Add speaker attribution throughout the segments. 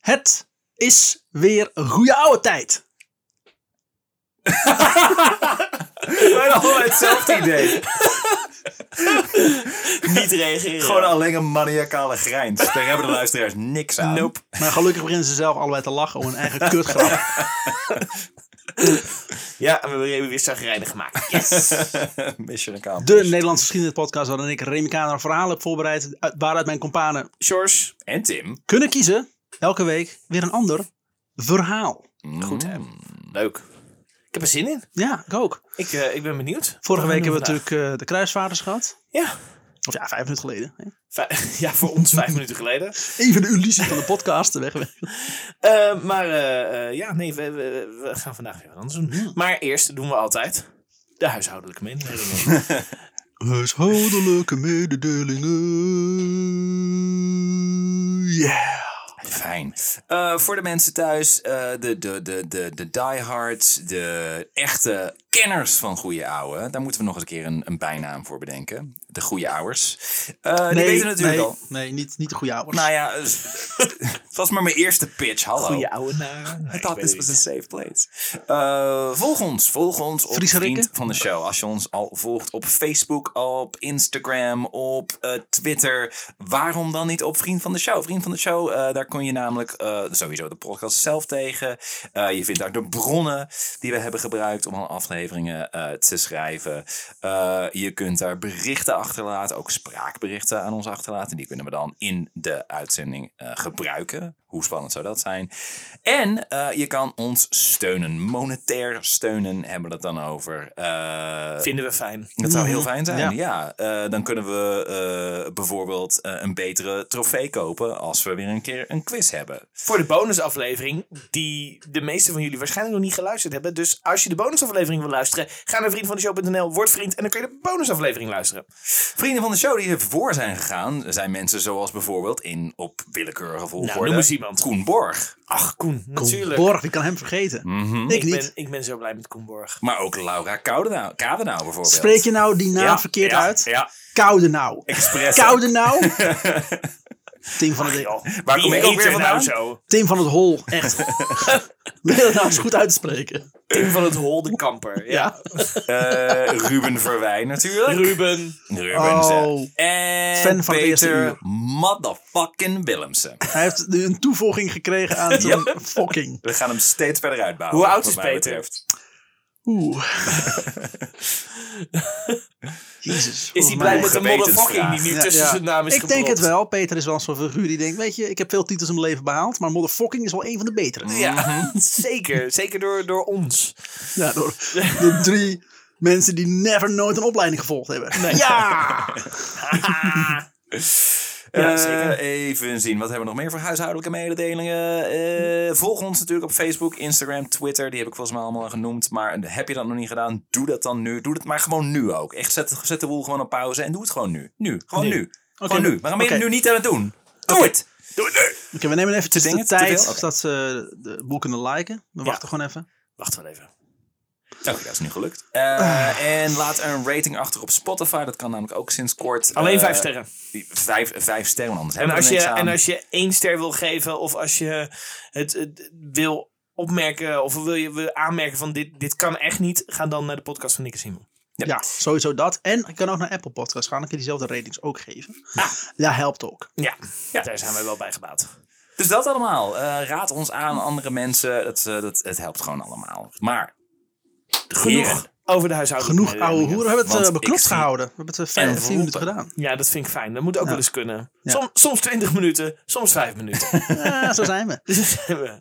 Speaker 1: Het is weer een goede oude tijd.
Speaker 2: Bijna allemaal hetzelfde idee.
Speaker 3: Niet reageren.
Speaker 2: Gewoon alleen een maniacale grijns. Daar hebben de luisteraars niks aan.
Speaker 3: Nope.
Speaker 1: Maar gelukkig beginnen ze zelf allebei te lachen om hun eigen kutgrap.
Speaker 3: Ja, en we hebben weer zagrijnig gemaakt. Yes.
Speaker 2: Mission accomplished.
Speaker 1: De Nederlandse geschiedenispodcast waarin ik Remy Kaner een verhaal heb voorbereid. uit- Waaruit mijn companen
Speaker 3: Sjors,
Speaker 2: En Tim.
Speaker 1: kunnen kiezen. Elke week weer een ander verhaal.
Speaker 2: Mm,
Speaker 3: goed hè. Leuk. Ik heb er zin in.
Speaker 1: Ja, ik ook.
Speaker 3: Ik, eh, ik ben benieuwd.
Speaker 1: Vorige
Speaker 3: Wat
Speaker 1: week
Speaker 3: gaan
Speaker 1: hebben we
Speaker 3: doen
Speaker 1: natuurlijk eh, de kruisvaarders gehad.
Speaker 3: vandaag? Ja.
Speaker 1: Of ja, vijf minuten geleden. hè.
Speaker 3: Vij- ja, voor ons vijf minuten geleden.
Speaker 1: Even de illusie van de podcast weg.
Speaker 3: Eh, maar eh, eh, ja, nee, we, we, we gaan vandaag weer wat anders doen. Maar eerst doen we altijd de huishoudelijke mededelingen.
Speaker 1: Huishoudelijke mededelingen. Yeah.
Speaker 2: Fijn. Eh, voor de mensen thuis, eh, de, de, de, de, de diehards, de echte kenners van goede ouwe. Daar moeten we nog eens een keer een, een bijnaam voor bedenken. De goede ouwers. Eh, die weten natuurlijk
Speaker 1: nee,
Speaker 2: al.
Speaker 1: Nee, niet, niet de goede ouders.
Speaker 2: Nou ja, het was maar mijn eerste pitch. Hallo.
Speaker 3: Goeie oude naren. Nee,
Speaker 2: I
Speaker 3: ik
Speaker 2: thought
Speaker 3: weet
Speaker 2: this
Speaker 3: het
Speaker 2: was a
Speaker 3: niet.
Speaker 2: safe place. Eh, volg ons, volg ons op
Speaker 1: Friese
Speaker 2: Vriend
Speaker 1: Rikken.
Speaker 2: van de Show. Als je ons al volgt op Facebook, op Instagram, op eh, Twitter. Waarom dan niet op Vriend van de Show? Vriend van de Show, eh, daar kon je namelijk eh, sowieso de podcast zelf tegen. Eh, je vindt daar de bronnen die we hebben gebruikt om aan afleveringen eh, te schrijven. Eh, je kunt daar berichten achterlaten, ook spraakberichten aan ons achterlaten. Die kunnen we dan in de uitzending eh, gebruiken. Hoe spannend zou dat zijn? En eh, je kan ons steunen, monetair steunen hebben we dat dan over. Eh,
Speaker 3: Vinden we fijn.
Speaker 2: dat zou
Speaker 3: Mm-hmm.
Speaker 2: heel fijn zijn,
Speaker 1: Ja.
Speaker 2: ja. Eh, dan kunnen we eh, bijvoorbeeld eh, een betere trofee kopen als we weer een keer een quiz hebben.
Speaker 3: Voor de bonusaflevering, die de meeste van jullie waarschijnlijk nog niet geluisterd hebben. Dus als je de bonusaflevering wil luisteren, ga naar vriendvandeshow.nl, word vriend en dan kun je de bonusaflevering luisteren.
Speaker 2: Vrienden van de show die ervoor zijn gegaan, zijn mensen zoals bijvoorbeeld in op willekeurige volgorde.
Speaker 3: Nou, noem eens iemand.
Speaker 2: Koen Borg.
Speaker 3: Ach, Koen, natuurlijk.
Speaker 1: Borg, ik kan hem vergeten.
Speaker 2: Mm.
Speaker 1: Ik
Speaker 3: ik,
Speaker 1: niet.
Speaker 3: ben, ik ben zo blij met Koen Borg.
Speaker 2: Maar ook Laura Koudenau, Kadenau bijvoorbeeld.
Speaker 1: Spreek je nou die naam
Speaker 2: Ja,
Speaker 1: verkeerd
Speaker 2: ja,
Speaker 1: uit?
Speaker 2: Ja,
Speaker 1: Koude nou.
Speaker 2: expres.
Speaker 1: Koude nou. Tim van, het,
Speaker 2: Waar kom
Speaker 3: Die
Speaker 2: ik ook
Speaker 3: heet
Speaker 2: weer
Speaker 3: er
Speaker 2: vandaan?
Speaker 3: Nou zo.
Speaker 1: Tim van het Hol. Echt. Wil je dat nou eens goed uitspreken?
Speaker 3: Tim van het Hol de Kamper. Ja.
Speaker 1: Ja.
Speaker 2: Eh, Ruben Verwijn natuurlijk.
Speaker 3: Ruben.
Speaker 2: Ruben
Speaker 1: Oh.
Speaker 2: hè. En
Speaker 1: Fan van het eerste
Speaker 2: Peter
Speaker 1: uur.
Speaker 2: motherfucking Willemsen.
Speaker 1: Hij heeft nu een toevoeging gekregen aan het
Speaker 2: Ja.
Speaker 1: fucking.
Speaker 2: We gaan hem steeds verder uitbouwen.
Speaker 3: Hoe
Speaker 2: wat
Speaker 3: oud is
Speaker 2: mij
Speaker 3: Peter?
Speaker 2: betreft.
Speaker 1: Oeh. Jezus. volgens
Speaker 3: Is
Speaker 1: mij-
Speaker 3: hij blij met de motherfucking die nu
Speaker 1: Ja,
Speaker 3: tussen
Speaker 1: ja.
Speaker 3: zijn naam is
Speaker 1: Ik denk het
Speaker 3: gepropt?
Speaker 1: wel. Peter is wel zo'n figuur die denkt, weet je, ik heb veel titels in mijn leven behaald, maar motherfucking is wel een van de betere.
Speaker 3: Ja, zeker. Zeker door, door ons.
Speaker 1: Ja, door de drie mensen die never nooit een opleiding gevolgd hebben. Ja!
Speaker 3: Ja,
Speaker 2: Eh,
Speaker 3: zeker.
Speaker 2: even zien, wat hebben we nog meer voor huishoudelijke mededelingen? Eh, volg ons natuurlijk op Facebook, Instagram, Twitter. Die heb ik volgens mij allemaal al genoemd. Maar heb je dat nog niet gedaan? Doe dat dan nu. Doe het maar gewoon nu ook. Echt, zet, zet de boel gewoon op pauze en doe het gewoon nu. Nu. Gewoon nu. Gewoon nu. Waarom ben je
Speaker 1: Oké.
Speaker 2: het nu niet aan het doen? Doe het! Doe het nu!
Speaker 1: Oké, we nemen even de
Speaker 2: Zing het, te
Speaker 1: tijd
Speaker 2: veel? Oké.
Speaker 1: dat ze de boel kunnen liken. We wachten gewoon even.
Speaker 3: Wacht wel even. Ah.
Speaker 2: Oké, dat is nu gelukt. Eh, En laat een rating achter op Spotify. Dat kan namelijk ook sinds kort.
Speaker 3: Alleen
Speaker 2: Eh,
Speaker 3: vijf sterren.
Speaker 2: Vijf, vijf sterren, anders
Speaker 3: En
Speaker 2: hebben we
Speaker 3: als,
Speaker 2: er
Speaker 3: je,
Speaker 2: niks aan.
Speaker 3: en als je één ster wil geven, of als je het, het wil opmerken, of wil je wil aanmerken van dit, dit kan echt niet, ga dan naar de podcast van Nick en Simon.
Speaker 1: Ja. sowieso dat. En ik kan ook naar Apple Podcasts gaan. Dan kun je diezelfde ratings ook geven. Ja, helpt ook.
Speaker 3: Ja, daar zijn wij wel bij gebaat.
Speaker 2: Dus dat allemaal. Eh, raad ons aan, andere mensen. Dat, eh, dat, het helpt gewoon allemaal. Maar
Speaker 3: Genoeg
Speaker 2: Heren.
Speaker 3: over de huishoudelijke
Speaker 1: Genoeg oude
Speaker 3: mededelingen.
Speaker 1: hoeren. We hebben het
Speaker 2: Want
Speaker 1: eh,
Speaker 2: ik
Speaker 1: beknopt
Speaker 2: zie-
Speaker 1: gehouden. We hebben het uh,
Speaker 2: En
Speaker 1: 15 minuten
Speaker 2: roepen.
Speaker 1: gedaan.
Speaker 3: Ja, dat vind ik fijn. Dat moet ook wel eens kunnen.
Speaker 1: Ja.
Speaker 3: Som- soms 20 minuten, soms 5 minuten. Dus
Speaker 1: Ja, zo zijn we.
Speaker 3: We-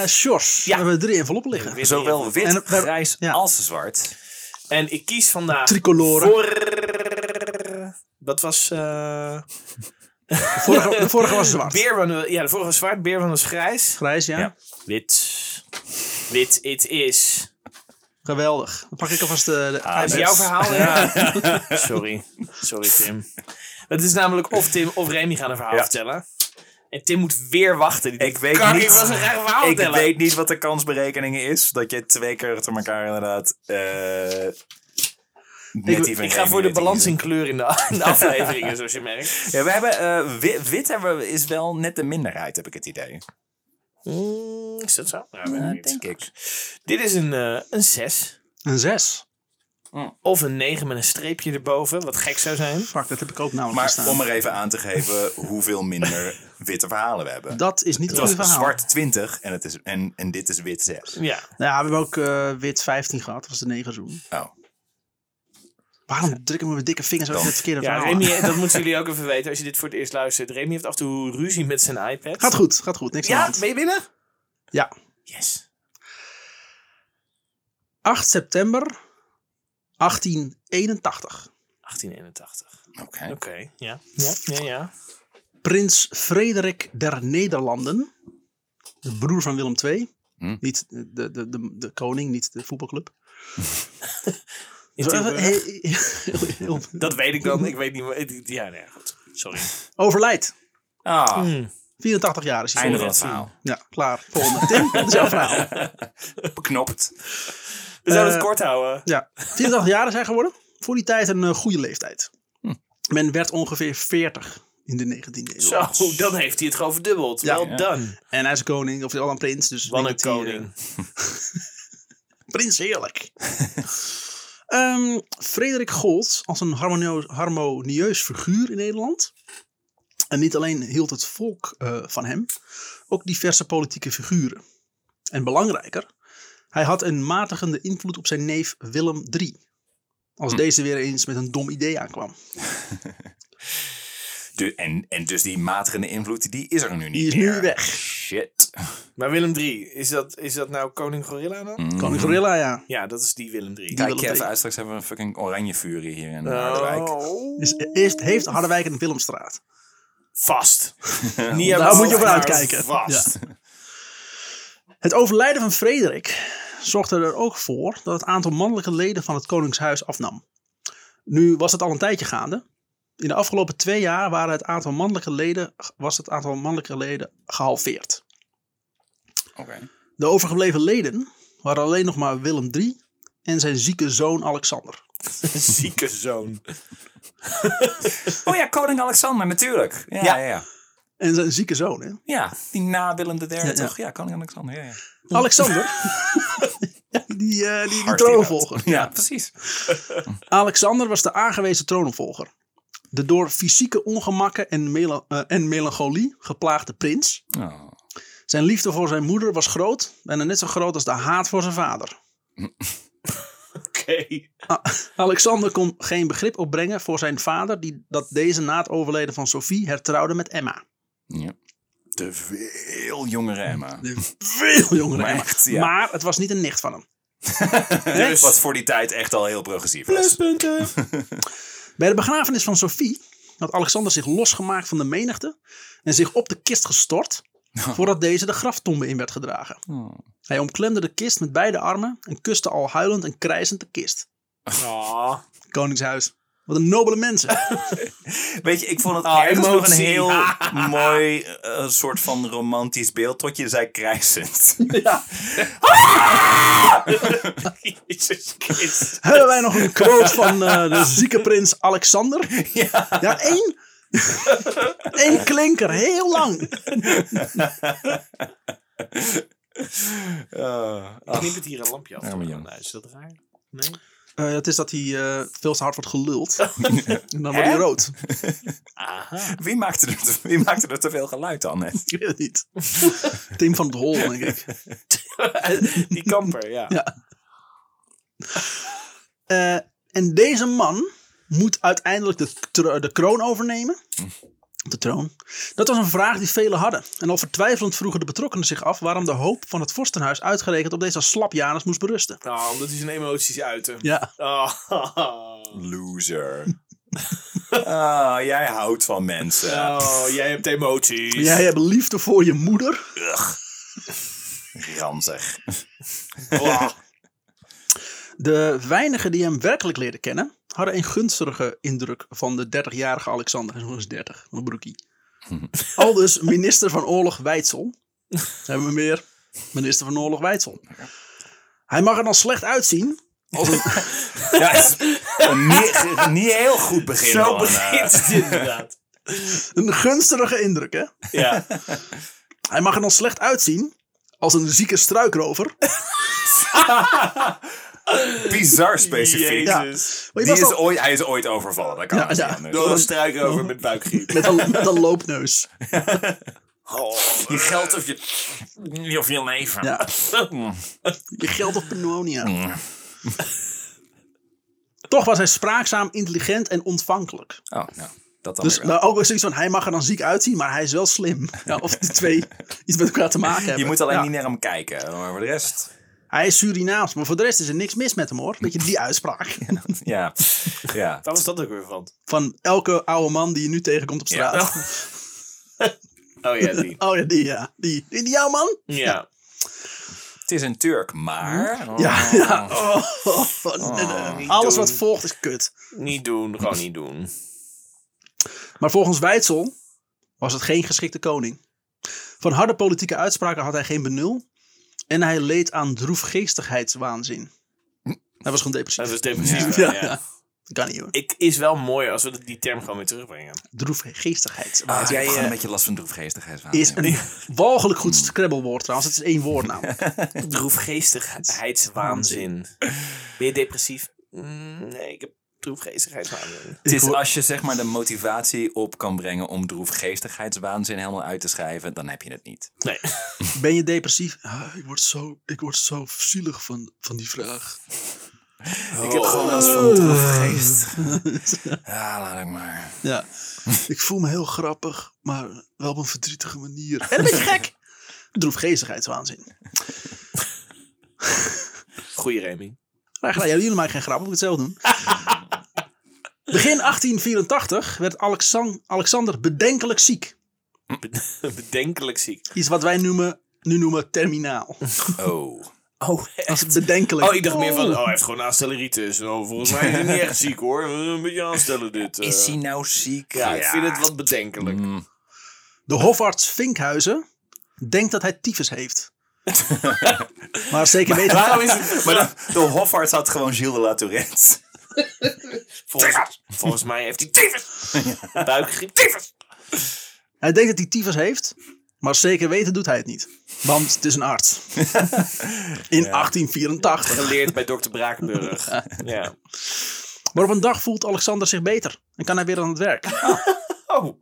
Speaker 1: Eh Sjors,
Speaker 3: Ja.
Speaker 1: we hebben drie enveloppen liggen.
Speaker 3: weer
Speaker 2: Zowel wit,
Speaker 1: En we-
Speaker 2: grijs
Speaker 1: ja.
Speaker 2: als zwart.
Speaker 3: En ik kies vandaag
Speaker 1: Tricoloren.
Speaker 3: voor... Dat was... eh
Speaker 1: De vorige, de vorige was zwart.
Speaker 3: beer van, ja, de vorige was zwart, beer van was grijs.
Speaker 1: Grijs, ja.
Speaker 2: Ja.
Speaker 3: Wit. Wit, it is.
Speaker 1: Geweldig. Dan pak ik alvast eh, de... de
Speaker 2: Ah,
Speaker 3: Is
Speaker 2: nee.
Speaker 1: iPad.
Speaker 3: jouw verhaal? Ja. Sorry. Sorry, Tim. Het is namelijk of Tim of Remy gaan een verhaal
Speaker 2: Ja.
Speaker 3: vertellen. En Tim moet weer wachten. Die
Speaker 2: Ik
Speaker 3: denkt,
Speaker 2: weet
Speaker 3: "Kan
Speaker 2: niet-
Speaker 3: Ik wil een graag een verhaal
Speaker 2: Ik
Speaker 3: vertellen.
Speaker 2: weet niet wat de kansberekeningen is. Dat je twee keer achter elkaar inderdaad... eh, net die van
Speaker 3: Ik ga
Speaker 2: Remy
Speaker 3: voor de
Speaker 2: weet ik
Speaker 3: balans in
Speaker 2: niet.
Speaker 3: kleur in de, in de afleveringen, zoals je merkt.
Speaker 2: Ja, we hebben, eh, wi- wit, hebben we- is wel net de minderheid, heb ik het idee.
Speaker 3: Mm, is dat zo? Nou, weet ik
Speaker 2: Eh,
Speaker 3: niet.
Speaker 2: denk ik.
Speaker 3: Dit is een, eh, een 6.
Speaker 1: Een 6.
Speaker 3: Of een 9 met een streepje erboven, wat gek zou zijn.
Speaker 1: Fuck, dat heb ik ook namelijk
Speaker 2: Maar
Speaker 1: gestaan.
Speaker 2: om er even aan te geven hoeveel minder witte verhalen we hebben.
Speaker 1: Dat is niet
Speaker 2: Het
Speaker 1: het goede
Speaker 2: was
Speaker 1: verhaal.
Speaker 2: zwart 20 en, het is, en, en dit is wit 6.
Speaker 3: Ja.
Speaker 1: Ja, we hebben ook eh, wit 15 gehad. Dat was de 9 zoen.
Speaker 2: Oh.
Speaker 1: Waarom drukken we met dikke vingers ook
Speaker 2: Dan-
Speaker 1: het verkeerde
Speaker 3: Ja,
Speaker 1: verhaal?
Speaker 3: Remy,
Speaker 1: aan?
Speaker 3: dat moeten jullie ook even weten als je dit voor het eerst luistert. Remy heeft af en toe ruzie met zijn iPad.
Speaker 1: Gaat goed, gaat goed. Niks aan de
Speaker 3: Ja,
Speaker 1: hand.
Speaker 3: ben je binnen?
Speaker 1: Ja.
Speaker 3: Yes.
Speaker 1: 8 september 1881.
Speaker 3: 1881.
Speaker 2: Oké.
Speaker 3: Oké, ja. Ja, ja, ja.
Speaker 1: Prins Frederik der Nederlanden, de broer van Willem II.
Speaker 2: Hm.
Speaker 1: Niet de, de, de, de koning, niet de voetbalclub.
Speaker 3: In
Speaker 1: Zo even-
Speaker 3: Tilburg.
Speaker 1: heel- heel-
Speaker 3: Dat weet ik dan. Ik weet niet meer. Ja, nee, goed. Sorry.
Speaker 1: Overlijdt.
Speaker 2: Ah,
Speaker 3: Mm.
Speaker 1: 84 jaar is hij.
Speaker 2: einde van het verhaal.
Speaker 1: Ja, klaar. Volgende. Tim, dat is jouw verhaal.
Speaker 2: Beknopt.
Speaker 3: We zouden
Speaker 1: Eh,
Speaker 3: het kort houden.
Speaker 1: Ja, 84 jaar is hij geworden. Voor die tijd een eh, goede leeftijd.
Speaker 3: Hm.
Speaker 1: Men werd ongeveer 40 in de 19e eeuw.
Speaker 3: Zo, dan heeft hij het gewoon verdubbeld.
Speaker 1: Ja.
Speaker 3: Wel dan.
Speaker 1: En hij is koning, of al een prins. Dus ik
Speaker 3: Wat een
Speaker 1: denk dat hij, eh,
Speaker 3: koning.
Speaker 1: Prins Heerlijk. Ehm, Frederik gold als een harmonio- harmonieus figuur in Nederland. En niet alleen hield het volk eh, van hem, ook diverse politieke figuren. En belangrijker, hij had een matigende invloed op zijn neef Willem III.
Speaker 3: Hm.
Speaker 1: Als deze weer eens met een dom idee aankwam.
Speaker 2: Du- en, en dus die matigende invloed, die is er nu niet
Speaker 1: Die is nu
Speaker 2: meer.
Speaker 1: weg.
Speaker 2: Shit.
Speaker 3: Maar Willem III, is dat, is dat nou koning Gorilla dan?
Speaker 2: Mhm.
Speaker 1: Koning Gorilla, ja.
Speaker 3: Ja, dat is die Willem III.
Speaker 2: Kijk
Speaker 1: Mm. Willem
Speaker 2: je Mm. even
Speaker 1: II.
Speaker 2: uit, straks hebben we een fucking oranje furie hier in eh, Harderwijk.
Speaker 3: Oh.
Speaker 1: Dus eerst heeft Harderwijk een Willemstraat.
Speaker 3: Vast. Niet
Speaker 1: Daar
Speaker 3: aan
Speaker 1: moet je
Speaker 3: vast,
Speaker 1: voor
Speaker 3: maar
Speaker 1: uitkijken.
Speaker 3: Vast.
Speaker 1: Het overlijden van Frederik zorgde er ook voor dat het aantal mannelijke leden van het koningshuis afnam. Nu was het al een tijdje gaande. In de afgelopen twee jaar waren het aantal mannelijke leden, was het aantal mannelijke leden gehalveerd.
Speaker 2: Oké.
Speaker 1: De overgebleven leden waren alleen nog maar Willem III en zijn zieke zoon Alexander.
Speaker 3: Zieke zoon.
Speaker 2: Oh ja, koning Alexander, natuurlijk. Ja, ja.
Speaker 3: Ja.
Speaker 2: ja, ja.
Speaker 1: En zijn zieke zoon, hè?
Speaker 2: die na Willem III,
Speaker 1: Ja, ja.
Speaker 2: toch? Ja, koning Alexander, ja, ja.
Speaker 1: Alexander. Ja, die, eh, die, die
Speaker 2: Hard inderdaad.
Speaker 1: troonvolger.
Speaker 2: Ja, precies.
Speaker 1: Alexander was de aangewezen troonopvolger. De door fysieke ongemakken en, mela- eh, en melancholie geplaagde prins.
Speaker 2: Oh.
Speaker 1: Zijn liefde voor zijn moeder was groot, bijna net zo groot als de haat voor zijn vader.
Speaker 3: Oké.
Speaker 1: Alexander kon geen begrip opbrengen voor zijn vader, die, dat deze na het overlijden van Sophie hertrouwde met Emma.
Speaker 2: Ja. Te veel jongere Emma.
Speaker 1: Veel jongere
Speaker 2: Maar
Speaker 1: Emma.
Speaker 2: echt, ja.
Speaker 1: Maar het was niet een nicht van hem.
Speaker 2: Dus wat voor die tijd echt al heel progressief was.
Speaker 3: Pluspunten.
Speaker 1: Bij de begrafenis van Sophie had Alexander zich losgemaakt van de menigte en zich op de kist gestort voordat deze de graftombe in werd gedragen.
Speaker 2: Oh.
Speaker 1: Hij omklemde de kist met beide armen en kuste al huilend en krijzend de kist.
Speaker 3: Oh,
Speaker 1: Koningshuis. Wat een nobele mensen.
Speaker 2: Weet je, ik vond het
Speaker 3: Ah,
Speaker 2: ergens nog een
Speaker 3: emotie.
Speaker 2: heel mooi eh, soort van romantisch beeld. Tot je zei krijsend.
Speaker 1: ja.
Speaker 3: Jezus Christus.
Speaker 1: Hebben wij nog een quote van eh, de zieke prins Alexander? Ja. Ja, één. Eén klinker, heel lang. Ah.
Speaker 2: Eh,
Speaker 3: Ik
Speaker 2: ach.
Speaker 3: knip het hier een lampje af.
Speaker 2: Arme jongen.
Speaker 3: Nou, is dat raar? Nee.
Speaker 1: Eh, het is dat hij eh, veel te hard wordt geluld. En dan wordt hij
Speaker 3: Hè?
Speaker 1: rood.
Speaker 3: Aha.
Speaker 2: Wie maakte, er te, wie maakte er te veel geluid aan net?
Speaker 1: Ik weet het niet. Tim van het Hol, denk ik.
Speaker 3: Die kamper, ja.
Speaker 1: Eh, en deze man moet uiteindelijk de, tro- de kroon overnemen. De troon. Dat was een vraag die velen hadden. En al vertwijfelend vroegen de betrokkenen zich af waarom de hoop van het vorstenhuis uitgerekend op deze slapjanus moest berusten.
Speaker 3: Oh, omdat hij zijn emoties uiten.
Speaker 1: Ja.
Speaker 3: Oh.
Speaker 2: Loser. Ah, jij houdt van mensen.
Speaker 3: Oh, jij hebt emoties.
Speaker 1: Jij hebt liefde voor je moeder.
Speaker 2: Ranzig.
Speaker 3: Oh.
Speaker 1: De weinigen die hem werkelijk leerden kennen, hadden een gunstige indruk van de 30-jarige Alexander. Hij is nog eens 30, een broekie. Al dus minister van Oorlog Weitzel. Hebben we meer? Minister van Oorlog Weitzel. Hij mag er dan slecht uitzien,
Speaker 2: Ja, is een niet, niet heel goed begin.
Speaker 3: Zo
Speaker 2: van, eh,
Speaker 3: begint het inderdaad.
Speaker 1: Een gunstige indruk, hè?
Speaker 3: Ja.
Speaker 1: Hij mag er dan slecht uitzien als een zieke struikrover.
Speaker 2: eh, Bizar specifiek.
Speaker 3: Jezus.
Speaker 1: Maar je
Speaker 2: Die
Speaker 1: was
Speaker 2: is
Speaker 1: al-
Speaker 2: ooit, hij is ooit overvallen. Dat kan
Speaker 1: Ja,
Speaker 2: niet
Speaker 1: ja.
Speaker 2: anders.
Speaker 3: Door een struik over met buikgriep.
Speaker 1: met, een, met een loopneus.
Speaker 3: Oh,
Speaker 2: Je geld of je, of je leven.
Speaker 1: Ja.
Speaker 2: Mm.
Speaker 1: Je geld op pneumonia. Toch was hij spraakzaam, intelligent en ontvankelijk.
Speaker 2: Oh, nou, dat dan
Speaker 1: Dus
Speaker 2: weer wel.
Speaker 1: nou, ook weer zoiets van, hij mag er dan ziek uitzien, maar hij is wel slim. Ja, of die twee iets met elkaar te maken hebben.
Speaker 2: Je moet alleen
Speaker 1: Ja.
Speaker 2: niet naar hem kijken, maar voor de rest...
Speaker 1: Hij is Surinaams, maar voor de rest is er niks mis met hem hoor. Weet je, die uitspraak.
Speaker 2: Ja, ja.
Speaker 3: Waar was dat ook weer van?
Speaker 1: Van elke oude man die je nu tegenkomt op straat.
Speaker 3: Oh ja, die.
Speaker 1: Oh ja, die ja. Die, die, die jouw man?
Speaker 3: Ja.
Speaker 2: het is een Turk, maar...
Speaker 1: Ja, ja. Oh, oh, oh. Alles wat
Speaker 3: doen.
Speaker 1: volgt is kut.
Speaker 3: Niet doen, gewoon niet doen.
Speaker 1: Maar volgens Weitzel was het geen geschikte koning. Van harde politieke uitspraken had hij geen benul. En hij leed aan droefgeestigheidswaanzin. Hij was gewoon
Speaker 3: Dat
Speaker 1: depressief.
Speaker 3: was depressief.
Speaker 1: Ja,
Speaker 3: Ja,
Speaker 1: ja. Dat kan niet hoor.
Speaker 3: Ik is wel mooi als we die term gewoon weer terugbrengen.
Speaker 2: Ah,
Speaker 1: Droefgeestigheidswaanzin.
Speaker 2: jij
Speaker 1: Gewoon
Speaker 2: een beetje last van droefgeestigheid.
Speaker 1: is een walgelijk goed scrabblewoord trouwens. Het is één woord namelijk.
Speaker 3: Droefgeestigheidswaanzin. Ben je depressief? Mm, nee, ik heb droefgeestigheidswaanzin.
Speaker 2: Het is als je zeg maar de motivatie op kan brengen om droefgeestigheidswaanzin helemaal uit te schrijven, dan heb je het niet.
Speaker 3: Nee.
Speaker 1: Ben je depressief? Ah, ik, word zo, ik word zo zielig van, van die vraag.
Speaker 2: Ik heb
Speaker 3: Oh.
Speaker 2: gewoon last van droefgeest. Ja, laat ik maar.
Speaker 1: Ja. ik voel me heel grappig, maar wel op een verdrietige manier. En een beetje gek. Droefgeestigheidswaanzin.
Speaker 3: Goeie Remy.
Speaker 1: Graag gedaan. Ja, jullie maken geen grap, moet ik het zelf doen. Begin 1884 werd Alexan- Alexander bedenkelijk ziek.
Speaker 3: Bedenkelijk ziek.
Speaker 1: Iets wat wij noemen, nu noemen terminaal.
Speaker 2: Oh.
Speaker 3: Oh, echt?
Speaker 1: Dat is bedenkelijk.
Speaker 3: Oh, ik dacht meer van, oh, hij heeft gewoon aanstelleritis. Oh, volgens mij is hij niet echt ziek hoor. Een beetje aanstellen dit. eh.
Speaker 2: Is hij nou ziek?
Speaker 3: Ja, ik vind het wat bedenkelijk.
Speaker 2: Mm.
Speaker 1: De hofarts Vinkhuizen denkt dat hij tyfus heeft. maar zeker weten...
Speaker 3: Waarom is het...
Speaker 2: Maar de, de hofarts had gewoon Gilles de La Tourette.
Speaker 3: Volgens, volgens mij heeft hij tyfus. Buikgriep, tyfus.
Speaker 1: Hij denkt dat hij tyfus heeft, maar zeker weten doet hij het niet. Want het is een arts. In 1884.
Speaker 3: Geleerd bij dokter Brakenburg. Ja.
Speaker 1: Maar op een dag voelt Alexander zich beter en kan hij weer aan het werk.
Speaker 3: Oh.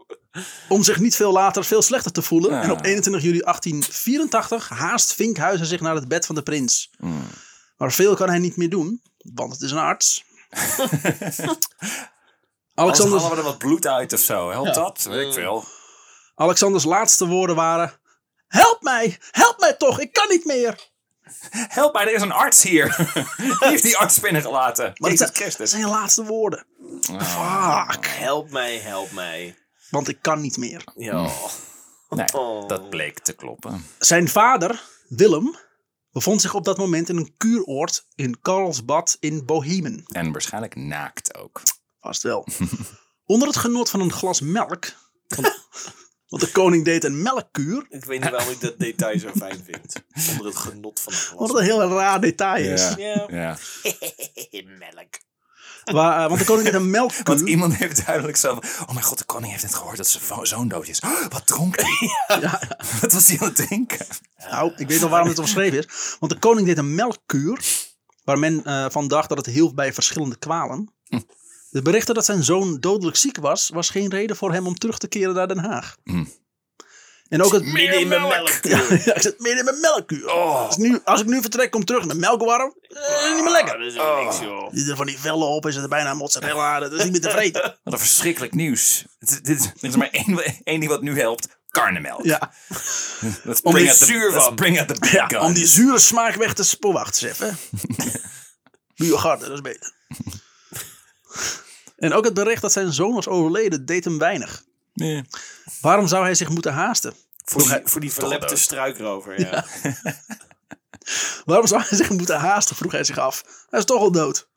Speaker 1: Om zich niet veel later veel slechter te voelen.
Speaker 2: Ja.
Speaker 1: En op 21 juli 1884 haast Vinkhuizen zich naar het bed van de prins.
Speaker 2: Mm.
Speaker 1: Maar veel kan hij niet meer doen, want het is een arts.
Speaker 2: Anders
Speaker 1: Alexander's,
Speaker 2: halen we er wat dus- bloed uit of zo. Helpt dat? Weet ik veel.
Speaker 1: Alexanders laatste woorden waren... Help mij! Help mij toch! Ik kan niet meer!
Speaker 2: Help mij, er is een arts hier. Die heeft die arts binnengelaten.
Speaker 1: Maar
Speaker 2: Jezus
Speaker 1: het zijn-
Speaker 2: Christus. Ah.
Speaker 1: zijn laatste woorden. Fuck!
Speaker 3: Help mij, help mij.
Speaker 1: Want ik kan niet meer.
Speaker 3: Ja.
Speaker 2: Nee,
Speaker 3: Oh.
Speaker 2: Mm. dat bleek te kloppen.
Speaker 1: Zijn vader, Willem, bevond zich op dat moment in een kuuroord in Karlsbad in Bohemen.
Speaker 2: En waarschijnlijk naakt ook.
Speaker 1: Vast wel. Onder het genot van een glas melk. Want, want de koning deed een melkkuur.
Speaker 3: Ik weet niet waarom ik dat detail zo fijn vind. Onder het genot van het
Speaker 1: Wat
Speaker 3: glas.
Speaker 1: een heel raar detail is.
Speaker 3: Ja.
Speaker 2: Ja.
Speaker 3: Melk.
Speaker 1: Waar, eh, want de koning deed een
Speaker 2: Want
Speaker 1: melkkuur.
Speaker 2: iemand heeft duidelijk zo van, Oh mijn god, de koning heeft net gehoord dat zijn vo- zoon dood is. Oh, wat dronk hij? Wat was hij aan het drinken?
Speaker 1: Nou, ik weet nog waarom dit omschreven is. Want de koning deed een melkkuur. Waar men eh, van dacht dat het hielp bij verschillende kwalen. De berichten dat zijn zoon dodelijk ziek was, was geen reden voor hem om terug te keren naar Den Haag. En ook het
Speaker 3: Hm. Midden in mijn melk.
Speaker 1: Ja, ja, ik zit midden in mijn melkkuur. Oh.
Speaker 2: Oh,
Speaker 1: Als, nu, als ik nu vertrek, kom terug naar melkwarm. Eh, niet meer
Speaker 3: Ja, dus-
Speaker 1: lekker.
Speaker 3: dat is wel niks, joh.
Speaker 1: Die er van die vellen op en zitten bijna mozzarella. Dat is niet meer tevreden.
Speaker 2: Wat een verschrikkelijk nieuws. Het- dit, er is maar één, één ding wat nu helpt. Karnemelk.
Speaker 1: Ja,
Speaker 2: Let's
Speaker 1: Om
Speaker 2: bring
Speaker 1: dit
Speaker 2: out the-
Speaker 3: zuur
Speaker 2: let's
Speaker 3: van.
Speaker 2: bring out the big gun.
Speaker 1: om die zure smaak weg te spoelen. Wacht eens even. Biogarde, dat is beter. En ook het bericht dat zijn zoon was overleden deed hem weinig.
Speaker 2: Nee.
Speaker 1: Waarom zou hij zich moeten haasten?
Speaker 3: Voor die, voor die verlepte
Speaker 2: Dood.
Speaker 3: struikrover, ja.
Speaker 1: Waarom zou hij zich moeten haasten? vroeg hij zich af. Hij is toch al dood.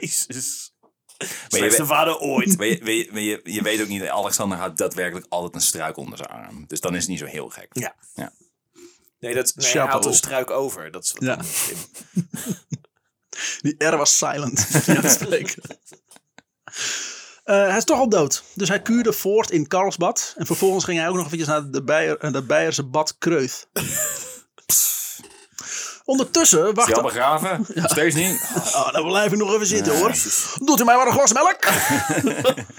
Speaker 3: Jezus.
Speaker 2: Maar je,
Speaker 3: Slechtste
Speaker 2: weet-
Speaker 3: vader ooit.
Speaker 2: maar je, maar je, maar je, je weet ook niet, Alexander had daadwerkelijk altijd een struik onder zijn arm. Dus dan is het niet zo heel gek.
Speaker 3: Ja.
Speaker 2: Ja.
Speaker 3: Nee, dat, nee hij
Speaker 1: Chapeau.
Speaker 3: haalt een struik over. Dat is wat
Speaker 1: Ja.
Speaker 3: anders.
Speaker 1: Die R was silent. Ja, dat spreekt. Eh, hij is toch al dood. Dus hij kuurde voort in Karlsbad. En vervolgens ging hij ook nog eventjes naar de, Beier, eh, de Beierse Bad Kreuf. Ondertussen
Speaker 2: Is die al
Speaker 1: wachtte...
Speaker 2: begraven? Steeds niet. Ah,
Speaker 1: Oh, dan blijf ik nog even zitten hoor. Doet u mij maar een glas melk?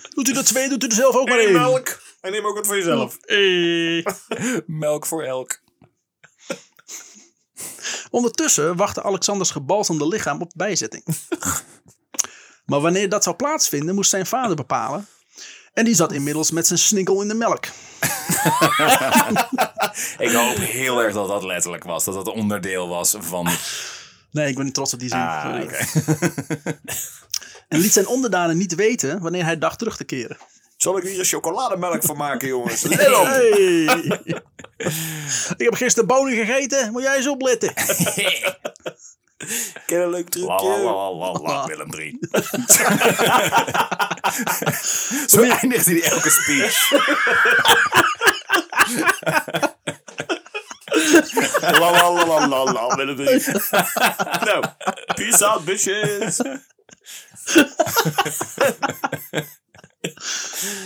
Speaker 1: doet u er twee, doet u er zelf ook maar één.
Speaker 3: nou, En neem ook wat voor jezelf.
Speaker 1: Eh.
Speaker 2: Melk voor elk.
Speaker 1: Ondertussen wachtte Alexanders gebalsemde lichaam op bijzetting. maar wanneer dat zou plaatsvinden, moest zijn vader bepalen. En die zat inmiddels met zijn snikkel in de melk.
Speaker 2: Ik hoop heel erg dat dat letterlijk was. Dat dat onderdeel was van...
Speaker 3: Ah,
Speaker 1: Nee, ik ben niet trots op die zin.
Speaker 2: Ah,
Speaker 1: Sorry.
Speaker 2: oké.
Speaker 1: En liet zijn onderdanen niet weten wanneer hij dacht terug te keren.
Speaker 3: Zal ik hier een chocolademelk van maken, jongens?
Speaker 1: Hey. ik heb gisteren bonen gegeten, moet jij eens opletten.
Speaker 3: Ken een leuk
Speaker 2: La, la,
Speaker 3: trucje.
Speaker 2: la, la, la, la, Willem III. Zo eindigt hij elke speech.
Speaker 3: La la la la la la, Willem III. Nou, peace out, bitches.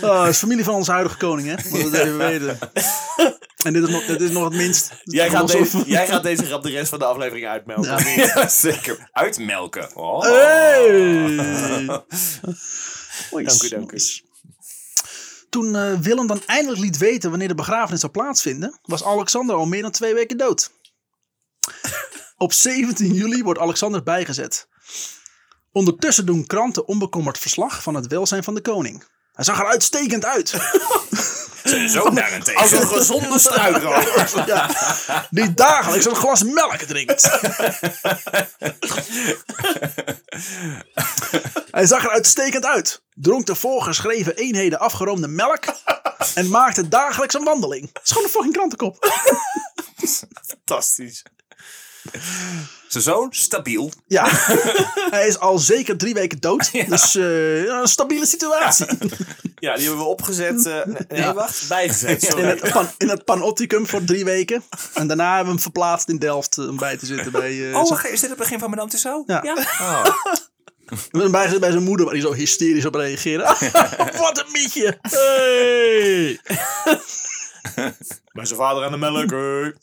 Speaker 1: Oh, dat is familie van onze huidige koning, hè? Moet dat even weten. En dit is nog, dit is nog het minst.
Speaker 3: Jij gaat,
Speaker 1: Alsof-
Speaker 3: deze, jij gaat deze grap de rest van de aflevering uitmelken.
Speaker 1: Ja.
Speaker 2: Ja, zeker. Uitmelken. Oh.
Speaker 1: Hey!
Speaker 3: Dank u, dank u.
Speaker 1: Toen eh, Willem dan eindelijk liet weten wanneer de begrafenis zou plaatsvinden, was Alexander al meer dan twee weken dood. Op 17 juli wordt Alexander bijgezet. Ondertussen doen kranten onbekommerd verslag van het welzijn van de koning. Hij zag er uitstekend uit.
Speaker 2: Zo
Speaker 3: Als een
Speaker 2: daarentegen.
Speaker 3: gezonde struikrover.
Speaker 1: Ja, die dagelijks een glas melk drinkt. Hij zag er uitstekend uit. Dronk de voorgeschreven eenheden afgeroomde melk. En maakte dagelijks een wandeling. Het is gewoon een fucking krantenkop.
Speaker 3: Fantastisch.
Speaker 2: Ze zo stabiel.
Speaker 1: Ja, hij is al zeker drie weken dood. Dus eh, ja, een stabiele situatie.
Speaker 3: Ja, die hebben we opgezet. eh, nee, nee,
Speaker 1: Ja.
Speaker 3: wacht. Bijgezet,
Speaker 1: In
Speaker 3: sorry.
Speaker 1: het, pan, in het panopticum voor drie weken. En daarna hebben we hem verplaatst in Delft eh, om bij te zitten bij, eh,
Speaker 2: Oh,
Speaker 1: zijn-
Speaker 2: wacht, is dit het begin van Madame Tussauds?
Speaker 1: Ja.
Speaker 2: Oh.
Speaker 1: we hebben hem bijgezet bij zijn moeder, waar hij zo hysterisch op reageerde. Wat een mietje! Hey!
Speaker 3: Bij zijn vader aan de melk. hey.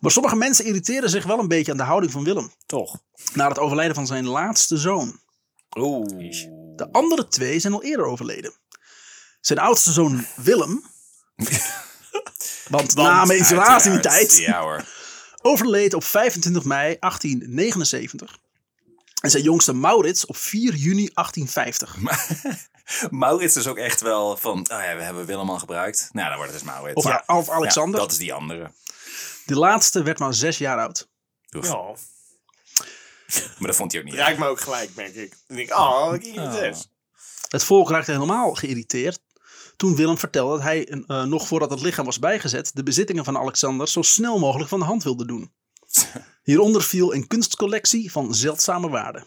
Speaker 1: Maar sommige mensen irriteren zich wel een beetje aan de houding van Willem.
Speaker 3: Toch.
Speaker 1: Na het overlijden van zijn laatste zoon.
Speaker 2: Oeh.
Speaker 1: De andere twee zijn al eerder overleden. Zijn oudste zoon Willem. want, na menstruatietijd
Speaker 2: Ja hoor.
Speaker 1: overleed op 25 mei 1879. En zijn jongste Maurits op 4 juni 1850.
Speaker 2: Maurits is dus ook echt wel van, oh ja, we hebben Willem al gebruikt. Nou, dan wordt het dus Maurits.
Speaker 1: Of,
Speaker 2: Ja.
Speaker 1: ja, of Alexander.
Speaker 2: Ja, dat is die andere.
Speaker 1: De laatste werd maar 6 jaar oud.
Speaker 2: Oef.
Speaker 3: Ja.
Speaker 2: Maar dat vond hij ook niet.
Speaker 3: Raakt me ook gelijk, merk ik. Dan denk ik, oh, ik hier
Speaker 2: Ah.
Speaker 3: het is.
Speaker 1: Het volk raakte helemaal geïrriteerd toen Willem vertelde dat hij, eh, nog voordat het lichaam was bijgezet, de bezittingen van Alexander zo snel mogelijk van de hand wilde doen. Hieronder viel een kunstcollectie van zeldzame waarde.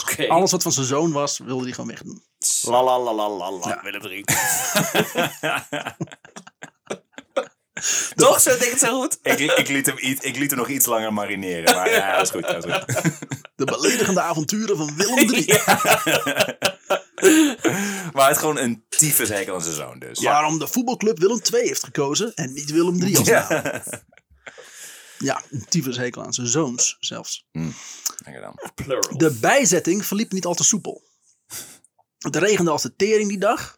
Speaker 3: Oké.
Speaker 1: Alles wat van zijn zoon was, wilde hij gewoon wegdoen.
Speaker 3: La la la la la la,
Speaker 1: Ja.
Speaker 3: Willem III. Toch? Zo denk ik het zo goed.
Speaker 2: ik, ik, liet hem iets, ik liet hem nog iets langer marineren. Maar ja, dat is goed. Dat is goed.
Speaker 1: De beledigende avonturen van Willem III.
Speaker 2: Maar hij had gewoon een tyfushekel aan zijn zoon dus.
Speaker 1: Waarom de voetbalclub Willem II heeft gekozen en niet Willem III als naam.
Speaker 2: Ja.
Speaker 1: Ja, een tyfushekel aan zijn zoons zelfs.
Speaker 2: Dank je dan.
Speaker 3: Plural.
Speaker 1: De bijzetting verliep niet al te soepel. Het regende als de tering die dag.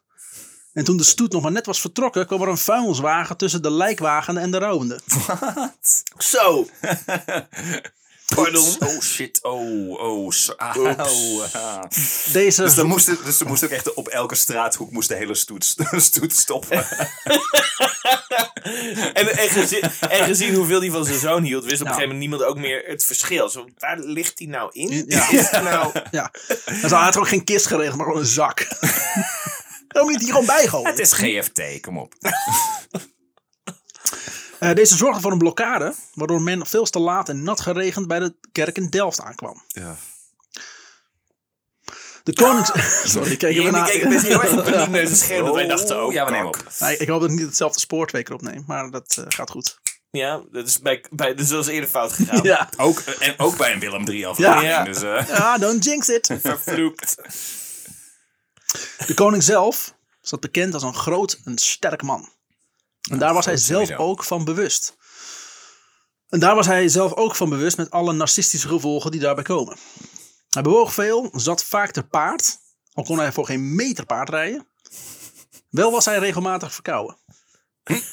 Speaker 1: En toen de stoet nog maar net was vertrokken, kwam er een vuilniswagen tussen de lijkwagen en de rouwende.
Speaker 2: Wat?
Speaker 3: Zo. Pardon.
Speaker 2: Oh shit, oh, oh, so- au,
Speaker 3: Oeps.
Speaker 2: ah.
Speaker 1: Deze,
Speaker 2: Dus, dan moesten, dus er moest ook echt op elke straathoek moest de hele stoet, stoet stoppen.
Speaker 3: En, en, gezien, en gezien hoeveel hij van zijn zoon hield, wist op een
Speaker 1: Ja.
Speaker 3: gegeven moment niemand ook meer het verschil. Zo, waar ligt hij nou in?
Speaker 1: Ja.
Speaker 3: Is het nou...
Speaker 1: ja. En ze had ook geen kist geregeld, maar gewoon een zak. Waarom niet die gewoon bijgooien?
Speaker 2: Het is GFT, kom op.
Speaker 1: Eh, deze zorgde voor een blokkade, waardoor men veel te laat en nat geregend bij de kerk in Delft aankwam.
Speaker 2: Ja.
Speaker 1: De konings... Sorry, ik keek even
Speaker 3: Jullie
Speaker 1: naar...
Speaker 3: keken best heel erg op paniek naar zijn scherm. Dat wij
Speaker 2: Oh,
Speaker 3: dachten, oh,
Speaker 2: ja, we nemen
Speaker 3: kak.
Speaker 2: op.
Speaker 1: Nee, ik hoop dat ik niet hetzelfde spoortweker opneem, maar dat eh, gaat goed.
Speaker 3: Ja, dat is, bij, bij, dus dat is eerder fout gegaan.
Speaker 1: Ja.
Speaker 2: Ook, en ook bij een Willem 3 aflevering.
Speaker 1: Ah,
Speaker 3: Ja.
Speaker 2: Dus, eh,
Speaker 1: Ja, don't jinx it.
Speaker 3: Vervloekt.
Speaker 1: De koning zelf staat bekend als een groot en sterk man. En daar was hij
Speaker 2: goed,
Speaker 1: zelf
Speaker 2: sowieso.
Speaker 1: ook van bewust. En daar was hij zelf ook van bewust met alle narcistische gevolgen die daarbij komen. Hij bewoog veel, zat vaak te paard, al kon hij voor geen meter paard rijden. Wel was hij regelmatig verkouden.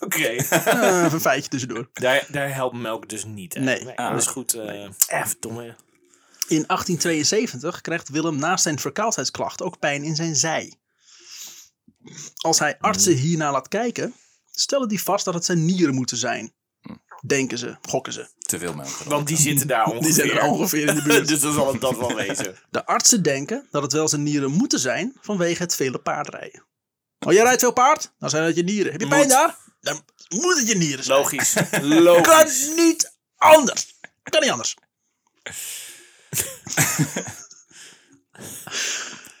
Speaker 3: Oké.
Speaker 1: Eh, even een feitje tussendoor.
Speaker 3: Daar, daar helpt melk dus niet. hè?
Speaker 1: Nee.
Speaker 3: dat is goed. eh eh, verdomme.
Speaker 1: In 1872 krijgt Willem naast zijn verkoudheidsklacht ook pijn in zijn zij. Als hij
Speaker 3: Hmm.
Speaker 1: artsen hierna laat kijken, stellen die vast dat het zijn nieren moeten zijn.
Speaker 3: Hmm.
Speaker 1: Denken ze, gokken ze.
Speaker 2: Te veel melk. gedronken.
Speaker 3: Want die zitten daar ongeveer.
Speaker 1: Die zijn er ongeveer in de buurt.
Speaker 3: dus dan zal het dat wel wezen.
Speaker 1: De artsen denken dat het wel zijn nieren moeten zijn vanwege het vele paardrijden. Oh, jij rijdt veel paard? Dan zijn dat je nieren. Heb je pijn
Speaker 3: Moet.
Speaker 1: daar? Dan moet het je nieren zijn.
Speaker 3: Logisch. Logisch.
Speaker 1: Kan niet anders. Kan niet anders.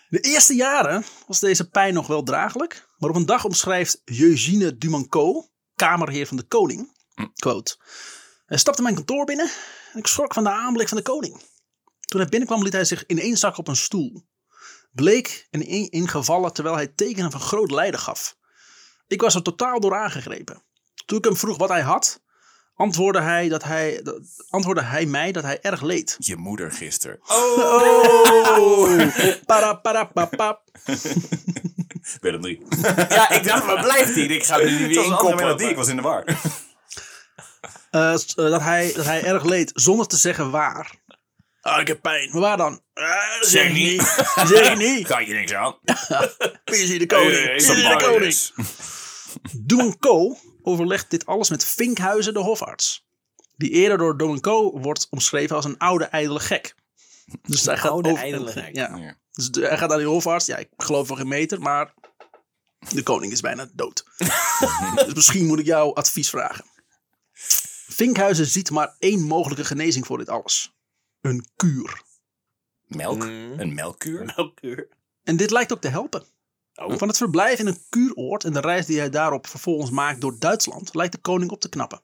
Speaker 1: De eerste jaren was deze pijn nog wel draaglijk, maar op een dag omschrijft Eugène Dumanco, kamerheer van de koning, quote, Hij stapte mijn kantoor binnen en ik schrok van de aanblik van de koning. Toen hij binnenkwam liet hij zich ineenzakken op een stoel. Bleek en in- ingevallen terwijl hij tekenen van groot lijden gaf. Ik was er totaal door aangegrepen. Toen ik hem vroeg wat hij had, antwoordde hij, dat hij, dat- antwoordde hij mij dat hij erg leed.
Speaker 2: Je moeder gisteren.
Speaker 3: Oh.
Speaker 1: Oh! Paraparapapap.
Speaker 2: Willem 3.
Speaker 3: Ja, ik dacht, maar blijft die? Ik ga er nu weer inkoppelen.
Speaker 2: Ik was in de war.
Speaker 1: Eh, s- eh, dat, hij, dat hij erg leed, zonder te zeggen waar. Ah, ik heb pijn. Maar waar dan? Eh,
Speaker 2: Zeg niet.
Speaker 1: Zeg niet.
Speaker 2: Kan je niks aan.
Speaker 1: Is hier de
Speaker 3: Eh,
Speaker 1: koning?
Speaker 3: eh,
Speaker 1: Is
Speaker 3: is
Speaker 1: hier
Speaker 3: een
Speaker 1: de
Speaker 3: bank
Speaker 1: koning?
Speaker 2: dus.
Speaker 1: Douwenco overlegt dit alles met Vinkhuizen, de hofarts. Die eerder door Douwenco wordt omschreven als een oude, ijdele gek. Dus hij gaat
Speaker 3: oude,
Speaker 1: over-
Speaker 3: ijdele gek.
Speaker 1: Ja.
Speaker 2: Ja.
Speaker 1: Dus de- hij gaat naar die hofarts. Ja, ik geloof van geen meter, maar de koning is bijna dood. dus misschien moet ik jouw advies vragen. Vinkhuizen ziet maar één mogelijke genezing voor dit alles. Een kuur.
Speaker 2: Melk?
Speaker 3: Mm.
Speaker 2: Een melkkuur?
Speaker 3: Melkuur.
Speaker 1: En dit lijkt ook te helpen.
Speaker 3: Oh.
Speaker 1: Van het verblijf in een kuuroord en de reis die hij daarop vervolgens maakt door Duitsland lijkt de koning op te knappen.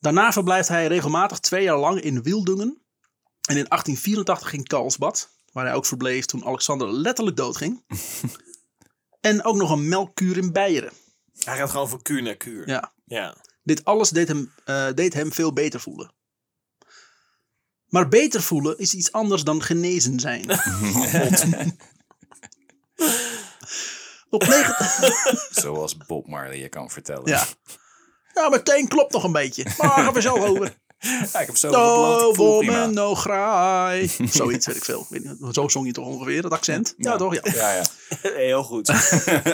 Speaker 1: Daarna verblijft hij regelmatig twee jaar lang in Wildungen en in 1884 in Karlsbad, waar hij ook verbleef toen Alexander letterlijk doodging. en ook nog een melkkuur in Beieren.
Speaker 3: Hij gaat gewoon van kuur naar kuur.
Speaker 1: Ja.
Speaker 3: Ja.
Speaker 1: Dit alles deed hem, eh, deed hem veel beter voelen. Maar beter voelen is iets anders dan genezen zijn. Op negen-
Speaker 2: Zoals Bob Marley je kan vertellen.
Speaker 1: Ja. Ja, mijn teen klopt nog een beetje. Maar gaan we zo over.
Speaker 2: Ja, ik heb zo
Speaker 1: No
Speaker 2: no,
Speaker 1: woman, no cry. Of Zoiets, weet ik veel. Ik weet niet, Zo zong je toch ongeveer, dat accent? Ja, toch? Ja.
Speaker 2: Ja, ja.
Speaker 3: Heel goed.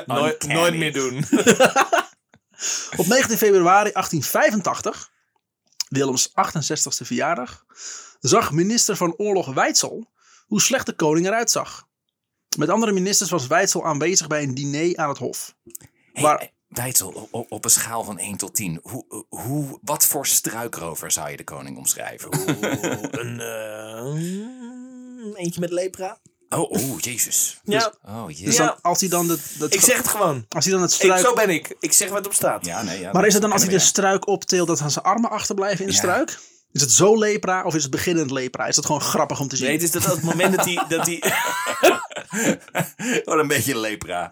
Speaker 3: nooit,
Speaker 2: Uncanny.
Speaker 3: nooit meer doen.
Speaker 1: Op 19 februari 1885, Willems 68ste verjaardag, zag minister van Oorlog Weitzel hoe slecht de koning eruit zag. Met andere ministers was Weitzel aanwezig bij een diner aan het hof. Waar-
Speaker 2: Hey, Dijssel, o- o- op een schaal van 1 tot 10, hoe, eh, hoe, wat voor struikrover zou je de koning omschrijven? Hoe-
Speaker 3: een, eh, eentje met lepra.
Speaker 2: Oh, oh, jezus.
Speaker 3: Ja.
Speaker 2: Oh, jezus.
Speaker 1: Dus
Speaker 3: Ja.
Speaker 1: dan, als hij dan, de, dat-
Speaker 3: Ik zeg het gewoon.
Speaker 1: als hij dan het
Speaker 3: Ik,
Speaker 1: struik...
Speaker 3: zo ben ik. Ik zeg wat op staat.
Speaker 2: Ja, nee, ja,
Speaker 1: Maar is het dan
Speaker 2: dat
Speaker 1: als hij dus- de
Speaker 2: kennen we,
Speaker 1: struik optilt dat dan zijn armen achterblijven in de
Speaker 2: Ja.
Speaker 1: struik? Is het zo lepra of is het beginnend lepra? Is dat gewoon grappig om te zien?
Speaker 3: Nee, het is dat op het moment dat hij... Dat hij
Speaker 2: ja. Wat een beetje lepra.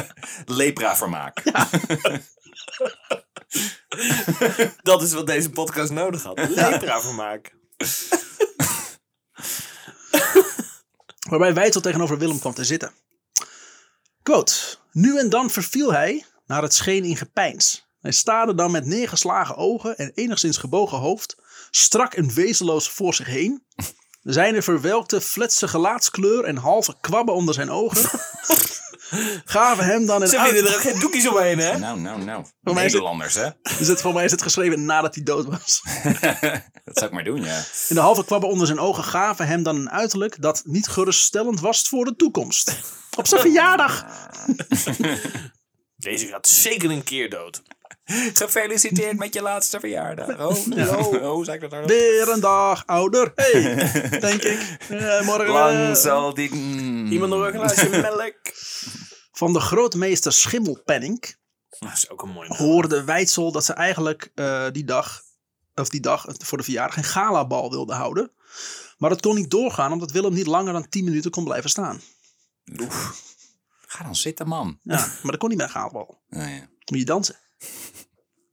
Speaker 2: Lepra-vermaak.
Speaker 3: dat is wat deze podcast nodig had. Lepra vermaak.
Speaker 1: waarbij Weitzel tegenover Willem kwam te zitten. Quote. Nu en dan verviel hij naar het scheen in gepeins. Hij staarde dan met neergeslagen ogen en enigszins gebogen hoofd strak en wezenloos voor zich heen. Zijne verwelkte, fletse gelaatskleur en halve kwabben onder zijn ogen gaven hem dan een
Speaker 3: Ze
Speaker 1: uit-
Speaker 3: vinden er ook geen doekjes omheen, hè?
Speaker 2: Nou, nou, nou.
Speaker 1: mij is het-
Speaker 2: Nederlanders, hè?
Speaker 1: Is het, voor mij is het geschreven nadat hij dood was.
Speaker 2: Dat zou ik maar doen, ja.
Speaker 1: En de halve kwabben onder zijn ogen gaven hem dan een uiterlijk dat niet geruststellend was voor de toekomst. Op zijn verjaardag.
Speaker 3: Deze gaat zeker een keer dood.
Speaker 2: Gefeliciteerd met je laatste verjaardag. Oh, oh, hoe zei ik dat nou?
Speaker 1: Weer een dag ouder. Hey, denk ik. Eh, morgen. eh,
Speaker 2: Lang zal dit... Mm.
Speaker 3: Iemand nog een glaasje melk?
Speaker 1: Van de grootmeester Schimmelpenning
Speaker 3: Dat is ook een mooi naam.
Speaker 1: hoorde Weitzel dat ze eigenlijk eh, die dag, of die dag eh, voor de verjaardag, een galabal wilde houden. Maar dat kon niet doorgaan omdat Willem niet langer dan 10 minuten kon blijven staan.
Speaker 2: Oef. Ga dan zitten, man.
Speaker 1: Ja, maar dat kon niet bij de gehaaldbal.
Speaker 2: Nou ja.
Speaker 1: Moet je dansen.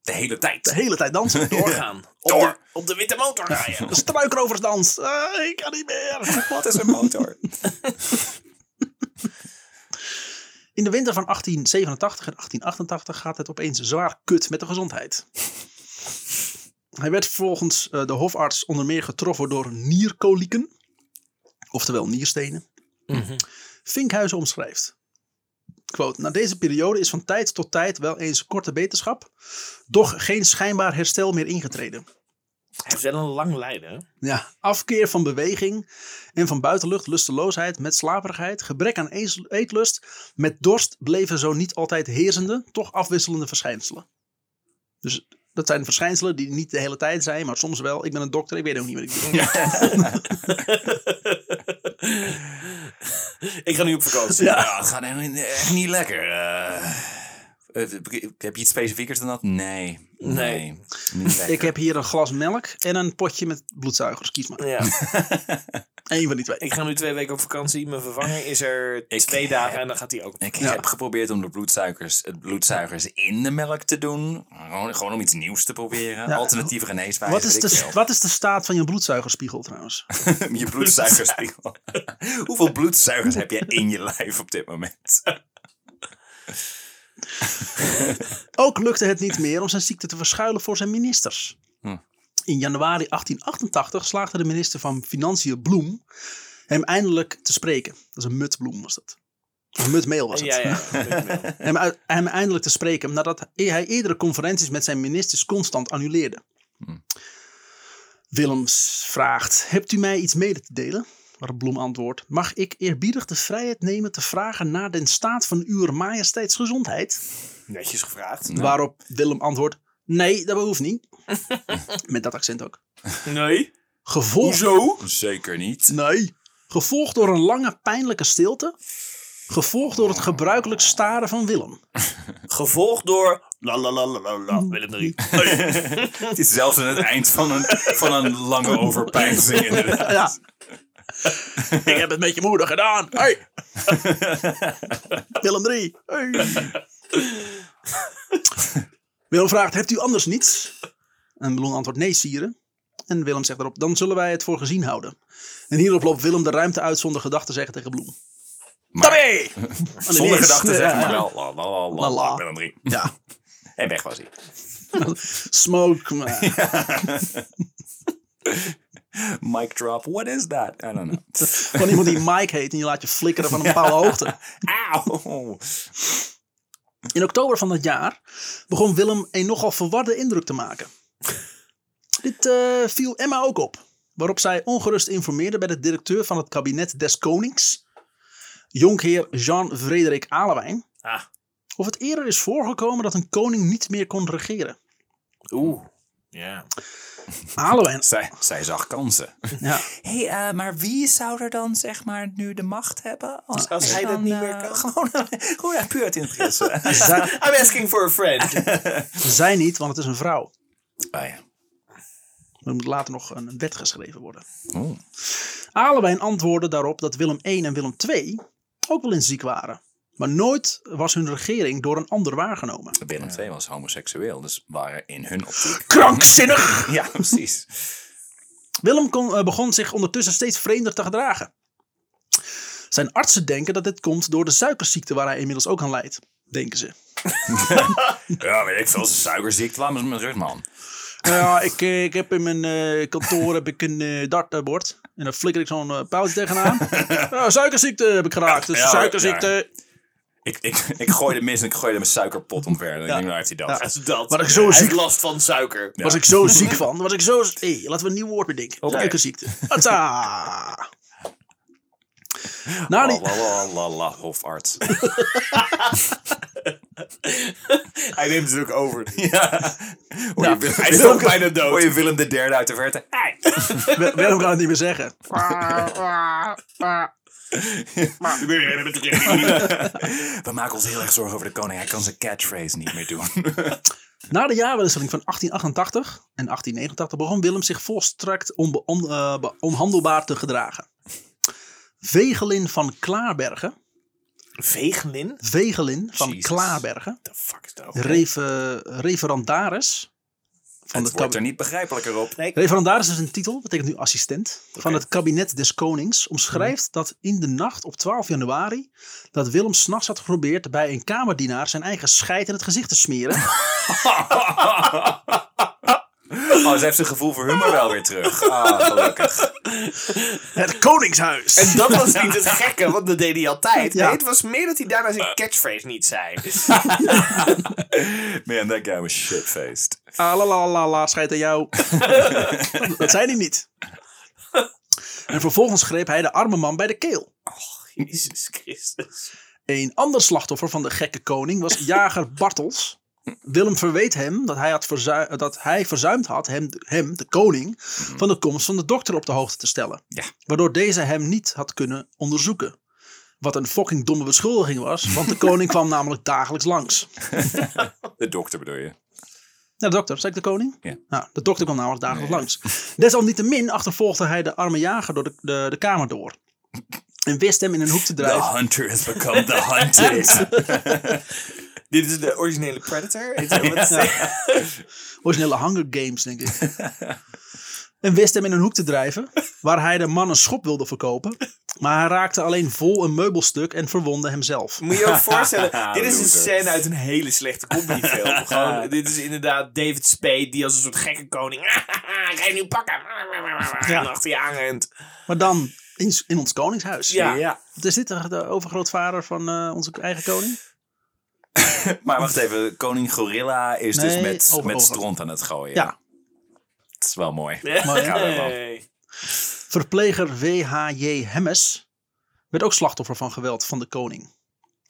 Speaker 2: De hele
Speaker 1: De
Speaker 2: tijd.
Speaker 1: hele tijd dansen.
Speaker 3: Doorgaan. Op,
Speaker 2: Door.
Speaker 3: De, op de witte motor rijden.
Speaker 1: Struikroversdans. Ah, ik kan niet meer.
Speaker 2: Wat is een motor?
Speaker 1: In de winter van 1887 en 1888 gaat het opeens zwaar kut met de gezondheid. Hij werd volgens eh, de hofarts onder meer getroffen door nierkolieken, oftewel nierstenen.
Speaker 3: Mhm.
Speaker 1: Vinkhuizen omschrijft. Quote, Na deze periode is van tijd tot tijd wel eens korte beterschap, doch geen schijnbaar herstel meer ingetreden.
Speaker 3: Hij heeft wel een lang lijden. hè?
Speaker 1: Ja, afkeer van beweging en van buitenlucht, lusteloosheid met slaperigheid, gebrek aan ees- eetlust, met dorst bleven zo niet altijd heersende, toch afwisselende verschijnselen. Dus dat zijn verschijnselen die niet de hele tijd zijn, maar soms wel. Ik ben een dokter, ik weet ook niet wat ik doe.
Speaker 3: ik ga nu op vakantie.
Speaker 2: Ja, Oh, het gaat echt niet- echt niet lekker. Eh, eh, heb je iets specifiekers dan dat? Nee.
Speaker 3: Nee.
Speaker 2: Niet lekker.
Speaker 1: Ik heb hier een glas melk en een potje met bloedzuigers, kies maar.
Speaker 3: Ja.
Speaker 1: Eén van die twee.
Speaker 3: Ik ga nu twee weken op vakantie. Mijn vervanger is er
Speaker 2: Ik
Speaker 3: twee
Speaker 2: heb-
Speaker 3: dagen en dan gaat hij ook.
Speaker 2: Ik
Speaker 1: Ja.
Speaker 2: heb geprobeerd om de bloedsuikers, het bloedzuigers in de melk te doen. Gewoon, gewoon om iets nieuws te proberen.
Speaker 1: Ja.
Speaker 2: Alternatieve geneeswijze.
Speaker 1: Wat is,
Speaker 2: weet ik
Speaker 1: de, wat is de staat van je bloedzuigerspiegel trouwens?
Speaker 2: veel. je bloedsuikerspiegel. Hoeveel bloedzuigers heb jij in je lijf op dit moment?
Speaker 1: Ook lukte het niet meer om zijn ziekte te verschuilen voor zijn ministers.
Speaker 2: Hm.
Speaker 1: In januari 1888 slaagde de minister van Financiën Bloem hem eindelijk te spreken. Dat is een mutbloem was dat. Of mutmeel was het.
Speaker 3: Ja, ja. ja.
Speaker 1: Hem, uit- hem eindelijk te spreken nadat hij eerdere conferenties met zijn ministers constant annuleerde.
Speaker 2: Hm.
Speaker 1: Willems vraagt, hebt u mij iets mede te delen? Waarop Bloem antwoordt, mag ik eerbiedig de vrijheid nemen te vragen naar den staat van uw majesteits gezondheid?
Speaker 3: Netjes gevraagd.
Speaker 1: Waarop Willem antwoordt: Nee, dat behoeft niet. Met dat accent ook.
Speaker 3: Nee.
Speaker 1: Gevolgd,
Speaker 3: Hoezo?
Speaker 2: Zeker niet.
Speaker 1: nee. Gevolgd door een lange pijnlijke stilte. Gevolgd door het gebruikelijk staren van Willem.
Speaker 3: Gevolgd door. La la la la la la. Willem III.
Speaker 2: Het is zelfs aan het eind van een, van een lange overpeinzing inderdaad.
Speaker 1: Eh, Ja. Ik heb het met je moeder gedaan. Hey. Willem 3. Hey. Willem vraagt: Hebt u anders niets? En Bloem antwoordt: Nee, sire. En Willem zegt erop: Dan zullen wij het voor gezien houden. En hierop loopt Willem de ruimte uit zonder gedachten zeggen tegen Bloem. Tabé!
Speaker 2: Zonder gedachten zeg
Speaker 1: Ja.
Speaker 2: maar wel. La, la, la,
Speaker 1: La,
Speaker 2: la,
Speaker 1: la.
Speaker 2: Willem drie.
Speaker 1: Ja,
Speaker 2: En weg was hij.
Speaker 1: smoke. eh, maar-
Speaker 2: Mic drop. What is that? I don't know.
Speaker 1: Van iemand die Mike heet en je laat je flikkeren van een bepaalde hoogte.
Speaker 2: Auw.
Speaker 1: In oktober van dat jaar begon Willem een nogal verwarde indruk te maken. Dit eh, viel Emma ook op, waarop zij ongerust informeerde bij de directeur van het kabinet des Konings, jonkheer Jean-Frederik Alewijn,
Speaker 3: Ah.
Speaker 1: of het eerder is voorgekomen dat een koning niet meer kon regeren.
Speaker 3: Oeh. Ja.
Speaker 1: Alewijn,
Speaker 2: Zij, zij zag kansen.
Speaker 1: ja,
Speaker 2: Hé, eh, maar wie zou er dan zeg maar nu de macht hebben? Als,
Speaker 3: Als hij dat
Speaker 2: dan,
Speaker 3: niet
Speaker 2: eh,
Speaker 3: meer kan?
Speaker 2: Gewoon, gewoon uit puur uit interesse.
Speaker 1: zij,
Speaker 3: I'm asking for a friend.
Speaker 1: zij niet, want het is een vrouw.
Speaker 2: Ah, ja.
Speaker 1: Er moet later nog een wet geschreven worden.
Speaker 2: Oeh.
Speaker 1: Alewijn antwoordde daarop dat Willem I en Willem II ook wel eens ziek waren. Maar nooit was hun regering door een ander waargenomen.
Speaker 2: Willem II was homoseksueel, dus waren in hun optiek.
Speaker 1: Krankzinnig!
Speaker 2: Ja, precies.
Speaker 1: Willem kon- eh, begon zich ondertussen steeds vreemder te gedragen. Zijn artsen denken dat dit komt door de suikerziekte waar hij inmiddels ook aan lijdt, denken ze.
Speaker 2: Ja, weet ik veel. Suikerziekte, laat me eens met rust, man.
Speaker 1: Nou ja, ik, eh, ik heb in mijn eh, kantoor heb ik een eh, dartbord en daar flikker ik zo'n eh, pijltje tegenaan. Ja, suikerziekte heb ik geraakt, dus
Speaker 2: Ja,
Speaker 1: suikerziekte.
Speaker 2: Ik, ik, ik gooide mis en ik gooide mijn suikerpot omver. En ik denk, nou heeft hij dat.
Speaker 3: Als dat.
Speaker 1: Maar dat ik zo
Speaker 3: Hij
Speaker 1: ziek-
Speaker 3: heeft last van suiker.
Speaker 1: Was ik zo ziek van? Was ik zo. Hé, laten we een nieuw woord bedenken.
Speaker 2: Oké.
Speaker 1: Suikerziekte. Atta. Na die,
Speaker 2: La, Oh, la, la, la, la, hofarts.
Speaker 3: Hij neemt het ook over.
Speaker 2: Ja. Hoor je Willem-
Speaker 3: hij is ook bijna dood.
Speaker 2: Hoor je Willem de derde uit de verte? Hey.
Speaker 1: Wel- Willem kan het niet meer zeggen.
Speaker 2: We maken ons heel erg zorgen over de koning. Hij kan zijn catchphrase niet meer doen.
Speaker 1: Na de jaarwisseling van 1888 en 1889 begon Willem zich volstrekt onbe- on- eh, be- onhandelbaar te gedragen. Vegelin van Klaarbergen,
Speaker 3: Veeglin?
Speaker 1: Wegelin van
Speaker 2: Jezus.
Speaker 1: Klaabergen.
Speaker 3: The fuck is dat? ook?
Speaker 1: Refe- referendaris. Van
Speaker 2: Het
Speaker 1: het
Speaker 2: wordt er
Speaker 1: kabinet.
Speaker 2: niet begrijpelijker op.
Speaker 3: Nee,
Speaker 1: Referendaris is een titel, betekent nu assistent. Van het kabinet des konings omschrijft dat in de nacht op 12 januari. dat Willem s'nachts had geprobeerd bij een kamerdienaar zijn eigen scheid in het gezicht te smeren.
Speaker 2: Oh, ze heeft zijn gevoel voor humor wel weer terug. Ah, gelukkig.
Speaker 1: het koningshuis!
Speaker 3: En dat was niet het gekke, want dat deed hij altijd.
Speaker 1: Ja.
Speaker 3: Nee, het was meer dat hij daarna zijn catchphrase niet zei.
Speaker 2: Man, that guy was shitfaced.
Speaker 1: Ah, Alalalala, schijt aan jou. dat zei hij niet. En vervolgens greep hij de arme man bij de keel.
Speaker 3: Jezus Christus.
Speaker 1: Een ander slachtoffer van de gekke koning was jager Bartels. Willem verweet hem dat hij, had verzu- dat hij verzuimd had hem, hem, de koning, van de komst van de dokter op de hoogte te stellen.
Speaker 2: Hmm. Ja.
Speaker 1: Waardoor deze hem niet had kunnen onderzoeken. Wat een fucking domme beschuldiging was, want de koning kwam namelijk dagelijks langs.
Speaker 2: De dokter bedoel je?
Speaker 1: Ja, de dokter, zei ik de koning?
Speaker 2: Ja.
Speaker 1: Nou, de dokter kwam namelijk dagelijks langs. Desalniettemin achtervolgde hij de arme jager door de, de, de kamer door. En wist hem in een hoek te
Speaker 2: The
Speaker 1: drijven.
Speaker 2: hunter has become the hunted.
Speaker 3: Dit is de originele Predator.
Speaker 1: Originele Hunger Games, denk ik. en wist hem in een hoek te drijven, waar hij de man een schop wilde verkopen. Maar hij raakte alleen vol een meubelstuk en verwonde hemzelf.
Speaker 3: Moet je ook voorstellen, dit is een
Speaker 2: Loser.
Speaker 3: scène uit een hele slechte comedyfilm. Gewoon, dit is inderdaad David Spade die als een soort gekke koning... Ga je nu pakken?
Speaker 1: Ja.
Speaker 3: En achter je aanrent.
Speaker 1: Maar dan in, in ons koningshuis.
Speaker 3: Ja.
Speaker 1: Wat Is dit de, de overgrootvader van eh, onze eigen koning?
Speaker 2: Maar wacht even, koning Gorilla is dus
Speaker 1: Nee,
Speaker 2: met,
Speaker 1: over-
Speaker 2: met
Speaker 1: over.
Speaker 2: stront aan het gooien.
Speaker 1: Ja.
Speaker 2: Het is wel mooi.
Speaker 1: Maar-
Speaker 3: Nee.
Speaker 1: Verpleger W.H.J. Hemmes werd ook slachtoffer van geweld van de koning.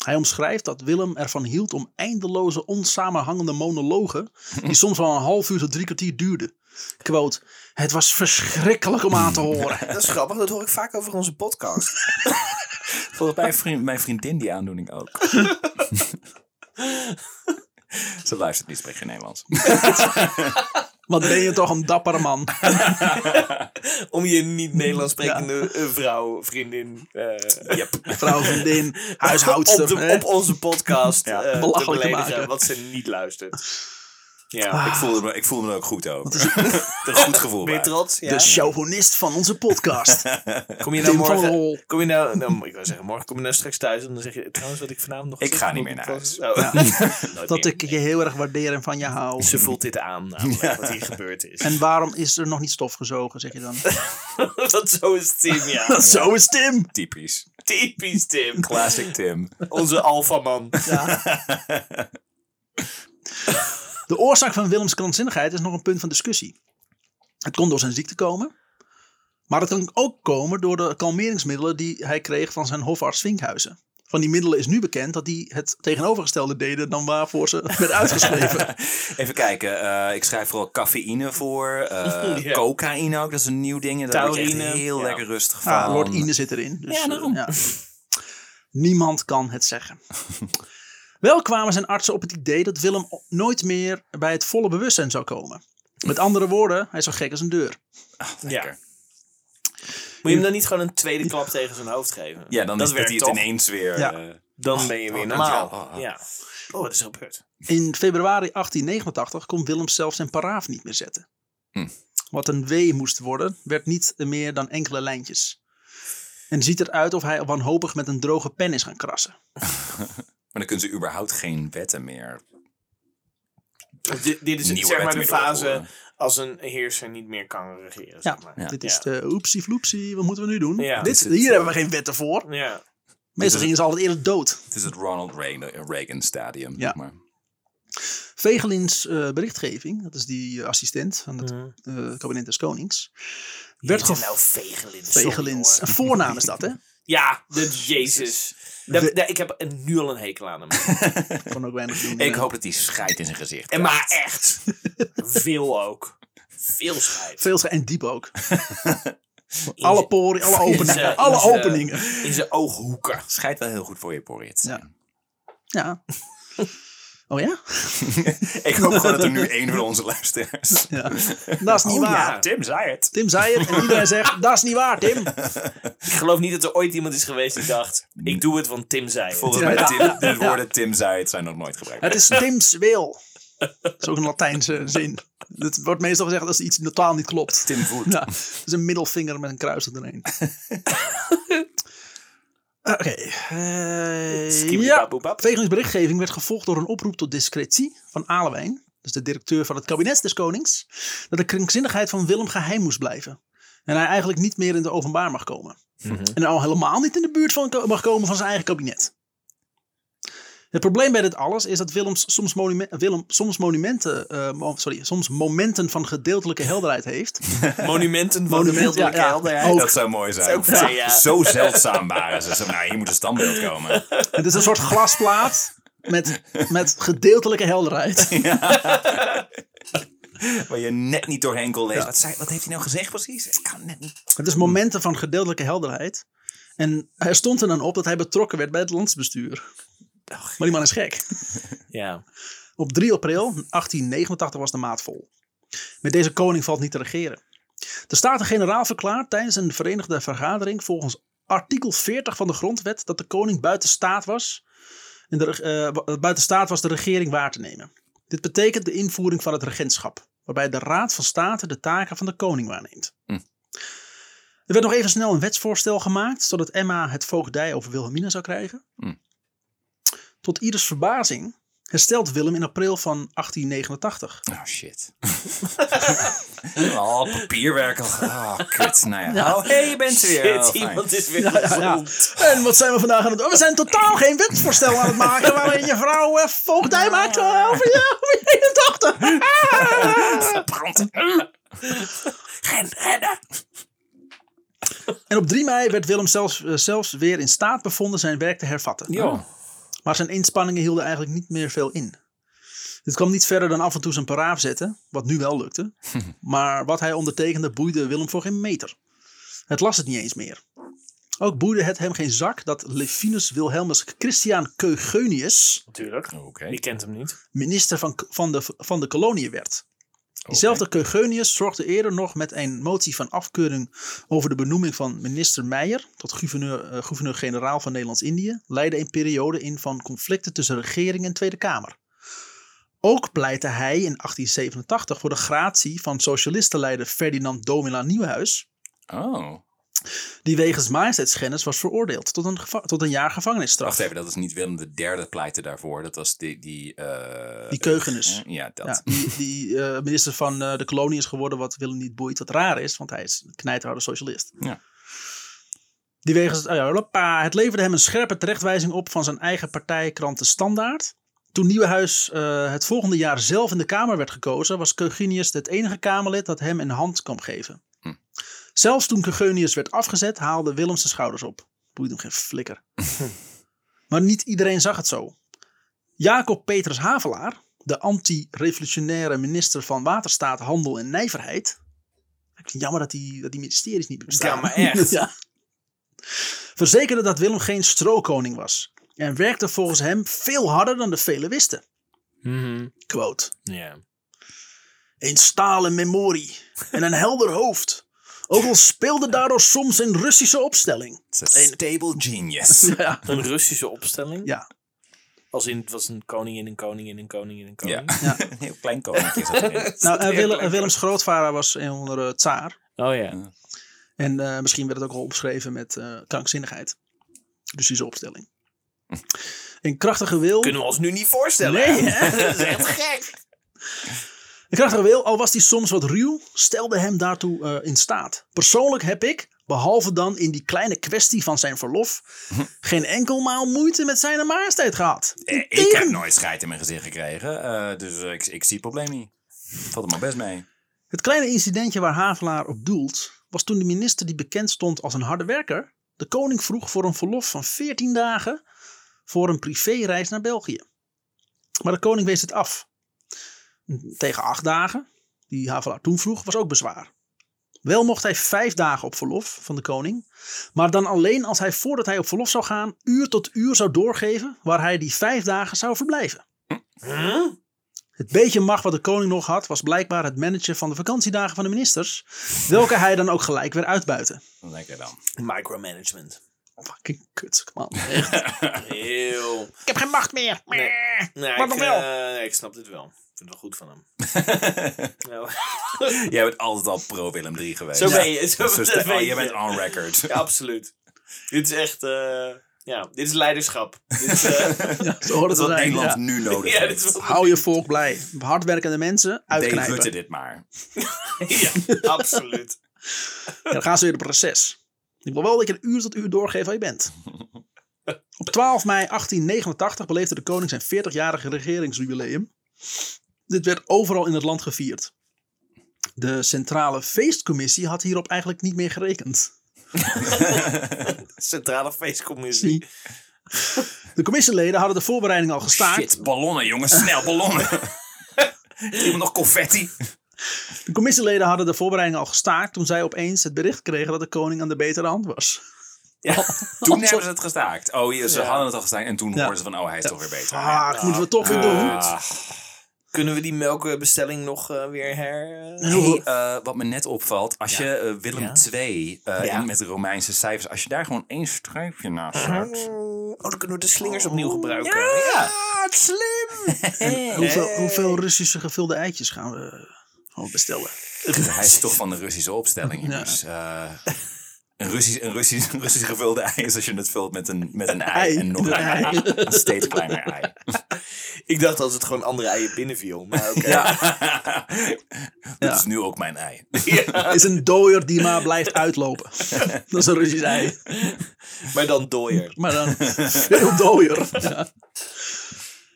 Speaker 1: Hij omschrijft dat Willem ervan hield om eindeloze, onsamenhangende monologen, die soms wel een half uur tot drie kwartier duurden. Quote, het was verschrikkelijk om aan te horen.
Speaker 3: Dat is grappig, dat hoor ik vaak over onze podcast.
Speaker 2: Volgens mij vriend, mijn vriendin die aandoening ook. Ze luistert niet, spreekt geen Nederlands.
Speaker 1: Ah. Wat ben je toch een dappere man.
Speaker 3: Om je niet-Nederlands sprekende eh, vrouw, vriendin... eh,
Speaker 1: Vrouw, vriendin, huishoudster.
Speaker 3: op, de-
Speaker 1: hè?
Speaker 3: op onze podcast
Speaker 2: Ja.
Speaker 3: eh, te
Speaker 1: Belachelijk te
Speaker 3: beledigen,
Speaker 1: maken. Ah.
Speaker 3: wat ze niet luistert. Ja,
Speaker 2: Ik voelde, me, ik voelde me er ook goed over. een goed gevoel.
Speaker 3: ben je
Speaker 2: bij.
Speaker 3: trots? Ja.
Speaker 1: De chauvinist van onze podcast.
Speaker 3: kom je
Speaker 1: Tim
Speaker 3: nou
Speaker 1: van
Speaker 3: morgen...
Speaker 1: Rol.
Speaker 3: Kom je nou, nou, ik wil zeggen, morgen kom je nou straks thuis en dan zeg je trouwens wat ik vanavond nog...
Speaker 2: Ik
Speaker 3: gezegd
Speaker 2: ga
Speaker 3: heb
Speaker 2: niet
Speaker 3: op
Speaker 2: meer
Speaker 3: de
Speaker 2: naar
Speaker 3: podcast. Oh. Nooit
Speaker 1: Dat
Speaker 3: meer.
Speaker 1: ik je heel erg waardeer en van je hou.
Speaker 3: Ze voelt dit aan, namelijk, wat hier gebeurd is.
Speaker 1: En waarom is er nog niet stof gezogen, zeg je dan?
Speaker 3: dat zo is Tim, ja.
Speaker 1: Zo is Tim.
Speaker 2: Typisch.
Speaker 3: Typisch Tim.
Speaker 2: Classic Tim.
Speaker 3: Onze alfaman.
Speaker 1: De oorzaak van Willems krankzinnigheid is nog een punt van discussie. Het kon door zijn ziekte komen. Maar het kan ook komen door de kalmeringsmiddelen die hij kreeg van zijn hofarts Vinkhuizen. Van die middelen is nu bekend dat die het tegenovergestelde deden dan waarvoor ze werd uitgeschreven.
Speaker 2: Even kijken. eh, ik schrijf vooral cafeïne voor. eh,
Speaker 3: Ja.
Speaker 2: Cocaïne ook. Dat is een nieuw ding. en Daar word je echt
Speaker 3: Taurine.
Speaker 2: heel
Speaker 3: Ja.
Speaker 2: lekker rustig van.
Speaker 1: Ja, Ah, Lord Ine zit erin. Dus,
Speaker 2: Ja, daarom.
Speaker 1: eh, Niemand kan het zeggen. Wel kwamen zijn artsen op het idee dat Willem o- nooit meer bij het volle bewustzijn zou komen. Met andere woorden, hij is zo gek als een deur.
Speaker 3: Ja. Moet je hem dan niet gewoon een tweede klap tegen zijn hoofd geven?
Speaker 2: Ja, dan
Speaker 3: dat
Speaker 2: is dat
Speaker 3: werkt
Speaker 2: hij het
Speaker 3: toch?
Speaker 2: ineens weer...
Speaker 1: Ja.
Speaker 2: eh,
Speaker 3: Dan ben je weer
Speaker 2: oh,
Speaker 3: normaal.
Speaker 2: dankjewel. Oh, oh.
Speaker 3: Ja. Oh, wat is er gebeurd?
Speaker 1: In februari 1889 kon Willem zelf zijn paraaf niet meer zetten.
Speaker 2: Hm.
Speaker 1: Wat een W moest worden, werd niet meer dan enkele lijntjes. En ziet eruit of hij wanhopig met een droge pen is gaan krassen.
Speaker 2: maar dan kunnen ze überhaupt geen wetten meer.
Speaker 3: Want Dit, dit is
Speaker 2: Nieuwe
Speaker 3: zeg maar
Speaker 2: wetten
Speaker 3: de
Speaker 2: weer
Speaker 3: fase
Speaker 2: doorvoeren.
Speaker 3: als een heerser niet meer kan regeren.
Speaker 1: Ja,
Speaker 3: Zeg maar.
Speaker 2: Ja.
Speaker 1: dit is
Speaker 3: Ja.
Speaker 1: de oepsie floepsie, wat moeten we nu doen?
Speaker 3: Ja.
Speaker 1: Dit,
Speaker 2: Is het,
Speaker 1: hier
Speaker 2: eh,
Speaker 1: hebben we geen wetten voor.
Speaker 3: Ja.
Speaker 1: Meestal gingen ze altijd eerder dood.
Speaker 2: Het is het Ronald Reagan, eh, Reagan Stadium.
Speaker 1: Ja.
Speaker 2: Maar.
Speaker 1: Vegelins eh, berichtgeving, dat is die eh, assistent van het
Speaker 3: Mm.
Speaker 1: eh, kabinet des konings,
Speaker 3: Werd
Speaker 1: werd
Speaker 3: gewoon nou
Speaker 1: gev-
Speaker 3: Vegelins. sorry,
Speaker 1: Vegelins.
Speaker 3: hoor.
Speaker 1: Een voornaam is dat, hè?
Speaker 3: Ja,
Speaker 1: Oh,
Speaker 3: de Jezus. Daar- daar- ik heb een- nu al een hekel aan hem.
Speaker 1: Kon ook weinig doen.
Speaker 2: Ik
Speaker 1: eh.
Speaker 2: hoop dat hij scheidt in zijn gezicht.
Speaker 3: En maar echt. Veel ook. Veel schijt.
Speaker 1: Veel scha- en diep ook.
Speaker 3: In
Speaker 1: Alle
Speaker 3: zijn-
Speaker 1: poren, alle
Speaker 3: in zijn-
Speaker 1: openingen.
Speaker 3: in
Speaker 1: Alle
Speaker 3: zijn-
Speaker 1: openingen.
Speaker 3: In zijn ooghoeken.
Speaker 2: Scheidt wel heel goed voor je porrit.
Speaker 1: Ja. Ja. Oh ja?
Speaker 2: Ik hoop gewoon dat er nu één van onze luisteraars.
Speaker 1: ja. Dat is niet
Speaker 2: Oh
Speaker 1: waar.
Speaker 2: ja, Tim zei het.
Speaker 1: Tim zei het en iedereen zegt, dat is niet waar, Tim.
Speaker 3: Ik geloof niet dat er ooit iemand is geweest die dacht: ik doe het, want Tim zei. het.
Speaker 2: Volgens mij, Tim, de woorden Tim zei het zijn nog nooit gebruikt.
Speaker 1: Het is Tim's wil. Dat is ook een Latijnse zin. Het wordt meestal gezegd als iets totaal niet klopt.
Speaker 2: Tim voelt.
Speaker 1: Ja, het is een middelvinger met een kruis erheen. Oké. eh, ja.
Speaker 3: Skibidi-babobab.
Speaker 1: Wegens berichtgeving werd gevolgd door een oproep tot discretie van Alewijn, dus de directeur van het kabinet des konings, dat de krankzinnigheid van Willem geheim moest blijven. En hij eigenlijk niet meer in de openbaar mag komen.
Speaker 3: Mhm.
Speaker 1: En al helemaal niet in de buurt van, mag komen van zijn eigen kabinet. Het probleem bij dit alles is dat Willems soms, monumen- Willem soms, monumenten, eh, mo- sorry, soms momenten van gedeeltelijke helderheid heeft.
Speaker 3: Monumenten van
Speaker 1: Monumenten,
Speaker 3: de wereldlijke
Speaker 1: ja, ja.
Speaker 3: helderheid.
Speaker 1: Ook.
Speaker 2: Dat zou mooi zijn.
Speaker 3: Dat zou ook- Ja.
Speaker 2: Zo zeldzaam waren ze. Ze- Nou, hier moet een standbeeld komen.
Speaker 1: Het is een soort glasplaat met, met gedeeltelijke helderheid.
Speaker 2: Waar je net niet doorheen kon lezen. Wat, zei, wat heeft hij nou gezegd precies? Ik kan het net niet.
Speaker 1: Het is momenten van gedeeltelijke helderheid. En hij stond er dan op dat hij betrokken werd bij het landsbestuur. Maar die man is gek.
Speaker 3: Ja.
Speaker 1: Op 3 april 1889 was de maat vol. Met deze koning valt niet te regeren. De Staten-Generaal verklaart tijdens een verenigde vergadering volgens artikel 40 van de grondwet dat de koning buiten staat was, en de, reg- eh, wa- buiten staat was de regering waar te nemen. Dit betekent de invoering van het regentschap, waarbij de Raad van State de taken van de koning waarneemt.
Speaker 2: Hm.
Speaker 1: Er werd nog even snel een wetsvoorstel gemaakt, zodat Emma het voogdij over Wilhelmina zou krijgen.
Speaker 2: Hm.
Speaker 1: Tot ieders verbazing herstelt Willem in april van 1889.
Speaker 2: Oh shit. oh, papierwerk. Oh, kut. Nou ja. Oh, hey, je bent er weer. Oh,
Speaker 3: Shit,
Speaker 2: fijn.
Speaker 3: iemand is weer
Speaker 1: Ja, ja, ja.
Speaker 3: gezond.
Speaker 1: En wat zijn we vandaag aan het doen? We zijn totaal geen wetsvoorstel aan het maken waarin je vrouw eh, voogdij maakt eh, over je, over je eigen dochter.
Speaker 2: Brand.
Speaker 3: Gen- rennen.
Speaker 1: En op 3 mei werd Willem zelfs, eh, zelfs weer in staat bevonden zijn werk te hervatten. Maar zijn inspanningen hielden eigenlijk niet meer veel in. Dit kwam niet verder dan af en toe zijn paraaf zetten, wat nu wel lukte. Maar wat hij ondertekende boeide Willem voor geen meter. Het las het niet eens meer. Ook boeide het hem geen zak dat Levinus Wilhelmus Christian Keugenius...
Speaker 3: Natuurlijk.
Speaker 2: Oké.
Speaker 3: Die kent hem niet.
Speaker 1: minister van, van, de, van de kolonie werd. Diezelfde Keugenius zorgde eerder nog met een motie van afkeuring over de benoeming van minister Meijer tot gouverneur- eh, gouverneur-generaal van Nederlands-Indië, leidde een periode in van conflicten tussen regering en Tweede Kamer. Ook pleitte hij in 1887 voor de gratie van socialistenleider Ferdinand Domela Nieuwhuis,
Speaker 2: Oh.
Speaker 1: die wegens majesteitsschennis was veroordeeld tot een, geva- tot een jaar gevangenisstraf.
Speaker 2: Wacht even, dat is niet Willem de derde pleitte daarvoor. Dat was die... Die, eh,
Speaker 1: Die Keugenes.
Speaker 2: Ja, dat.
Speaker 1: Ja, die die eh, minister van eh, de kolonie is geworden, wat Willem niet boeit, wat raar is, want hij is een knijterharde socialist.
Speaker 2: Ja.
Speaker 1: Die wegens, oh ja, hoppa, het leverde hem een scherpe terechtwijzing op van zijn eigen partijkrant De Standaard. Toen Nieuwenhuis eh, het volgende jaar zelf in de Kamer werd gekozen, was Keugenius het enige Kamerlid dat hem een hand kwam geven.
Speaker 2: Hm.
Speaker 1: Zelfs toen Keugenius werd afgezet, haalde Willem zijn schouders op. Boeit hem geen flikker. maar niet iedereen zag het zo. Jacob Petrus Havelaar, de anti-revolutionaire minister van Waterstaat, Handel en Nijverheid. Ik vind het jammer dat die, dat die ministeries niet meer bestaan.
Speaker 3: Ja, maar echt.
Speaker 1: Ja. Verzekerde dat Willem geen strookoning was. En werkte volgens hem veel harder dan de velen wisten. Mhm. Quote.
Speaker 3: Ja.
Speaker 1: Een stalen memorie en een helder hoofd. Ook al speelde daardoor soms een Russische opstelling.
Speaker 2: It's a stable genius.
Speaker 1: Ja.
Speaker 3: Een Russische opstelling.
Speaker 1: Ja.
Speaker 3: Als in, het was een koningin, een koningin, een koningin, een koningin.
Speaker 1: Ja.
Speaker 2: Een heel klein koninkje zat erin.
Speaker 1: Nou, eh, Willem- eh, Willems grootvader was een onder de tsaar.
Speaker 3: Oh ja.
Speaker 1: En eh, misschien werd het ook al opgeschreven met eh, krankzinnigheid. Russische opstelling. Een krachtige wil.
Speaker 3: Kunnen we ons nu niet voorstellen.
Speaker 1: Nee, hè?
Speaker 3: dat is echt gek.
Speaker 1: De krachtige wil, al was die soms wat ruw, stelde hem daartoe eh, in staat. Persoonlijk heb ik, behalve dan in die kleine kwestie van zijn verlof, geen enkel maal moeite met zijn majesteit gehad.
Speaker 2: Eh, ik heb nooit scheid in mijn gezicht gekregen, eh, dus eh, ik, ik zie het probleem niet. Valt er maar best mee.
Speaker 1: Het kleine incidentje waar Havelaar op doelt, was toen de minister die bekend stond als een harde werker, de koning vroeg voor een verlof van 14 dagen voor een privéreis naar België. Maar de koning wees het af. Tegen acht dagen, die Havelaar toen vroeg, was ook bezwaar. Wel mocht hij vijf dagen op verlof van de koning, maar dan alleen als hij voordat hij op verlof zou gaan, uur tot uur zou doorgeven waar hij die vijf dagen zou verblijven.
Speaker 3: Huh?
Speaker 1: Het beetje macht wat de koning nog had, was blijkbaar het managen van de vakantiedagen van de ministers. Welke hij dan ook gelijk weer uitbuiten.
Speaker 2: Lekker dan.
Speaker 3: Micromanagement.
Speaker 1: Fucking kut, man.
Speaker 3: Heel.
Speaker 1: Ik heb geen macht meer.
Speaker 3: Nee. Nee,
Speaker 1: Maar
Speaker 3: ik,
Speaker 1: dan wel.
Speaker 3: eh, nee, ik snap dit wel. Ik vind het wel goed van hem. Ja.
Speaker 2: Jij bent altijd al pro Willem 3 geweest.
Speaker 3: Zo ben je. Zo
Speaker 2: Dat is dus-
Speaker 3: dat
Speaker 2: oh,
Speaker 3: ben
Speaker 2: jij bent on record.
Speaker 3: Ja, absoluut. Dit is echt... eh, ja, dit is leiderschap. Dit is, eh,
Speaker 1: Ja, zo hoort
Speaker 2: Dat
Speaker 1: het
Speaker 2: is wat
Speaker 1: te zijn,
Speaker 2: Nederland
Speaker 1: ja.
Speaker 2: nu nodig
Speaker 3: ja, dit
Speaker 2: heeft.
Speaker 3: is wel...
Speaker 1: Hou je volk blij. Hardwerkende mensen
Speaker 2: Dave Rutte
Speaker 1: uitknijpen.
Speaker 2: dit maar.
Speaker 3: Ja, absoluut.
Speaker 1: Ja, dan gaan ze weer op proces. Ik wil wel dat je een uur tot uur doorgeeft waar je bent. Op 12 mei 1889 beleefde de koning zijn 40-jarige regeringsjubileum. Dit werd overal in het land gevierd. De centrale feestcommissie had hierop eigenlijk niet meer gerekend.
Speaker 3: Centrale feestcommissie.
Speaker 1: De commissieleden hadden de voorbereiding al gestaakt.
Speaker 2: Shit, ballonnen jongens, snel ballonnen. Iemand nog confetti?
Speaker 1: De commissieleden hadden de voorbereiding al gestaakt toen zij opeens het bericht kregen dat de koning aan de betere hand was.
Speaker 2: Toen hebben ze het gestaakt. Oh, ja, ze
Speaker 3: Ja.
Speaker 2: hadden het al gestaakt en toen
Speaker 1: Ja. Ah,
Speaker 2: hoorden ze van, oh, hij is toch weer beter.
Speaker 1: Fuck, moeten we toch weer doen.
Speaker 2: Ah.
Speaker 3: Kunnen we die melkbestelling nog eh, weer her... eh,
Speaker 1: Heel goed.
Speaker 2: Eh, wat me net opvalt, als je eh, Willem
Speaker 3: Ja.
Speaker 2: II eh,
Speaker 3: Ja.
Speaker 2: en met de Romeinse cijfers, als je daar gewoon één streepje naast
Speaker 1: Uh-huh.
Speaker 2: zet.
Speaker 3: Oh, dan kunnen we de slingers opnieuw gebruiken.
Speaker 2: Ja.
Speaker 3: het is slim!
Speaker 1: Hoeveel, hoeveel Russische gevulde eitjes gaan we gewoon bestellen?
Speaker 2: Hij is toch van de Russische opstelling.
Speaker 1: Ja.
Speaker 2: Dus, eh, een, Russisch, een, Russisch, een Russisch gevulde ei is als je het vult met een, met een ei.
Speaker 1: ei.
Speaker 2: En nog een
Speaker 1: Een ei.
Speaker 2: ei. Een steeds kleiner ei.
Speaker 3: Ik dacht als het gewoon andere eieren binnenviel, maar oké.
Speaker 2: Ja. Dat
Speaker 1: Ja.
Speaker 2: is nu ook mijn ei.
Speaker 1: Is een dooier die maar blijft uitlopen. Dat is een Russisch ei.
Speaker 3: Maar dan dooier.
Speaker 1: Maar dan veel dooier. Ja.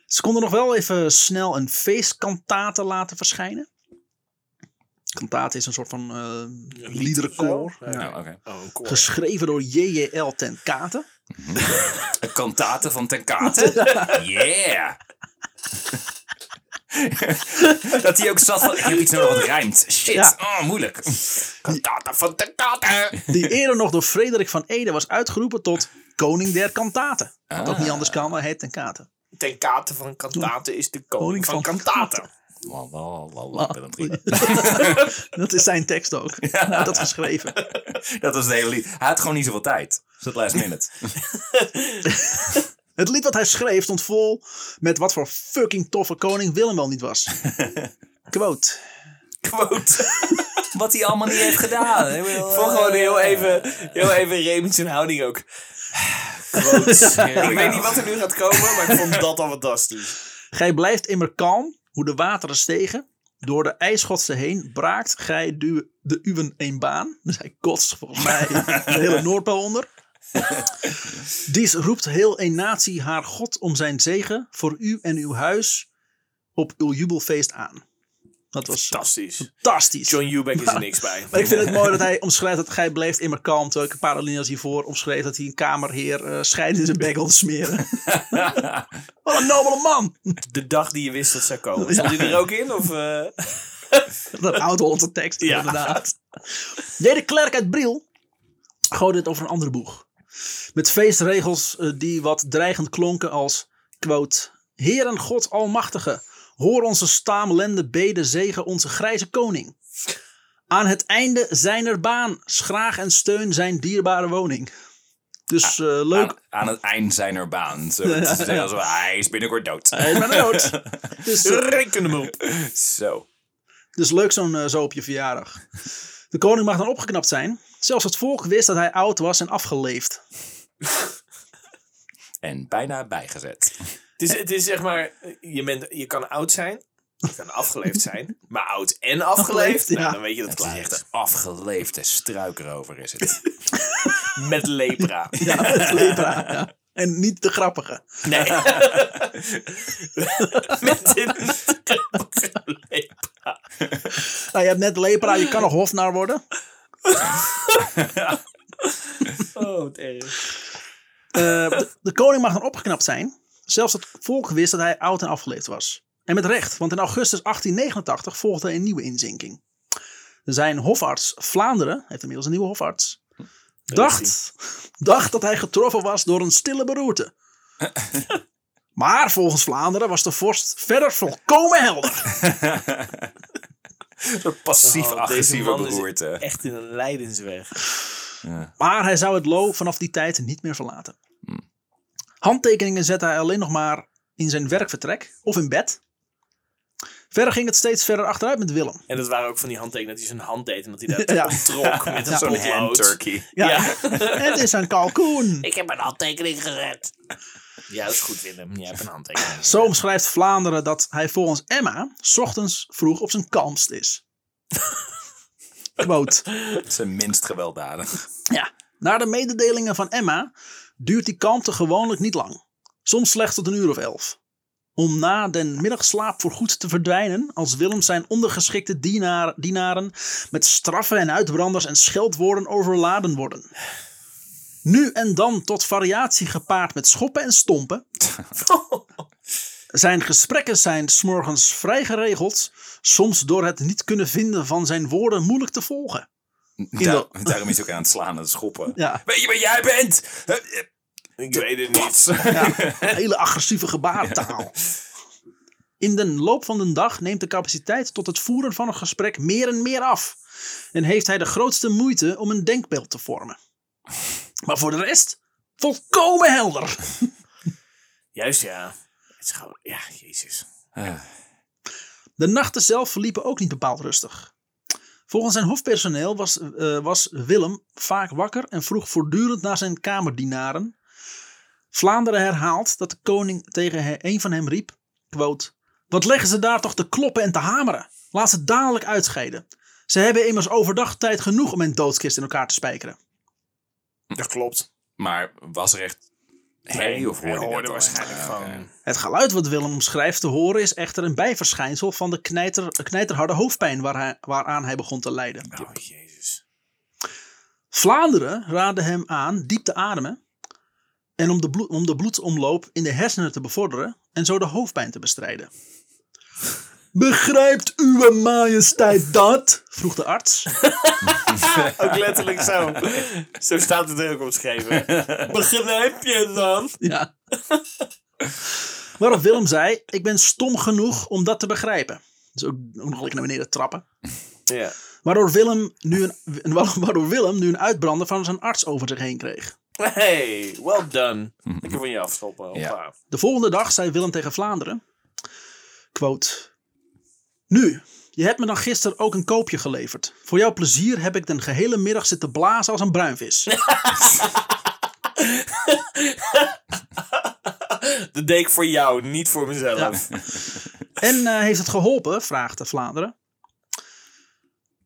Speaker 1: Ze konden nog wel even snel een feestkantate laten verschijnen. Kantate is een soort van eh liederenkoor.
Speaker 3: of zo?
Speaker 1: Ja.
Speaker 2: Oh, oké.
Speaker 3: Oh, een koor.
Speaker 1: Geschreven door J.J.L. ten Kate.
Speaker 2: Een kantate van ten kate. Yeah! dat hij ook zat van, ik heb iets nodig wat rijmt. Shit,
Speaker 1: Ja.
Speaker 2: oh, moeilijk. Kantate van ten kate.
Speaker 1: Die eerder nog door Frederik van Ede was uitgeroepen tot koning der kantaten. Wat ook niet anders kan, maar hij heet ten Kate.
Speaker 3: Ten kate van kantaten is de
Speaker 1: Koning
Speaker 3: koning, van,
Speaker 1: van
Speaker 3: kantaten.
Speaker 2: La, la, la, la, Willem III.
Speaker 1: Dat is zijn tekst ook. Hij had dat geschreven.
Speaker 2: Dat was de hele lied. Hij had gewoon niet zoveel tijd. Dus dat last minute.
Speaker 1: Het lied wat hij schreef stond vol met wat voor fucking toffe koning Willem wel niet was. Quote.
Speaker 3: Quote.
Speaker 2: Wat hij allemaal niet heeft gedaan. eh, Ik
Speaker 3: Voor gewoon heel even, heel even Remy zijn houding ook. Ik weet niet wat er nu gaat komen, maar ik vond dat al fantastisch.
Speaker 1: Gij blijft immer kalm, hoe de wateren stegen. Door de ijsschotsen heen braakt gij du- de uwen een baan. Dus hij kotst volgens mij de hele Noordpool onder. Dies roept heel een natie haar God om zijn zegen voor u en uw huis op uw jubelfeest aan. Dat was
Speaker 3: Fantastisch.
Speaker 1: fantastisch.
Speaker 3: John Eubank is er niks bij.
Speaker 1: Maar ik vind het mooi dat hij omschrijft dat gij blijft immer kalm. Terwijl ik een paar alinea's hiervoor omschreef dat hij een kamerheer eh schijn in zijn bek wilde smeren. Wat een nobele man!
Speaker 3: De dag die je wist dat zou komen. Stond je er ook in? Of, eh?
Speaker 1: Dat oud-Hollandse tekst,
Speaker 3: Ja.
Speaker 1: inderdaad. J. de Klerk uit Briel gooide het over een andere boeg. Met feestregels eh, die wat dreigend klonken als, quote, Heeren God Almachtige, hoor onze staamlende beden zegen onze grijze koning. Aan het einde zijner baan, schraag en steun zijn dierbare woning. Dus eh, leuk.
Speaker 2: Aan, aan het eind zijner baan. Zo, het is te zeggen, zo, hij is binnenkort dood.
Speaker 1: Ik ben dood. Dus, eh,
Speaker 3: Reken hem op.
Speaker 2: Zo.
Speaker 1: Dus leuk zo'n eh, zo op je verjaardag. De koning mag dan opgeknapt zijn. Zelfs het volk wist dat hij oud was en afgeleefd.
Speaker 2: En bijna bijgezet.
Speaker 3: Het is, het is zeg maar, je, bent, je kan oud zijn, je kan afgeleefd zijn, maar oud en afgeleefd,
Speaker 1: Afgeleefd,
Speaker 3: nou,
Speaker 1: ja.
Speaker 3: dan weet je dat
Speaker 2: Het
Speaker 3: het
Speaker 2: is
Speaker 3: klaar
Speaker 2: echt
Speaker 3: is.
Speaker 2: een afgeleefde struikerover is het.
Speaker 3: Met lepra.
Speaker 1: Ja, met lepra. Ja. En niet de grappige.
Speaker 3: Nee. Met een grappige lepra.
Speaker 1: Nou, je hebt net lepra, je kan nog hofnaar worden.
Speaker 3: Oh, wat erg.
Speaker 1: Eh, de, de koning mag dan opgeknapt zijn. Zelfs het volk wist dat hij oud en afgeleefd was. En met recht, want in augustus 1889 volgde een nieuwe inzinking. Zijn hofarts Vlaanderen, hij heeft inmiddels een nieuwe hofarts,
Speaker 3: Daar is
Speaker 1: dacht, dacht dat hij getroffen was door een stille beroerte. Maar volgens Vlaanderen was de vorst verder volkomen helder.
Speaker 2: Een passief
Speaker 3: Oh, deze
Speaker 2: agressieve
Speaker 3: man is
Speaker 2: beroerte.
Speaker 3: Echt in een lijdensweg.
Speaker 1: Maar hij zou het Lo vanaf die tijd niet meer verlaten. Handtekeningen zette hij alleen nog maar in zijn werkvertrek of in bed. Verder ging het steeds verder achteruit met Willem.
Speaker 3: En dat waren ook van die handtekeningen dat hij zijn hand deed en dat hij daar
Speaker 1: Ja.
Speaker 3: trok met een
Speaker 2: Zo'n
Speaker 3: potlood.
Speaker 2: hand turkey.
Speaker 1: Ja.
Speaker 3: Ja.
Speaker 1: het is een kalkoen.
Speaker 3: Ik heb een handtekening gered. Ja, dat is goed, Willem. Jij hebt een handtekening.
Speaker 1: Zo omschrijft Vlaanderen dat hij volgens Emma 's ochtends vroeg op zijn kalmst is. Quote.
Speaker 2: Zijn minst gewelddadig.
Speaker 1: Ja. Naar de mededelingen van Emma duurt die kalmte gewoonlijk niet lang. Soms slechts tot een uur of elf. Om na den middagslaap voorgoed te verdwijnen als Willem zijn ondergeschikte dienaar- dienaren met straffen en uitbranders en scheldwoorden overladen worden. Nu en dan tot variatie gepaard met schoppen en stompen. Zijn gesprekken zijn s'morgens vrij geregeld, soms door het niet kunnen vinden van zijn woorden moeilijk te volgen.
Speaker 2: Da- daarom is hij ook aan het slaan en het schoppen.
Speaker 1: Ja.
Speaker 2: Weet je wat jij bent? Eh, eh,
Speaker 3: Ik weet het niet.
Speaker 1: Hele agressieve gebarentaal. In de loop van de dag neemt de capaciteit tot het voeren van een gesprek meer en meer af. En heeft hij de grootste moeite om een denkbeeld te vormen. Maar voor de rest, volkomen helder.
Speaker 3: Juist, ja. Het is gewoon... Ja, jezus.
Speaker 2: Ah,
Speaker 1: De nachten zelf verliepen ook niet bepaald rustig. Volgens zijn hofpersoneel was, eh, was Willem vaak wakker en vroeg voortdurend naar zijn kamerdienaren. Vlaanderen herhaalt dat de koning tegen he- een van hem riep, quote, Wat leggen ze daar toch te kloppen en te hameren? Laat ze dadelijk uitscheiden. Ze hebben immers overdag tijd genoeg om een doodskist in elkaar te spijkeren.
Speaker 3: Dat klopt.
Speaker 2: Maar was er echt herrie of
Speaker 3: hij
Speaker 2: hoorde je dat
Speaker 3: hoorde
Speaker 2: alleen?
Speaker 3: waarschijnlijk
Speaker 2: Ah,
Speaker 3: gewoon...
Speaker 2: oké.
Speaker 1: Het geluid wat Willem omschrijft te horen is echter een bijverschijnsel van de knijter, knijterharde hoofdpijn waar hij- waaraan hij begon te lijden.
Speaker 3: Oh, jezus.
Speaker 1: Vlaanderen raadde hem aan diep te ademen. En om de, bloed, om de bloedsomloop in de hersenen te bevorderen en zo de hoofdpijn te bestrijden. Begrijpt uwe majesteit dat? vroeg de arts.
Speaker 3: Ook letterlijk zo. zo staat het er ook omschreven. Begrijp je dan?
Speaker 1: Ja. Waarop Willem zei: Ik ben stom genoeg om dat te begrijpen. Dus ook, ook nog lekker naar beneden trappen.
Speaker 3: Ja.
Speaker 1: Waardoor Willem, nu een, waardoor Willem nu een uitbrander van zijn arts over zich heen kreeg.
Speaker 3: Hey, well done. Lekker van je afstoppen.
Speaker 2: Ja.
Speaker 3: hoppa.
Speaker 1: De volgende dag zei Willem tegen Vlaanderen: quote, Nu, je hebt me dan gisteren ook een koopje geleverd. Voor jouw plezier heb ik den gehele middag zitten blazen als een bruinvis.
Speaker 3: De deek voor jou, niet voor mezelf.
Speaker 1: En eh, heeft het geholpen? vraagt Vlaanderen.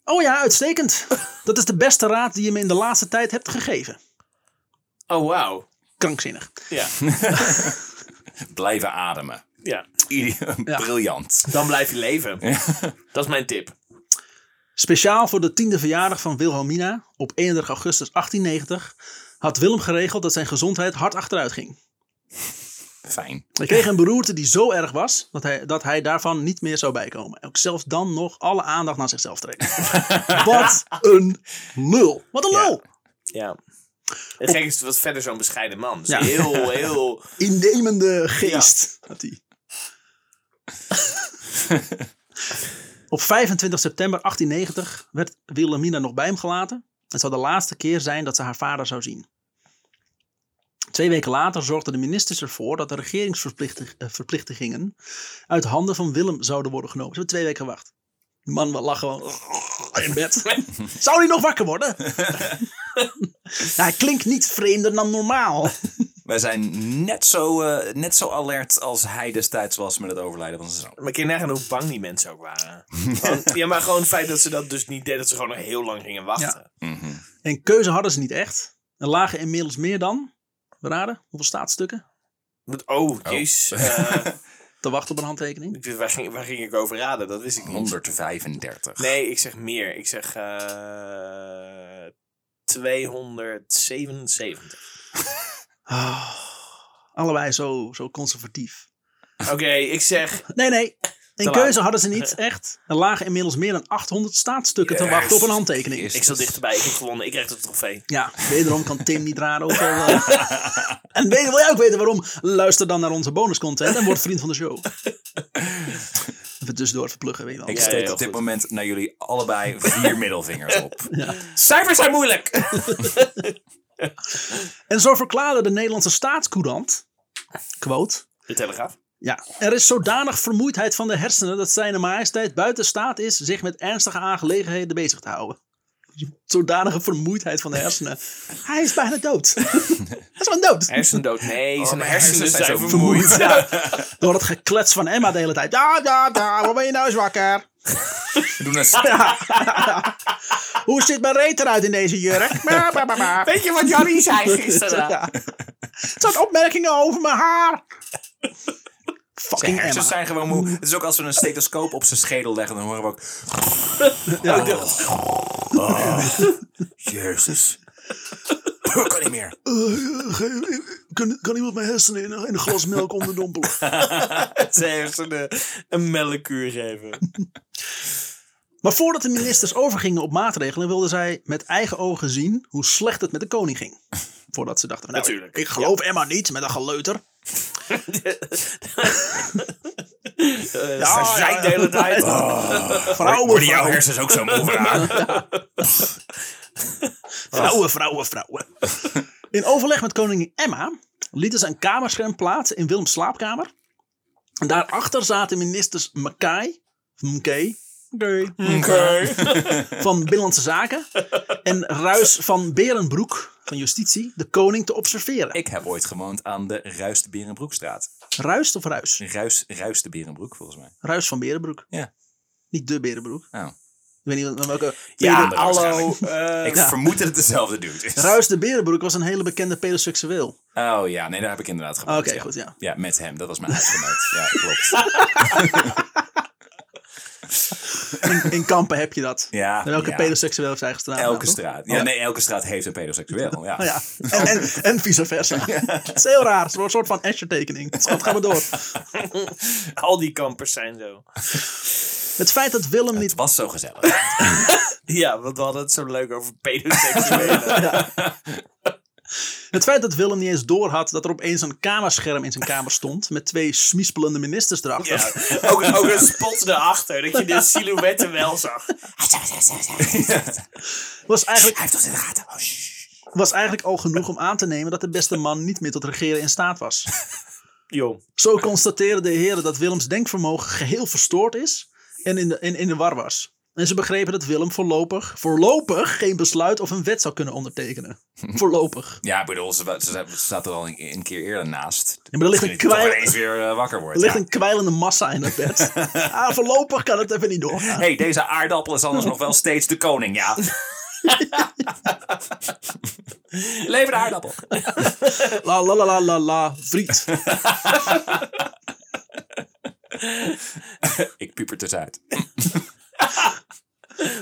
Speaker 1: Oh ja, uitstekend. Dat is de beste raad die je me in de laatste tijd hebt gegeven.
Speaker 3: Oh, wauw.
Speaker 1: Krankzinnig.
Speaker 3: Ja.
Speaker 2: Blijven ademen.
Speaker 3: ja.
Speaker 2: Ieder- Briljant.
Speaker 3: Dan blijf je leven. Dat is mijn tip.
Speaker 1: Speciaal voor de tiende verjaardag van Wilhelmina op 31 augustus 1890 had Willem geregeld dat zijn gezondheid hard achteruit ging.
Speaker 2: Fijn.
Speaker 1: Hij kreeg een beroerte die zo erg was dat hij, dat hij daarvan niet meer zou bijkomen. Ook zelfs dan nog alle aandacht naar zichzelf trekken. Wat een lul. Wat een lul.
Speaker 3: Ja. Het gekke is, het was verder zo'n bescheiden man. Dus
Speaker 1: Ja.
Speaker 3: heel, heel...
Speaker 1: Innemende geest. Had hij. Op 25 september 1890 werd Wilhelmina nog bij hem gelaten. Het zou de laatste keer zijn dat ze haar vader zou zien. Twee weken later zorgden de ministers ervoor dat de regeringsverplichtingen uit handen van Willem zouden worden genomen. Ze hebben twee weken gewacht. Die man lag gewoon in bed. Zou hij nog wakker worden? nou, hij klinkt niet vreemder dan normaal.
Speaker 2: Wij zijn net zo, eh, net zo alert als hij destijds was met het overlijden van zijn zoon.
Speaker 3: Maar kun je nagaan hoe bang die mensen ook waren. Gewoon- ja, maar gewoon het feit dat ze dat dus niet deden. Dat ze gewoon nog heel lang gingen wachten.
Speaker 2: Mhm.
Speaker 1: En keuze hadden ze niet echt. Er lagen inmiddels meer dan, we raden, hoeveel staatsstukken
Speaker 3: Want- Oh, jezus. Eh,
Speaker 1: te wachten op een handtekening.
Speaker 3: ik weet- waar, ging, waar ging ik over raden? Dat wist ik niet.
Speaker 2: 135.
Speaker 3: Nee, ik zeg meer. Ik zeg eh 277.
Speaker 1: Ah, allebei zo, zo conservatief.
Speaker 3: Oké, ik zeg
Speaker 1: Nee, nee, Een
Speaker 3: laag.
Speaker 1: keuze hadden ze niet, echt. Er lagen inmiddels meer dan 800 staatstukken te
Speaker 2: Yes.
Speaker 1: wachten op een handtekening.
Speaker 2: Yes.
Speaker 3: Ik zat dichterbij, ik heb gewonnen, ik krijg het trofee.
Speaker 1: Ja, wederom kan Tim niet raden. Ook al, eh. en weet, wil jij ook weten waarom? Luister dan naar onze bonuscontent en word vriend van de show. Even tussendoor verpluggen, weet je wel.
Speaker 2: Ik
Speaker 3: Ja,
Speaker 2: steek
Speaker 3: ja,
Speaker 2: op dit
Speaker 3: goed.
Speaker 2: moment naar jullie allebei vier middelvingers op.
Speaker 3: Cijfers zijn moeilijk!
Speaker 1: En zo verklaarde de Nederlandse staatscourant, quote...
Speaker 3: De Telegraaf.
Speaker 1: Ja, er is zodanig vermoeidheid van de hersenen dat zijn majesteit buiten staat is zich met ernstige aangelegenheden bezig te houden. Zodanige vermoeidheid van de hersenen. Hij is bijna dood. Hij is gewoon dood.
Speaker 3: Hersendood. Nee, zijn
Speaker 2: mijn
Speaker 3: Oh, hersenen
Speaker 2: hersenen
Speaker 3: zijn,
Speaker 2: zijn zo
Speaker 3: vermoeid. Ja.
Speaker 1: Door het geklets van Emma de hele tijd. Da, da, da, waarom ben je nou zwakker?
Speaker 2: We doen een stap.
Speaker 1: Hoe ziet mijn reet eruit in deze jurk? Ba, ba, ba, ba.
Speaker 3: Weet je wat Jannie zei gisteren?
Speaker 1: Ja. Het zijn opmerkingen over mijn haar. Fucking Emma.
Speaker 2: Hersens zijn gewoon moe. Het is ook als we een stethoscoop op zijn schedel leggen, dan horen we ook...
Speaker 1: Ja.
Speaker 2: Jezus. Ik kan niet meer.
Speaker 1: Eh, kan, kan iemand mijn hersenen in, een- in een glas melk onderdompelen?
Speaker 3: Zijn hersenen een melkkuur geven.
Speaker 1: Maar voordat de ministers overgingen op maatregelen, wilden zij met eigen ogen zien hoe slecht het met de koning ging. Voordat ze dachten, van, nou,
Speaker 3: Natuurlijk,
Speaker 1: ik geloof Emma niet met een geleuter.
Speaker 3: Eh,
Speaker 1: Ja,
Speaker 3: ze zijn
Speaker 1: ja,
Speaker 3: de
Speaker 1: ja.
Speaker 3: hele tijd.
Speaker 1: Vrouwen,
Speaker 2: Worden jouw
Speaker 1: vrouwen,
Speaker 2: hersens ook zo moe vandaag?
Speaker 1: vrouwen, vrouwen, vrouwen. In overleg met koningin Emma lieten ze een kamerscherm plaatsen in Willems slaapkamer. En daarachter zaten ministers Mackay, Mkay, Mkay, van Binnenlandse Zaken en Ruis van Berenbroek van Justitie de koning te observeren.
Speaker 2: Ik heb ooit gewoond aan de Ruis de Berenbroekstraat.
Speaker 1: Ruist of Ruis?
Speaker 2: Ruis, Ruis de Berenbroek, volgens mij.
Speaker 1: Ruis van Berenbroek.
Speaker 2: Ja.
Speaker 1: Niet de Berenbroek.
Speaker 2: Oh.
Speaker 1: Ik weet niet wat- welke.
Speaker 3: Ja,
Speaker 2: Berenbroek
Speaker 3: hallo.
Speaker 2: waarschijnlijk.
Speaker 3: eh,
Speaker 2: Ik
Speaker 1: ja.
Speaker 2: vermoed dat het dezelfde dude is.
Speaker 1: Ruis de Berenbroek was een hele bekende pedoseksueel. Oké,
Speaker 2: Oh ja, nee, daar heb ik inderdaad gewoond. ja.
Speaker 1: goed, ja.
Speaker 2: Ja, met hem. Dat was mijn huisgenoot. Ja, klopt.
Speaker 1: In, in kampen heb je dat.
Speaker 2: Ja,
Speaker 1: En welke
Speaker 2: ja.
Speaker 1: pedoseksueel heeft zij gestaan?
Speaker 2: Elke straat. Oh Ja,
Speaker 1: Ja.
Speaker 2: nee, elke straat heeft een pedoseksueel. Ja.
Speaker 1: Oh, ja. En, en, en vice versa. Het is heel raar. Het is een soort van Escher-tekening. Dus Schat, ga maar door.
Speaker 3: al die kampers zijn zo.
Speaker 1: Het feit dat Willem niet
Speaker 2: Het was zo gezellig.
Speaker 3: Ja, want we hadden het zo leuk over pedoseksuelen.
Speaker 1: Het feit dat Willem niet eens door had dat er opeens een kamerscherm in zijn kamer stond. met twee smispelende ministers erachter.
Speaker 3: Ja, ook, ook een spot erachter, dat je de silhouetten wel zag.
Speaker 1: Was, eigenlijk,
Speaker 2: Hij heeft ons in de gaten. Oh, shh.
Speaker 1: was eigenlijk al genoeg om aan te nemen dat de beste man niet meer tot regeren in staat was.
Speaker 3: Joh.
Speaker 1: Zo constateren de heren dat Willems denkvermogen geheel verstoord is. en in de, in, in de war was. En ze begrepen dat Willem voorlopig, voorlopig geen besluit of een wet zou kunnen ondertekenen. Voorlopig.
Speaker 2: Ja, ik bedoel, ze, ze, ze zat er al een, een keer eerder naast.
Speaker 1: maar er ligt een
Speaker 2: Misschien dat hij
Speaker 1: kwijl-
Speaker 2: toch ineens weer eh, wakker wordt.
Speaker 1: Er ligt
Speaker 2: ja.
Speaker 1: een kwijlende massa in dat bed. Ah, voorlopig kan het even niet doorgaan.
Speaker 2: hey, deze aardappel is anders nog wel steeds de koning, ja. Lever de aardappel.
Speaker 1: La la la la la la, vriend.
Speaker 2: Ik dus pieper tussenuit.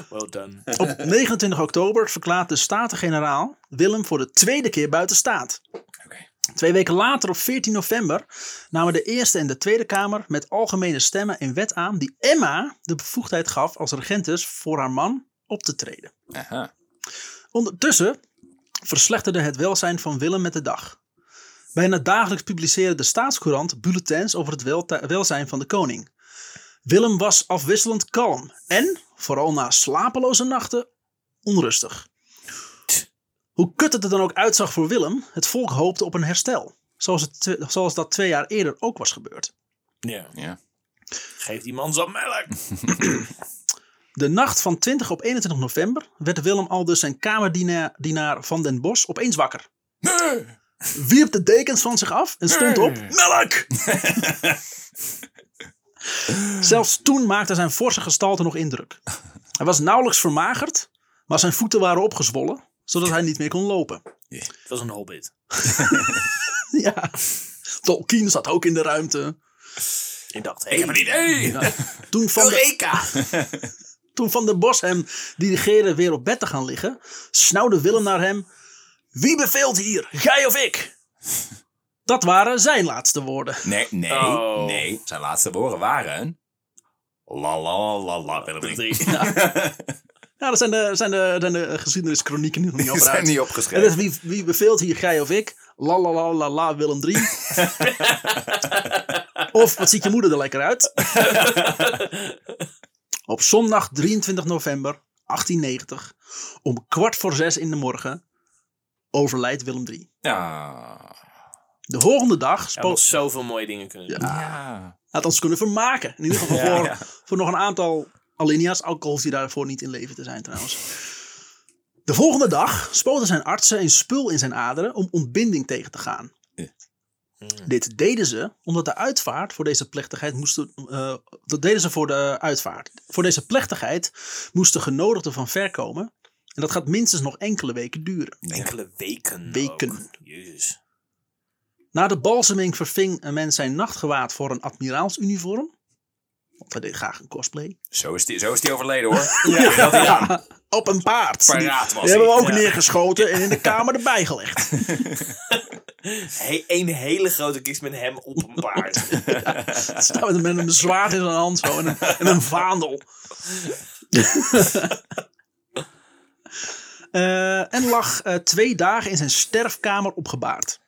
Speaker 3: Well done.
Speaker 1: Op 29 oktober verklaart de Staten-Generaal Willem voor de tweede keer buiten staat.
Speaker 2: Oké.
Speaker 1: Twee weken later, op 14 november, namen de Eerste en de Tweede Kamer met algemene stemmen een wet aan die Emma de bevoegdheid gaf als regentes voor haar man op te treden.
Speaker 2: Aha.
Speaker 1: Ondertussen verslechterde het welzijn van Willem met de dag. Bijna dagelijks publiceerde de staatscourant bulletins over het welta- welzijn van de koning. Willem was afwisselend kalm en, vooral na slapeloze nachten, onrustig. Hoe kut het er dan ook uitzag voor Willem, het volk hoopte op een herstel. Zoals, het twe- zoals dat twee jaar eerder ook was gebeurd.
Speaker 3: Ja.
Speaker 2: Ja.
Speaker 3: Geef die man zo'n melk.
Speaker 1: De nacht van 20 op 21 november werd Willem al dus zijn kamerdienaar dienaar Van den Bos opeens wakker. Wierp de dekens van zich af en stond op.
Speaker 2: Melk!
Speaker 1: Zelfs toen maakte zijn forse gestalte nog indruk. Hij was nauwelijks vermagerd, maar zijn voeten waren opgezwollen, zodat hij niet meer kon lopen.
Speaker 3: Het was een hobbit.
Speaker 1: Ja. Tolkien zat ook in de ruimte.
Speaker 3: Ik dacht,
Speaker 2: Ik heb een idee!
Speaker 1: Toen van, de,
Speaker 3: Eureka!
Speaker 1: toen van der Bos hem dirigeerde weer op bed te gaan liggen, snauwde Willem naar hem: Wie beveelt hier, jij of ik? Dat waren zijn laatste woorden.
Speaker 2: Nee, nee,
Speaker 3: Oh.
Speaker 2: nee. Zijn laatste woorden waren... La la la la, Willem III.
Speaker 1: Ja, dat zijn de, dat zijn de, zijn de geschiedenischronieken nog niet
Speaker 2: Die
Speaker 1: over
Speaker 2: zijn
Speaker 1: uit.
Speaker 2: niet
Speaker 1: En dat is
Speaker 2: opgeschreven.
Speaker 1: wie, wie beveelt hier, gij of ik? La la la la la Willem 3. of wat ziet je moeder er lekker uit? Op zondag 23 november 1890, om kwart voor zes in de morgen, overlijdt Willem 3.
Speaker 2: Ja.
Speaker 1: De volgende dag
Speaker 3: Ja,
Speaker 1: spo-
Speaker 3: nog zoveel mooie dingen kunnen doen.
Speaker 2: Ah. Ja.
Speaker 1: had ons kunnen vermaken. In ieder geval
Speaker 3: Ja,
Speaker 1: voor,
Speaker 2: ja.
Speaker 1: voor nog een aantal alinea's. Alcohol die daarvoor niet in leven te zijn trouwens. De volgende dag spoten zijn artsen een spul in zijn aderen om ontbinding tegen te gaan.
Speaker 2: Ja.
Speaker 3: Hmm.
Speaker 1: Dit deden ze omdat de uitvaart voor deze plechtigheid moesten. eh, dat deden ze voor de uitvaart. Voor deze plechtigheid moesten genodigden van ver komen. En dat gaat minstens nog enkele weken duren.
Speaker 3: Enkele weken.
Speaker 1: Weken.
Speaker 3: ook. Jezus.
Speaker 1: Na de balseming verving een mens zijn nachtgewaad voor een admiraalsuniform. Want hij deed graag een cosplay.
Speaker 2: Zo is die, zo is die overleden hoor.
Speaker 1: Ja, op een paard.
Speaker 2: Paraat was
Speaker 1: die hebben we
Speaker 2: hij.
Speaker 1: ook
Speaker 3: Ja.
Speaker 1: neergeschoten en in de kamer erbij gelegd.
Speaker 3: He een hele grote kist met hem op een paard.
Speaker 1: Staan we met een zwaard in zijn hand zo, en, een, en een vaandel. Eh, en lag eh, twee dagen in zijn sterfkamer opgebaard.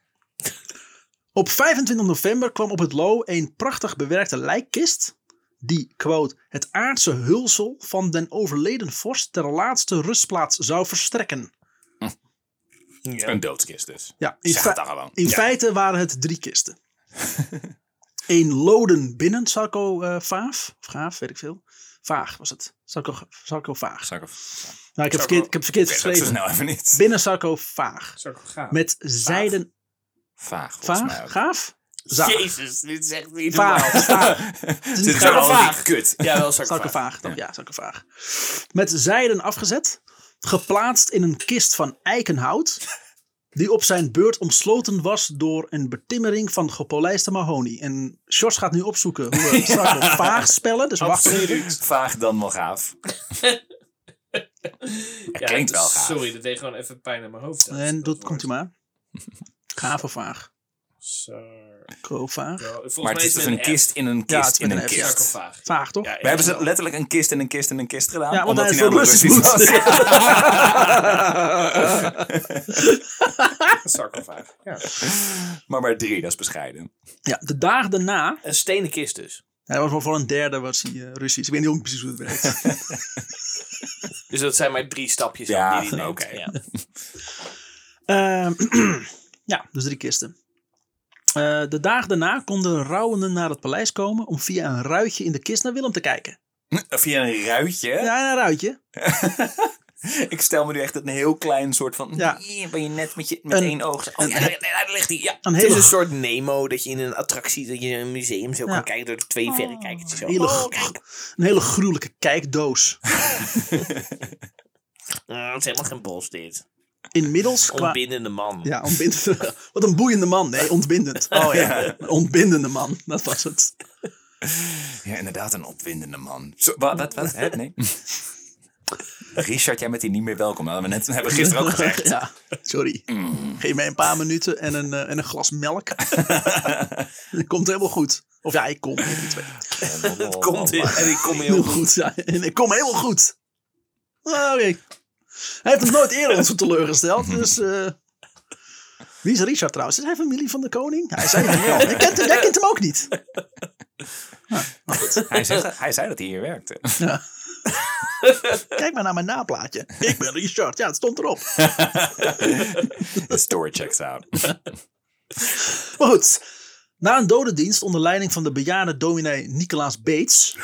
Speaker 1: Op 25 november kwam op het Loo een prachtig bewerkte lijkkist. Die, quote, het aardse hulsel van den overleden vorst ter laatste rustplaats zou verstrekken.
Speaker 3: ja.
Speaker 2: Een doodskist dus.
Speaker 1: Ja, in,
Speaker 2: Zeg
Speaker 1: fe-
Speaker 2: het dan gewoon.
Speaker 1: in
Speaker 2: Ja.
Speaker 1: feite waren het drie kisten. Eén loden binnen Sarko eh Vaaf. Of Gaaf, weet ik veel. Vaag was het. Sarko, Sarko Vaag.
Speaker 2: Zou ik even-
Speaker 1: Nou, ik heb
Speaker 3: Sarko-
Speaker 1: verkeerd, ik heb verkeerd
Speaker 2: Ik weet het ook zo
Speaker 1: geschreven.
Speaker 2: snel nou even niet.
Speaker 1: Binnen Sarko Vaag.
Speaker 3: Zou ik gaan?
Speaker 1: Met zijden...
Speaker 2: Vaag, volgens mij
Speaker 1: Vaag?
Speaker 2: ook.
Speaker 1: Gaaf? Zaag.
Speaker 3: Jezus, dit is echt niet normaal.
Speaker 1: Vaag. Vaag.
Speaker 2: Zit er
Speaker 1: niet
Speaker 2: zo
Speaker 1: gaaf.
Speaker 2: al die
Speaker 3: Vaag.
Speaker 2: Kut.
Speaker 3: Ja, wel zou ik
Speaker 1: Sarko
Speaker 3: gaan.
Speaker 1: Vaag. dan- Ja, Sarko Vaag. Met zijden afgezet. Geplaatst in een kist van eikenhout. Die op zijn beurt omsloten was door een betimmering van gepolijste mahonie. En Sjors gaat nu opzoeken hoe we Sarko Vaag spellen. Dus wacht even.
Speaker 2: Vaag dan wel gaaf.
Speaker 3: Ja,
Speaker 2: klinkt wel gaaf.
Speaker 3: Sorry, dat deed gewoon even pijn aan mijn hoofd. Dat-
Speaker 1: En
Speaker 3: dat
Speaker 1: dat komt u maar. Gaaf of vaag?
Speaker 3: Sar-
Speaker 1: Kovaag?
Speaker 3: Ja, Volgens
Speaker 2: Maar het is dus een kist in een
Speaker 1: Ja,
Speaker 2: kist
Speaker 1: het is
Speaker 2: in
Speaker 1: met
Speaker 2: een
Speaker 1: een F.
Speaker 2: kist.
Speaker 3: sarcofaag.
Speaker 1: Vaag toch?
Speaker 3: Ja,
Speaker 1: Ja,
Speaker 2: We hebben ze letterlijk een kist in een kist in een kist gedaan.
Speaker 1: want
Speaker 2: omdat
Speaker 1: hij is
Speaker 2: hij
Speaker 1: wel
Speaker 2: namelijk
Speaker 1: Russisch moet.
Speaker 2: Russisch was.
Speaker 3: een sarcofaag. Ja.
Speaker 2: maar maar drie, dat is bescheiden.
Speaker 1: ja, de dagen daarna.
Speaker 3: Een stenen kist dus.
Speaker 1: Hij was wel voor een derde was hij eh, Russisch. Ik weet niet ook precies hoe het werkt.
Speaker 3: Dus dat zijn maar drie stapjes
Speaker 2: Ja,
Speaker 3: die hij neemt.
Speaker 2: oké.
Speaker 3: Ja.
Speaker 1: Ehm, ja, dus drie kisten. Eh, de dagen daarna konden rouwenden naar het paleis komen om via een ruitje in de kist naar Willem te kijken.
Speaker 2: Via een ruitje.
Speaker 1: Ja, een ruitje.
Speaker 2: Ik stel me nu echt een heel klein soort van...
Speaker 1: Ja.
Speaker 2: Hier ben je net met, je, met
Speaker 1: Een-
Speaker 2: één oog. Oh,
Speaker 1: een-
Speaker 2: ja, daar, daar ligt hij. Ja.
Speaker 1: Een
Speaker 3: Het is
Speaker 1: hele,
Speaker 3: een soort Nemo dat je in een attractie, dat je in een museum zo
Speaker 1: Ja.
Speaker 3: kan kijken door de
Speaker 2: Oh.
Speaker 3: twee verrekijkertjes. Zo.
Speaker 1: hele,
Speaker 3: Oh,
Speaker 1: gro- een hele gruwelijke kijkdoos.
Speaker 3: mm, het is helemaal geen bos dit.
Speaker 1: Inmiddels qua...
Speaker 3: Onbindende man.
Speaker 1: Ja, ontbindend. Wat een boeiende man. Nee, ontbindend. Oh ja, een ontbindende man. Dat was het.
Speaker 2: Ja, inderdaad, een opwindende man. Zo, wat, wat, wat? Hè? Nee. Richard, jij bent hier niet meer welkom. Dat hebben we net hebben we gisteren ook gezegd.
Speaker 1: Ja, sorry. Geef mij een paar minuten en een, eh, en een glas melk. Het komt helemaal goed. Of ja, ik kom. een van de twee.
Speaker 2: Het
Speaker 3: Komt
Speaker 1: Oh,
Speaker 3: in en ik kom heel
Speaker 1: Heel
Speaker 3: goed.
Speaker 1: goed. Ja, en ik kom helemaal goed. Ah, Oké. Hij heeft ons nooit eerder ons zo teleurgesteld. Dus. eh, wie is Richard trouwens? Is hij familie van de koning? Hij zei het wel. Jij kent, hem- jij kent hem ook niet.
Speaker 2: Hij, zei, hij zei dat hij hier werkte.
Speaker 1: Ja. Kijk maar naar mijn naplaatje. Ik ben Richard. Ja, het stond erop.
Speaker 2: The story checks out.
Speaker 1: Maar goed. Na een dodendienst onder leiding van de bejaarde dominee Nicolaas Bates.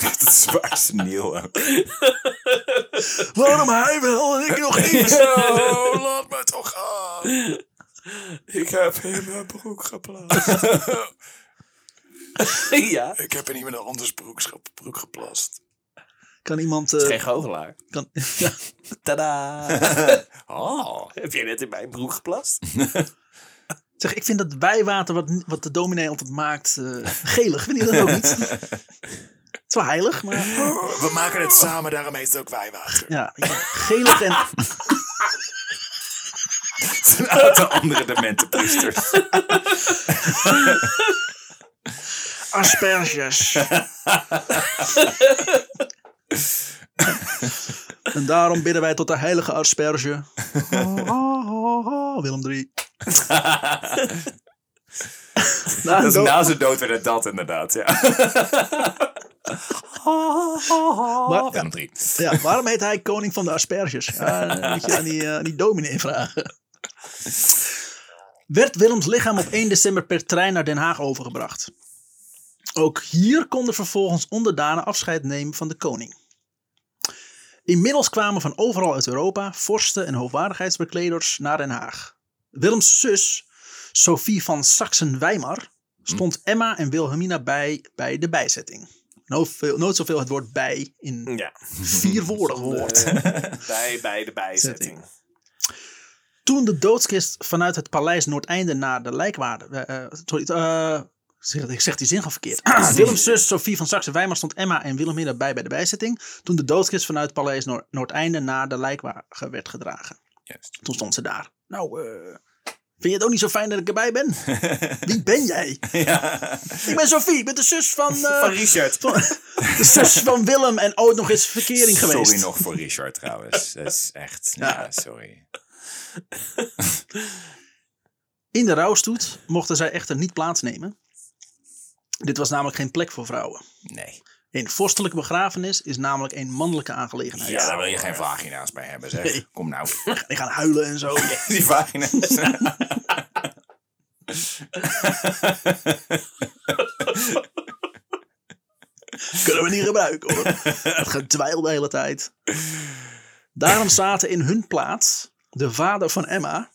Speaker 2: Dat is waar nieuw.
Speaker 1: Waarom hij wel en ik nog niet?
Speaker 2: Zo, laat me toch gaan. Ik heb in mijn broek geplast.
Speaker 3: ja.
Speaker 2: Ik heb in iemand anders broek, broek geplast.
Speaker 1: Kan iemand...
Speaker 3: Het
Speaker 1: eh,
Speaker 3: is geen goochelaar.
Speaker 1: kan, ja.
Speaker 3: Tadaa.
Speaker 2: Oh.
Speaker 3: Heb jij net in mijn broek geplast?
Speaker 1: Zeg, ik vind dat wijwater wat, wat de dominee altijd maakt eh, gelig. Vind je dat ook niet? Het is wel heilig, maar...
Speaker 2: We maken het samen, daarom heet het ook wijwagen.
Speaker 1: Ja, gelig en...
Speaker 2: Het is een aantal andere demente priesters.
Speaker 1: asperges. en daarom bidden wij tot de heilige asperge. Oh, oh, oh, oh, Willem III.
Speaker 2: dat is na zijn dood werd het dat inderdaad, ja.
Speaker 1: Maar-
Speaker 2: Willem III.
Speaker 1: Ja, waarom heet hij koning van de asperges? Eh, moet je aan die, eh, aan die dominee vragen. Werd Willems lichaam op 1 december per trein naar Den Haag overgebracht. Ook hier konden vervolgens onderdanen afscheid nemen van de koning. Inmiddels kwamen van overal uit Europa vorsten en hoogwaardigheidsbekleders naar Den Haag. Willems zus, Sophie van Saxen-Weimar, stond Emma en Wilhelmina bij bij de bijzetting. Nooit, veel, nooit zoveel het woord bij in
Speaker 3: Ja.
Speaker 1: vier woorden
Speaker 2: eh,
Speaker 1: woord.
Speaker 3: bij, bij de bijzetting.
Speaker 1: Toen de doodskist vanuit het paleis Noordeinde naar de lijkwaarde. eh, eh, sorry, eh, zeg- ik zeg die zin al verkeerd. Willems zus Sophie van Saxe-Weimar stond Emma en Willem Midden bij bij de bijzitting. Toen de doodskist vanuit het paleis Noor- Noordeinde naar de lijkwagen werd gedragen.
Speaker 2: Juist.
Speaker 1: Toen stond ze daar. Nou, eh, vind je het ook niet zo fijn dat ik erbij ben? Wie ben jij?
Speaker 2: ja.
Speaker 1: Ik ben Sophie, ik ben de zus van. eh,
Speaker 3: Van Richard.
Speaker 1: de zus van Willem en ooit nog eens verkering geweest.
Speaker 2: Sorry nog voor Richard trouwens. Dat is echt, ja, sorry.
Speaker 1: In de rouwstoet mochten zij echter niet plaatsnemen. Dit was namelijk geen plek voor vrouwen.
Speaker 2: Nee.
Speaker 1: Een vorstelijke begrafenis is namelijk een mannelijke aangelegenheid.
Speaker 2: Ja, daar wil je geen vagina's bij hebben, zeg.
Speaker 1: Nee.
Speaker 2: Kom nou.
Speaker 1: Die gaan huilen en zo.
Speaker 2: Die vagina's.
Speaker 1: Kunnen we niet gebruiken hoor. Het getwijl de hele tijd. Daarom zaten in hun plaats de vader van Emma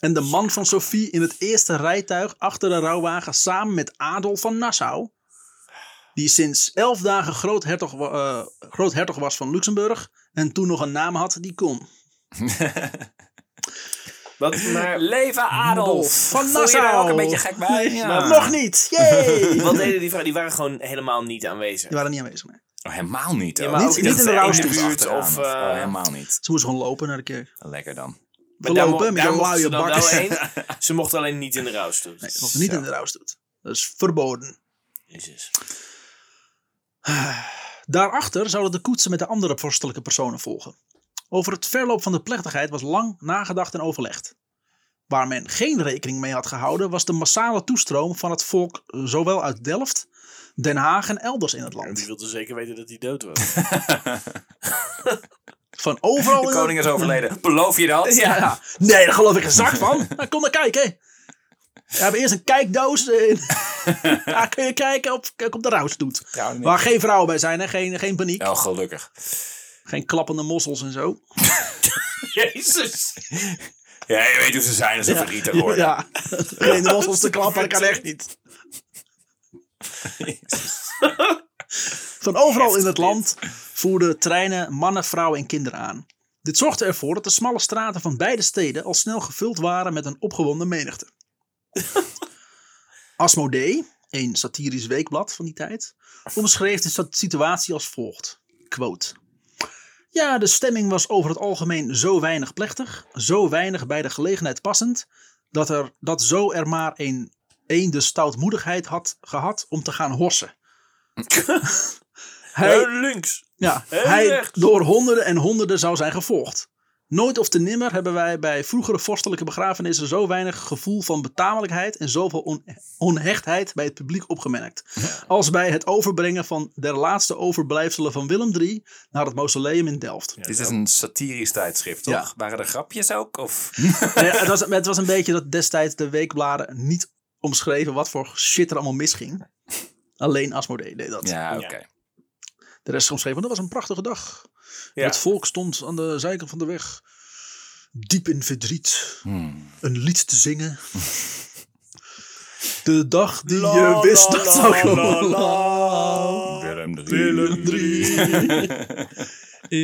Speaker 1: en de man van Sophie in het eerste rijtuig achter de rouwwagen samen met Adolf van Nassau. Die sinds elf dagen groothertog, wa- eh, groothertog was van Luxemburg en toen nog een naam had die kon.
Speaker 3: Wat, maar
Speaker 2: Leven Adolf.
Speaker 1: Van
Speaker 2: Voel je daar ook
Speaker 1: Nassau.
Speaker 2: een beetje gek bij?
Speaker 1: Nee,
Speaker 2: Ja.
Speaker 1: maar Nog niet! Yay!
Speaker 3: wat deden die vrouwen? Die waren gewoon helemaal niet aanwezig.
Speaker 1: Die waren niet aanwezig. nee.
Speaker 2: Oh, helemaal niet.
Speaker 3: Ja,
Speaker 2: ook.
Speaker 3: maar
Speaker 1: Niet-
Speaker 3: ook
Speaker 1: niet in de
Speaker 3: echt, eh,
Speaker 1: rouwstoet
Speaker 2: buurt
Speaker 3: buurt
Speaker 2: achteraan, of,
Speaker 3: Of,
Speaker 2: oh,
Speaker 3: eh,
Speaker 2: helemaal niet.
Speaker 1: Ze moesten gewoon lopen naar de kerk.
Speaker 2: Lekker dan.
Speaker 3: Maar
Speaker 1: Lopen
Speaker 3: mo-
Speaker 1: met zo'n
Speaker 3: mochten ze
Speaker 1: luie
Speaker 3: dan wel
Speaker 1: bakkers.
Speaker 3: heen. Ze mochten alleen niet in de rouwstoet.
Speaker 1: Nee, dat was niet
Speaker 2: Zo.
Speaker 1: in de rouwstoet. Dat is verboden.
Speaker 3: Jezus.
Speaker 1: Daarachter zouden de koetsen met de andere vorstelijke personen volgen. Over het verloop van de plechtigheid was lang nagedacht en overlegd. Waar men geen rekening mee had gehouden was de massale toestroom van het volk eh, zowel uit Delft, Den Haag en elders in het
Speaker 3: En die
Speaker 1: land.
Speaker 3: wilde zeker weten dat hij dood was.
Speaker 1: Van overal
Speaker 2: De
Speaker 1: in
Speaker 2: koning is overleden. Beloof je dat?
Speaker 1: Oh, Ja. ja. Nee, daar geloof ik een zak van. Nou, kom dan kijken. We hebben eerst een kijkdoos. In. Daar kun je kijken op, op de rouwstoet.
Speaker 2: Trouwens niet.
Speaker 1: Waar geen vrouwen bij zijn, hè? Geen, geen paniek.
Speaker 2: Oh, gelukkig.
Speaker 1: Geen klappende mossels en zo.
Speaker 3: Jezus.
Speaker 2: Ja, je weet hoe ze zijn als ze verrieter worden.
Speaker 1: Ja, geen mossels te klappen, dat kan echt niet. Van overal in het land voerden treinen mannen, vrouwen en kinderen aan. Dit zorgde ervoor dat de smalle straten van beide steden al snel gevuld waren met een opgewonden menigte. Asmodee, een satirisch weekblad van die tijd, omschreef de sat- situatie als volgt. Quote. Ja, de stemming was over het algemeen zo weinig plechtig, zo weinig bij de gelegenheid passend, dat, er, dat zo er maar een, een de stoutmoedigheid had gehad om te gaan horsen. hij,
Speaker 3: Heel links.
Speaker 1: ja,
Speaker 3: heel
Speaker 1: hij
Speaker 3: recht.
Speaker 1: door honderden en honderden zou zijn gevolgd. Nooit of te nimmer hebben wij bij vroegere vorstelijke begrafenissen zo weinig gevoel van betamelijkheid en zoveel on- onhechtheid bij het publiek opgemerkt. Als bij het overbrengen van de laatste overblijfselen van Willem III naar het mausoleum in Delft.
Speaker 2: Dit is een satirisch tijdschrift, toch?
Speaker 1: Ja.
Speaker 2: Waren er grapjes ook? Of...
Speaker 1: Nee, Nou het, was, het was een beetje dat destijds de weekbladen niet omschreven wat voor shit er allemaal misging. Alleen Asmodee deed dat.
Speaker 2: Ja, oké.
Speaker 3: Ja.
Speaker 1: De rest omschreven, dat was een prachtige dag.
Speaker 3: Ja.
Speaker 1: Het volk stond aan de zijkant van de weg. Diep in verdriet.
Speaker 2: Hmm.
Speaker 1: Een lied te zingen. De dag die
Speaker 3: La,
Speaker 1: je wist
Speaker 3: la,
Speaker 1: dat
Speaker 3: la,
Speaker 1: zou
Speaker 3: la,
Speaker 1: komen.
Speaker 3: la.
Speaker 2: Willem III.
Speaker 1: Willem III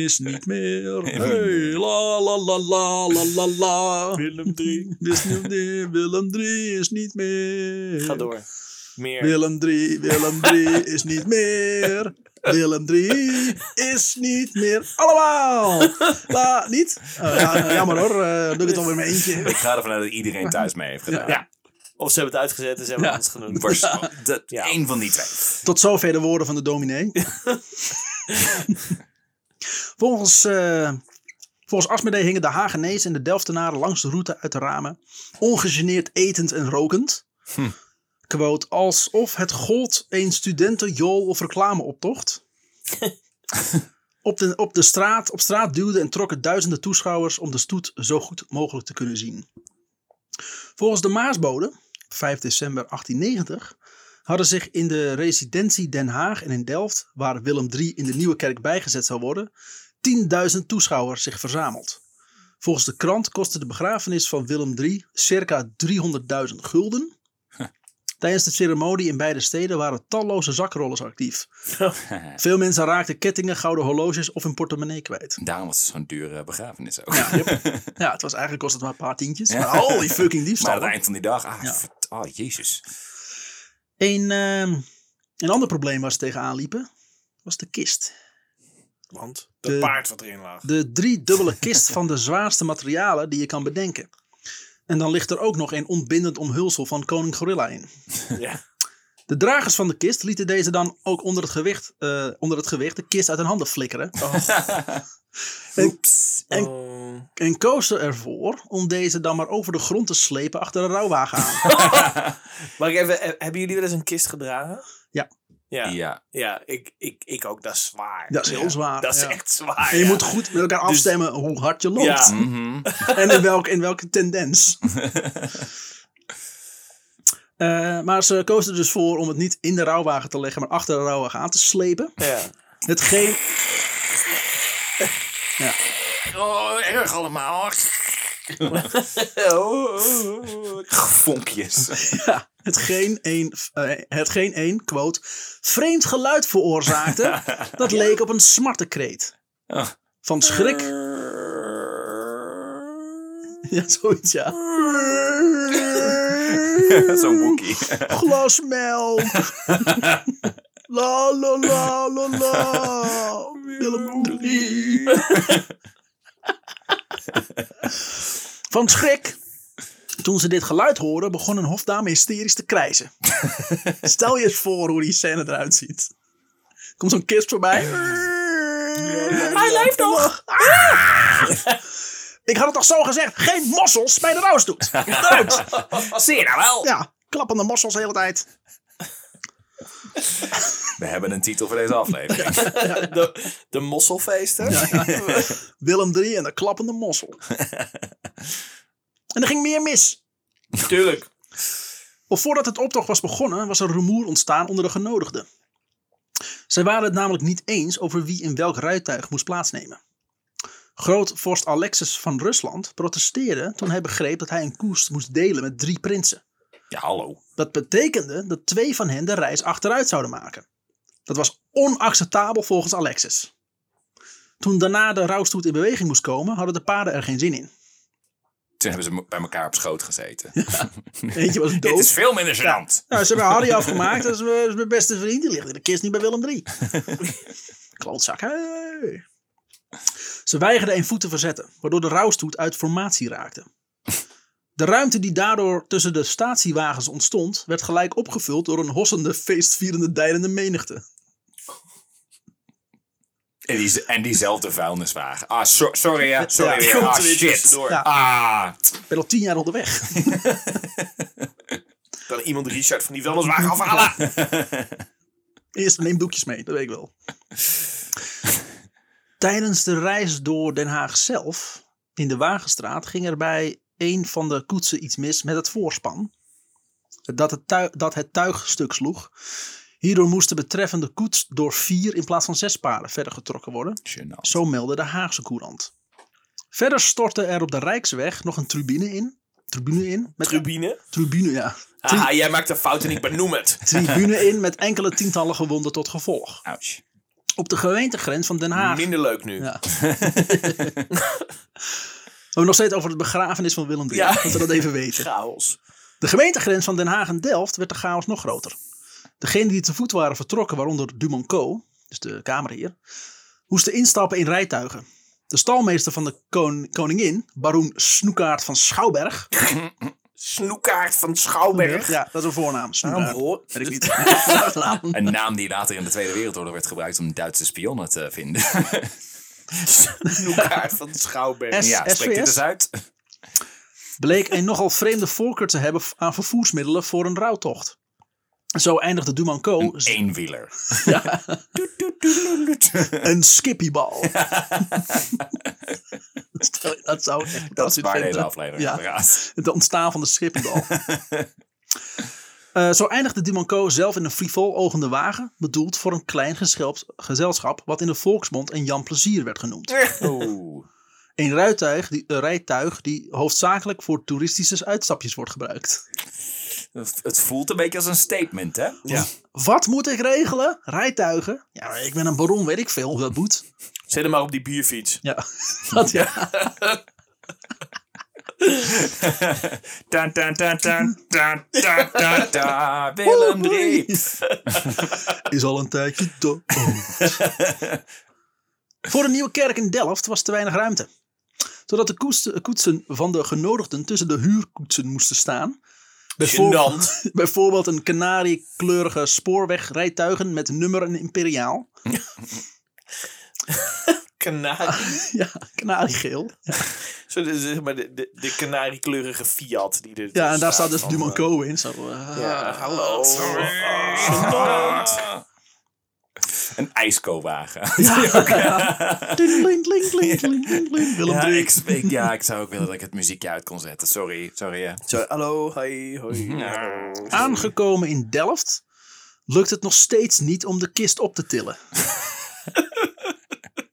Speaker 1: is niet meer. Hey, la la la la la la la.
Speaker 3: Willem 3.
Speaker 1: Is niet meer. Willem 3 is niet meer.
Speaker 3: Ga door. Meer.
Speaker 1: Willem 3, Willem 3 is niet meer. Willem 3 is niet meer. Allemaal! Nou, La, niet? Eh, ja, jammer hoor, eh, doe ik het alweer in mijn eentje.
Speaker 2: Ik ga ervan uit dat iedereen thuis mee heeft gedaan.
Speaker 3: Ja. Of ze hebben het uitgezet en ze hebben
Speaker 2: Ja.
Speaker 3: het anders genoemd.
Speaker 2: Worst, dat,
Speaker 3: Ja.
Speaker 2: Eén van die twee.
Speaker 1: Tot zover de woorden van de dominee. volgens, eh volgens Asmodee hingen de Hagenees en de Delftenaren langs de route uit de ramen. Ongegeneerd etend en rokend.
Speaker 2: Hm.
Speaker 1: Quote, alsof het gold een studentenjool of reclameoptocht. op, de, op de straat, op straat duwden en trokken duizenden toeschouwers om de stoet zo goed mogelijk te kunnen zien. Volgens de Maasbode, 5 december 1890, hadden zich in de residentie Den Haag en in Delft, waar Willem III in de nieuwe kerk bijgezet zou worden, 10.000 toeschouwers zich verzameld. Volgens de krant kostte de begrafenis van Willem III circa 300.000 gulden. Tijdens de ceremonie in beide steden waren talloze zakrollers actief. Veel mensen raakten kettingen, gouden horloges of hun portemonnee kwijt.
Speaker 2: Daarom was het zo'n dure begrafenis ook.
Speaker 1: Ja, ja het was eigenlijk kost het maar een paar tientjes. Maar holy fucking
Speaker 2: Maar
Speaker 1: diefstal.
Speaker 2: aan het eind van die dag, ah,
Speaker 1: Ja.
Speaker 2: vert- oh, jezus.
Speaker 1: Een, ehm, een ander probleem waar ze tegenaan liepen, was de kist.
Speaker 3: Want
Speaker 1: De-
Speaker 3: dat paard wat erin lag.
Speaker 1: De driedubbele kist van de zwaarste materialen die je kan bedenken. En dan ligt er ook nog een ontbindend omhulsel van koning Gorilla in.
Speaker 3: Ja.
Speaker 1: De dragers van de kist lieten deze dan ook onder het gewicht, eh, onder het gewicht de kist uit hun handen flikkeren.
Speaker 2: Oeps.
Speaker 1: En-
Speaker 3: Oh.
Speaker 1: En kozen ervoor om deze dan maar over de grond te slepen achter een rouwwagen aan.
Speaker 3: Mag ik even, he- hebben jullie wel eens een kist gedragen?
Speaker 1: Ja.
Speaker 3: Ja, ja.
Speaker 2: Ja.
Speaker 3: ik, ik, ik ook. Dat is zwaar.
Speaker 1: Dat is heel
Speaker 3: Ja.
Speaker 1: zwaar.
Speaker 3: Dat is
Speaker 1: ja.
Speaker 3: echt zwaar.
Speaker 1: En je
Speaker 3: ja. Dus-
Speaker 1: moet goed met elkaar afstemmen hoe hard je loopt.
Speaker 3: Ja.
Speaker 2: Mhm.
Speaker 1: en in, welk, in welke tendens. Eh, maar ze kozen er dus voor om het niet in de rouwwagen te leggen, maar achter de rouwwagen aan te slepen.
Speaker 3: Ja.
Speaker 1: Hetgeen,
Speaker 2: Oh, erg allemaal.
Speaker 3: Oh, oh, oh, oh.
Speaker 2: Vonkjes.
Speaker 1: ja, hetgeen, een, eh, hetgeen een, quote, vreemd geluid veroorzaakte, dat leek op een smartenkreet.
Speaker 2: Oh.
Speaker 1: Van schrik. Ja, zoiets, ja.
Speaker 2: Zo'n boekie.
Speaker 1: Glas melk. la la la la la. Willem III. Van schrik. Toen ze dit geluid hoorden, begon een hofdame hysterisch te krijzen. Stel je eens voor hoe die scène eruit ziet. Komt zo'n kist voorbij. Hij leeft nog! Ik had het toch zo gezegd: geen mossels bij de rouwstoet. Eruit!
Speaker 2: Zie je nou wel?
Speaker 1: Ja, klappende mossels de hele tijd.
Speaker 2: We hebben een titel voor deze aflevering.
Speaker 3: De, de mosselfeesten.
Speaker 1: Willem III en de klappende mossel. en er ging meer mis.
Speaker 3: Tuurlijk.
Speaker 1: Of voordat het optocht was begonnen, was er rumoer ontstaan onder de genodigden. Zij waren het namelijk niet eens over wie in welk rijtuig moest plaatsnemen. Grootvorst Alexis van Rusland protesteerde toen hij begreep dat hij een koers moest delen met drie prinsen.
Speaker 2: Ja, hallo.
Speaker 1: Dat betekende dat twee van hen de reis achteruit zouden maken. Dat was onacceptabel volgens Alexis. Toen daarna de rouwstoet in beweging moest komen, hadden de paarden er geen zin in.
Speaker 2: Toen hebben ze me- bij elkaar op schoot gezeten.
Speaker 1: Eentje was
Speaker 2: Dit is
Speaker 1: dood.
Speaker 2: veel minder gênant.
Speaker 1: Nou, ze hebben Harry afgemaakt. Dat is mijn, dat is mijn beste vriend. Die ligt in de kist niet bij Willem III. Klootzak. hey. Ze weigerden een voet te verzetten, waardoor de rouwstoet uit formatie raakte. De ruimte die daardoor tussen de statiewagens ontstond, werd gelijk opgevuld door een hossende, feestvierende, deilende menigte.
Speaker 2: En, die, en diezelfde vuilniswagen. Ah, so- sorry ja. Sorry
Speaker 1: Ja,
Speaker 2: weer.
Speaker 3: komt
Speaker 2: Ah,
Speaker 3: er weer
Speaker 2: shit.
Speaker 3: tussendoor.
Speaker 1: Ja.
Speaker 2: Ah.
Speaker 1: Ik ben al tien jaar onderweg.
Speaker 3: Kan iemand Richard van die vuilniswagen afhalen?
Speaker 1: Eerst neem doekjes mee, dat weet ik wel. Tijdens de reis door Den Haag zelf, in de Wagenstraat, ging er bij een van de koetsen iets mis met het voorspan. Dat het, tuig, dat het tuig stuk sloeg. Hierdoor moest de betreffende koets door vier in plaats van zes paarden verder getrokken worden.
Speaker 2: Gênant.
Speaker 1: Zo meldde de Haagse Courant. Verder stortte er op de Rijksweg nog een tribune in. Tribune in? Met
Speaker 3: Tribune. Ah.
Speaker 1: tribune, ja.
Speaker 3: Haha, jij maakt een fout en ik benoem het.
Speaker 1: Tribune in met enkele tientallen gewonden tot gevolg.
Speaker 2: Ouch.
Speaker 1: Op de gemeentegrens van Den Haag.
Speaker 3: Minder leuk nu.
Speaker 1: Ja. we hebben nog steeds over het begrafenis van Willem III.
Speaker 3: Ja.
Speaker 1: Dat we dat even weten.
Speaker 3: Chaos.
Speaker 1: De gemeentegrens van Den Haag en Delft werd de chaos nog groter. Degenen die te voet waren vertrokken, waaronder Dumonco, dus de kamerheer, moesten instappen in rijtuigen. De stalmeester van de kon- koningin, baroen Snoekaart van Schouwberg,
Speaker 3: Snoekaart van Schouwberg.
Speaker 1: Ja, dat is een voornaam.
Speaker 3: Waarom
Speaker 1: Snoenaar.
Speaker 3: hoor
Speaker 1: Weet ik niet. Achternaam.
Speaker 2: Een naam die later in de Tweede Wereldoorlog werd gebruikt om Duitse spionnen te vinden.
Speaker 3: Snoekaart van Schouwberg.
Speaker 1: S-
Speaker 2: ja, spreek dit
Speaker 1: SVS?
Speaker 2: eens uit.
Speaker 1: bleek een nogal vreemde voorkeur te hebben aan vervoersmiddelen voor een rouwtocht. Zo eindigde Duman Co.
Speaker 2: Een eenwieler. Toet, toet, toet, toet, toet.
Speaker 1: een skippiebal. Stel je- dat zou echt
Speaker 2: Dat is
Speaker 1: fantastisch
Speaker 2: waar de
Speaker 1: vinden.
Speaker 2: hele aflevering
Speaker 1: Ja.
Speaker 2: over gaat.
Speaker 1: Het ontstaan van de schippiebal. Eh, zo eindigde Duman Co. zelf in een frivol ogende wagen, bedoeld voor een klein geschelps- gezelschap wat in de volksmond een Jan Plezier werd genoemd.
Speaker 2: Oeh.
Speaker 1: Een rijtuig die, een rijtuig die hoofdzakelijk voor toeristische uitstapjes wordt gebruikt.
Speaker 2: Het het voelt een beetje als een statement, hè?
Speaker 1: Ja. Wat moet ik regelen? Rijtuigen? Ja, maar ik ben een baron, weet ik veel. Dat moet.
Speaker 3: Zet hem maar op die bierfiets.
Speaker 1: Ja, dat ja.
Speaker 3: Taan, taan, taan, taan, taan, taan, taan.
Speaker 2: Da, da, Willem
Speaker 1: Oei.
Speaker 2: III.
Speaker 1: Is al een tijdje dood. Voor een nieuwe kerk in Delft was te weinig ruimte. Zodat de koets- koetsen van de genodigden tussen de huurkoetsen moesten staan.
Speaker 3: Gênant.
Speaker 1: bijvoorbeeld een kanariekleurige spoorwegrijtuigen met nummer en imperiaal.
Speaker 3: Kanarie.
Speaker 1: Ja, kanariegeel.
Speaker 3: Zo, de, zeg maar de, de, de kanariekleurige Fiat. Die er
Speaker 1: Ja, en daar staat
Speaker 3: staat
Speaker 1: dus
Speaker 3: van,
Speaker 1: Duman
Speaker 3: eh,
Speaker 1: Co. in. Zo, eh,
Speaker 3: Ja,
Speaker 1: hallo.
Speaker 3: sorry.
Speaker 2: Ah. Een ijskowagen.
Speaker 1: Ja. Ding, ding, ding, ding, ding, ding, ding. Willem
Speaker 2: Ja
Speaker 1: III.
Speaker 2: ik, ik- ja, ik zou ook willen dat ik het muziekje uit kon zetten. Sorry, sorry. Hè.
Speaker 3: Zo, hallo, hoi, hoi.
Speaker 2: Ja.
Speaker 1: Aangekomen in Delft lukt het nog steeds niet om de kist op te tillen.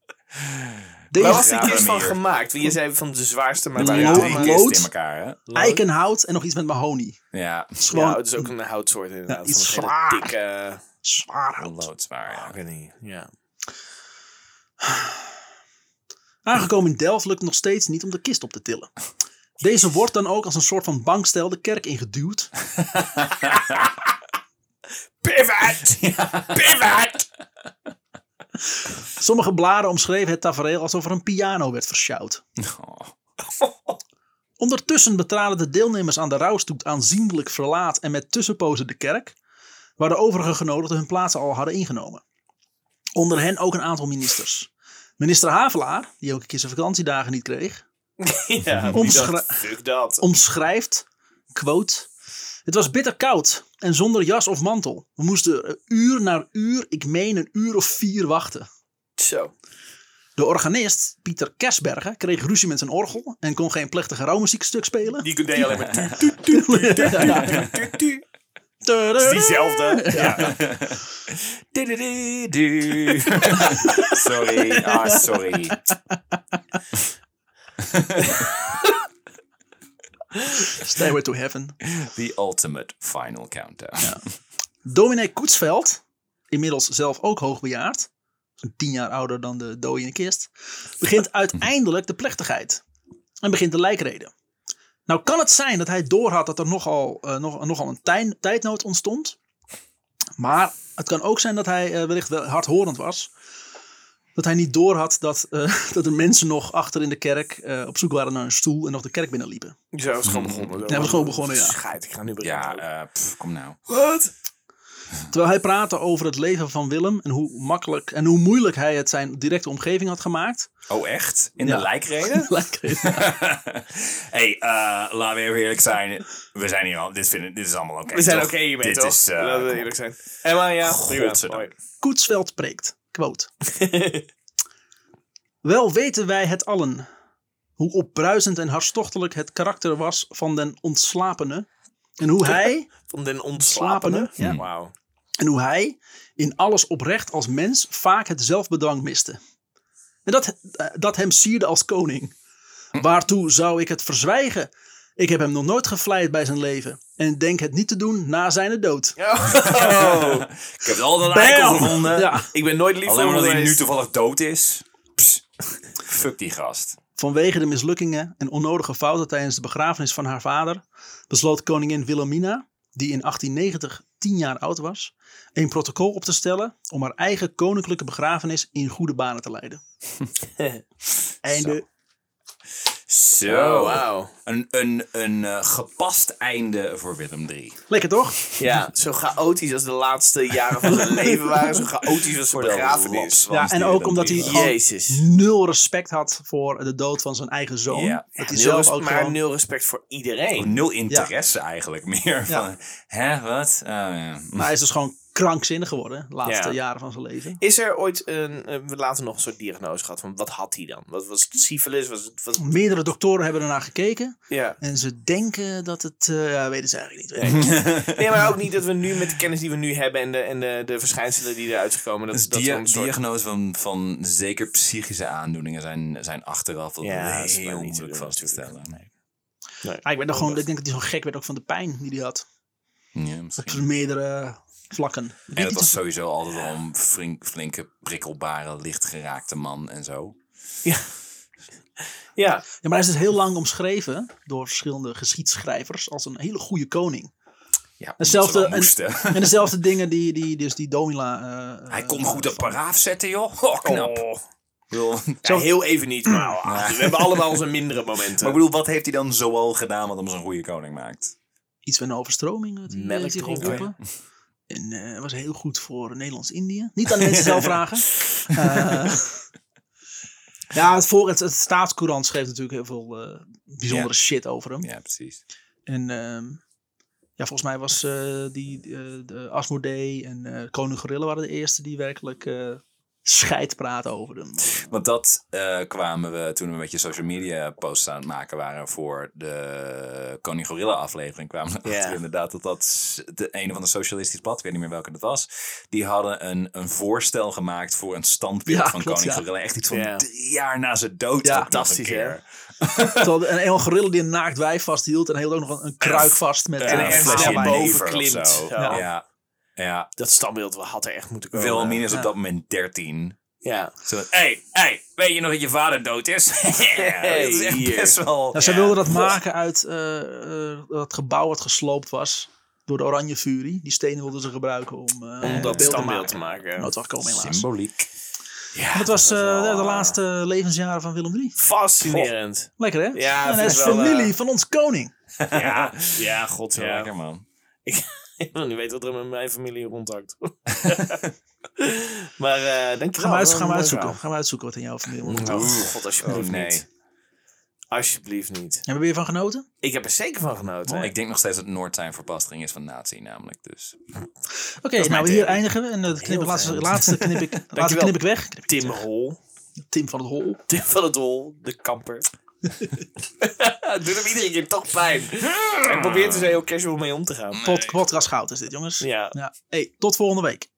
Speaker 3: Waar
Speaker 1: Deze
Speaker 3: was die
Speaker 2: graven
Speaker 3: kist van
Speaker 2: hier.
Speaker 3: gemaakt? Wie je zei van de zwaarste, maar
Speaker 1: Een
Speaker 3: waar
Speaker 2: Ja,
Speaker 1: lood.
Speaker 2: drie kisten in
Speaker 1: Lood.
Speaker 2: elkaar, hè?
Speaker 1: eikenhout en nog iets met mahonie.
Speaker 2: Ja,
Speaker 1: Het is gewoon
Speaker 3: Ja, het is ook een houtsoort inderdaad.
Speaker 1: Ja, iets
Speaker 3: van een
Speaker 1: zwaar.
Speaker 3: hele dikke...
Speaker 1: zwaar hout.
Speaker 2: loodzwaar. Ja.
Speaker 3: Agony. Ja.
Speaker 1: Aangekomen in Delft lukt het nog steeds niet om de kist op te tillen. Deze wordt dan ook als een soort van bankstel de kerk ingeduwd.
Speaker 3: Pivot! Pivot!
Speaker 1: Sommige bladen omschreven het tafereel alsof er een piano werd versjouwd.
Speaker 2: Oh.
Speaker 1: Ondertussen betraden de deelnemers aan de rouwstoet aanzienlijk verlaat en met tussenpozen de kerk, waar de overige genodigden hun plaatsen al hadden ingenomen. Onder hen ook een aantal ministers. Minister Havelaar, die ook een keer zijn vakantiedagen niet kreeg,
Speaker 3: Ja, wie
Speaker 1: Omschra-
Speaker 3: dacht, fuck dat.
Speaker 1: omschrijft, quote, het was bitter koud en zonder jas of mantel. We moesten eh, uur na uur, ik meen een uur of vier wachten.
Speaker 3: Zo.
Speaker 1: De organist, Pieter Kersbergen, kreeg ruzie met zijn orgel en kon geen plechtige rouwmuziekstuk spelen.
Speaker 3: Die deed alleen maar tu,
Speaker 1: Ja.
Speaker 3: tu, tu. Diezelfde. Ja.
Speaker 2: Didididu. sorry, ah, sorry.
Speaker 1: Stairway to Heaven.
Speaker 2: The ultimate final countdown.
Speaker 1: Dominee Koetsveld, inmiddels zelf ook hoogbejaard, zo'n tien jaar ouder dan de dooi in de kist, begint uiteindelijk de plechtigheid en begint de lijkreden. Nou kan het zijn dat hij doorhad dat er nogal, eh, nog, nogal een tijn- tijdnood ontstond, maar het kan ook zijn dat hij eh, wellicht wel hardhorend was. Dat hij niet doorhad dat, eh, dat er mensen nog achter in de kerk eh, op zoek waren naar een stoel en nog de kerk binnenliepen.
Speaker 3: Zo, het is gewoon begonnen.
Speaker 1: Hmm. Ja, we zijn gewoon begonnen, ja.
Speaker 3: Scheid, ik ga nu beginnen.
Speaker 2: Ja, eh, pff, kom nou.
Speaker 3: Wat?
Speaker 1: Terwijl hij praatte over het leven van Willem en hoe makkelijk en hoe moeilijk hij het zijn directe omgeving had gemaakt.
Speaker 2: Oh, echt? In
Speaker 1: Ja.
Speaker 2: de lijkreden?
Speaker 1: Lijkreden.
Speaker 2: hey, eh, laten we even eerlijk zijn. We zijn hier al. Dit, vinden, dit is allemaal oké.
Speaker 3: We zijn
Speaker 2: toch?
Speaker 3: oké hiermee,
Speaker 2: Dit
Speaker 3: toch?
Speaker 2: Is, eh,
Speaker 3: Laten we eerlijk zijn. En maar ja, prima.
Speaker 2: Godzijdank.
Speaker 3: Hoi.
Speaker 1: Koetsveld preekt. Quote. Wel weten wij het allen. Hoe opbruisend en hartstochtelijk het karakter was van den ontslapene. En hoe hij,
Speaker 3: Van den ontslapene.
Speaker 1: Slapene, ja.
Speaker 2: Hmm.
Speaker 3: Wauw.
Speaker 1: en hoe hij in alles oprecht als mens vaak het zelfbedwang miste. En dat, eh, dat hem sierde als koning. Waartoe zou ik het verzwijgen? Ik heb hem nog nooit gevleid bij zijn leven. En denk het niet te doen na zijn dood.
Speaker 3: Oh.
Speaker 2: Ik heb al de eikel gevonden.
Speaker 1: Ja.
Speaker 3: Ik ben nooit lief
Speaker 2: Alleen
Speaker 3: voor
Speaker 2: omdat hij nu
Speaker 3: geweest.
Speaker 2: toevallig dood is. Pss. Fuck die gast.
Speaker 1: Vanwege de mislukkingen en onnodige fouten tijdens de begrafenis van haar vader besloot koningin Wilhelmina, die in 1890 tien jaar oud was, een protocol op te stellen om haar eigen koninklijke begrafenis in goede banen te leiden. Einde.
Speaker 3: Oh,
Speaker 2: Zo. Een, een, een eh, gepast einde voor Willem 3.
Speaker 1: Lekker toch?
Speaker 3: Ja, zo chaotisch als de laatste jaren van zijn leven waren. Zo chaotisch als zijn begrafenis.
Speaker 1: Ja, en ook omdat hij gewoon
Speaker 3: Jezus.
Speaker 1: nul respect had voor de dood van zijn eigen zoon.
Speaker 2: Ja.
Speaker 1: Dat hij
Speaker 3: Nul
Speaker 1: zelf
Speaker 3: res-
Speaker 1: ook
Speaker 3: maar
Speaker 1: gewoon...
Speaker 3: nul respect voor
Speaker 2: Ook
Speaker 3: iedereen.
Speaker 2: Nul interesse eigenlijk meer.
Speaker 1: Ja.
Speaker 2: Van, hè, wat? Oh, ja.
Speaker 1: Maar hij is dus gewoon krankzinnig geworden de laatste
Speaker 3: Ja.
Speaker 1: jaren van zijn leven.
Speaker 3: Is er ooit een... eh, we later nog een soort diagnose gehad van wat had hij dan? Wat was het syfilis? Was het... Was,
Speaker 1: Meerdere doktoren hebben ernaar gekeken.
Speaker 3: ja.
Speaker 1: En ze denken dat het... eh, ja, weten ze eigenlijk niet.
Speaker 3: Nee, maar ook niet dat we nu met de kennis die we nu hebben en de, en de, de verschijnselen die eruit gekomen. Dat,
Speaker 2: Dus
Speaker 3: dat
Speaker 2: dia-
Speaker 3: we een soort...
Speaker 2: diagnose van, van zeker psychische aandoeningen zijn, zijn achteraf wel
Speaker 3: Ja, dat is maar
Speaker 2: heel
Speaker 3: niet te
Speaker 2: moeilijk
Speaker 3: doen
Speaker 2: vast te
Speaker 3: natuurlijk.
Speaker 2: stellen.
Speaker 1: Ah, ik, werd er gewoon, ik denk dat hij zo gek werd ook van de pijn die hij had.
Speaker 2: Ja,
Speaker 1: Op
Speaker 2: misschien.
Speaker 1: meerdere vlakken.
Speaker 2: En dat was sowieso altijd al een flink, flinke, prikkelbare, lichtgeraakte man en zo.
Speaker 3: Ja,
Speaker 1: Ja, maar hij is dus heel lang omschreven door verschillende geschiedschrijvers als een hele goede koning.
Speaker 2: Ja,
Speaker 1: Hetzelfde-
Speaker 2: omdat
Speaker 1: en-
Speaker 2: ze dat moesten.
Speaker 1: En dezelfde dingen die, die, dus die Domila... eh,
Speaker 2: Hij
Speaker 1: eh,
Speaker 2: kon goed de paraaf zetten, joh. Ho, knap. Ik bedoel,
Speaker 3: Ja, heel even niet, maar ah,
Speaker 2: Ja.
Speaker 3: we hebben allemaal onze mindere momenten.
Speaker 2: Maar ik bedoel, wat heeft hij dan zoal gedaan wat hem zo'n goede koning maakt?
Speaker 1: iets van een overstroming. eh, die
Speaker 3: Melk
Speaker 1: heeft hij
Speaker 3: drinken.
Speaker 1: geholpen.
Speaker 2: oh
Speaker 1: En eh, was heel goed voor Nederlands-Indië. Niet aan de mensen zelf vragen. Eh, ja, het, voor, het, het staatscourant schreef natuurlijk heel veel eh, bijzondere shit over hem.
Speaker 2: Ja, precies.
Speaker 1: En ehm, ja, volgens mij was eh, die eh, de Asmodee en eh, Koning Gorilla waren de eerste die werkelijk eh scheid praten over hem.
Speaker 2: Want dat eh, kwamen we toen we een beetje social media posts aan het maken waren voor de Koning Gorilla aflevering. Kwamen we
Speaker 3: Ja.
Speaker 2: achter inderdaad dat dat s- de, een van de socialistisch blad, ik weet niet meer welke dat was, die hadden een, een voorstel gemaakt voor een standbeeld
Speaker 1: Ja,
Speaker 2: van
Speaker 1: klopt, ja.
Speaker 2: Koning Gorilla. Echt iets van
Speaker 3: Ja.
Speaker 2: drie jaar na zijn dood.
Speaker 1: Ja,
Speaker 2: ook nog een
Speaker 3: fantastisch,
Speaker 2: keer.
Speaker 3: hè?
Speaker 1: Terwijl de- een, een gorilla die een naakt wijf vasthield en hij hield ook nog een, een kruik vast met...
Speaker 2: En
Speaker 1: eh,
Speaker 2: een
Speaker 3: en
Speaker 2: flesje
Speaker 3: daarboven
Speaker 2: jenever of
Speaker 3: klimt.
Speaker 2: zo.
Speaker 3: Ja. Oh,
Speaker 2: Ja. ja.
Speaker 3: Dat standbeeld had er echt moeten komen.
Speaker 2: Wilhelmina is op
Speaker 1: Ja.
Speaker 2: dat moment 13.
Speaker 3: Ja.
Speaker 2: Hé, hey, hey, weet je nog dat je vader dood is? hey, dat is echt
Speaker 3: hier.
Speaker 2: best wel...
Speaker 1: Nou, zij
Speaker 3: Ja.
Speaker 1: wilden dat
Speaker 2: Wow.
Speaker 1: maken uit eh, eh, dat gebouw wat gesloopt was door de Oranje Fury. Die stenen wilden ze gebruiken om, eh,
Speaker 3: Om
Speaker 1: het
Speaker 3: dat
Speaker 1: beeld
Speaker 3: standbeeld te maken.
Speaker 1: Nooit wel komen helaas.
Speaker 2: Symboliek.
Speaker 3: Ja,
Speaker 1: Dat was
Speaker 3: is
Speaker 1: eh,
Speaker 3: wel,
Speaker 1: de
Speaker 3: eh,
Speaker 1: laatste levensjaren van Willem III.
Speaker 3: Fascinerend.
Speaker 1: Lekker hè?
Speaker 3: Ja,
Speaker 1: en hij
Speaker 3: vind
Speaker 1: is
Speaker 3: ik wel,
Speaker 1: familie
Speaker 3: eh,
Speaker 1: van ons koning.
Speaker 3: Ja, ja god
Speaker 2: Zo lekker, man.
Speaker 3: Ik wil niet weten wat er met mijn familie rondhakt. maar eh denk je
Speaker 1: Gaan we, uit, gaan, we uitzoeken, gaan we uitzoeken wat in jouw familie moet.
Speaker 3: Oh, god, alsjeblieft
Speaker 2: Oh, nee.
Speaker 3: niet. Alsjeblieft niet.
Speaker 1: Hebben we weer van genoten?
Speaker 3: Ik heb er zeker van genoten.
Speaker 2: Ik denk nog steeds dat Noord zijn verbastering is van nazi namelijk. Dus.
Speaker 1: Oké,
Speaker 2: is mijn
Speaker 1: nou hier
Speaker 2: theorie.
Speaker 1: eindigen we. En dat knip ik
Speaker 3: Heel
Speaker 1: laatste,
Speaker 3: fijn.
Speaker 1: laatste, knip ik, laatste
Speaker 3: Dankjewel.
Speaker 1: knip ik weg. Knip ik
Speaker 3: Tim
Speaker 1: weg.
Speaker 3: Hol.
Speaker 1: Tim van het Hol.
Speaker 3: Tim van het Hol, de kamper. Doet hem iedere keer toch pijn. Hij probeert er zo heel casual mee om te gaan.
Speaker 1: Pod, podcast goud is dit jongens.
Speaker 3: Ja.
Speaker 1: Ja. Hey, tot volgende week.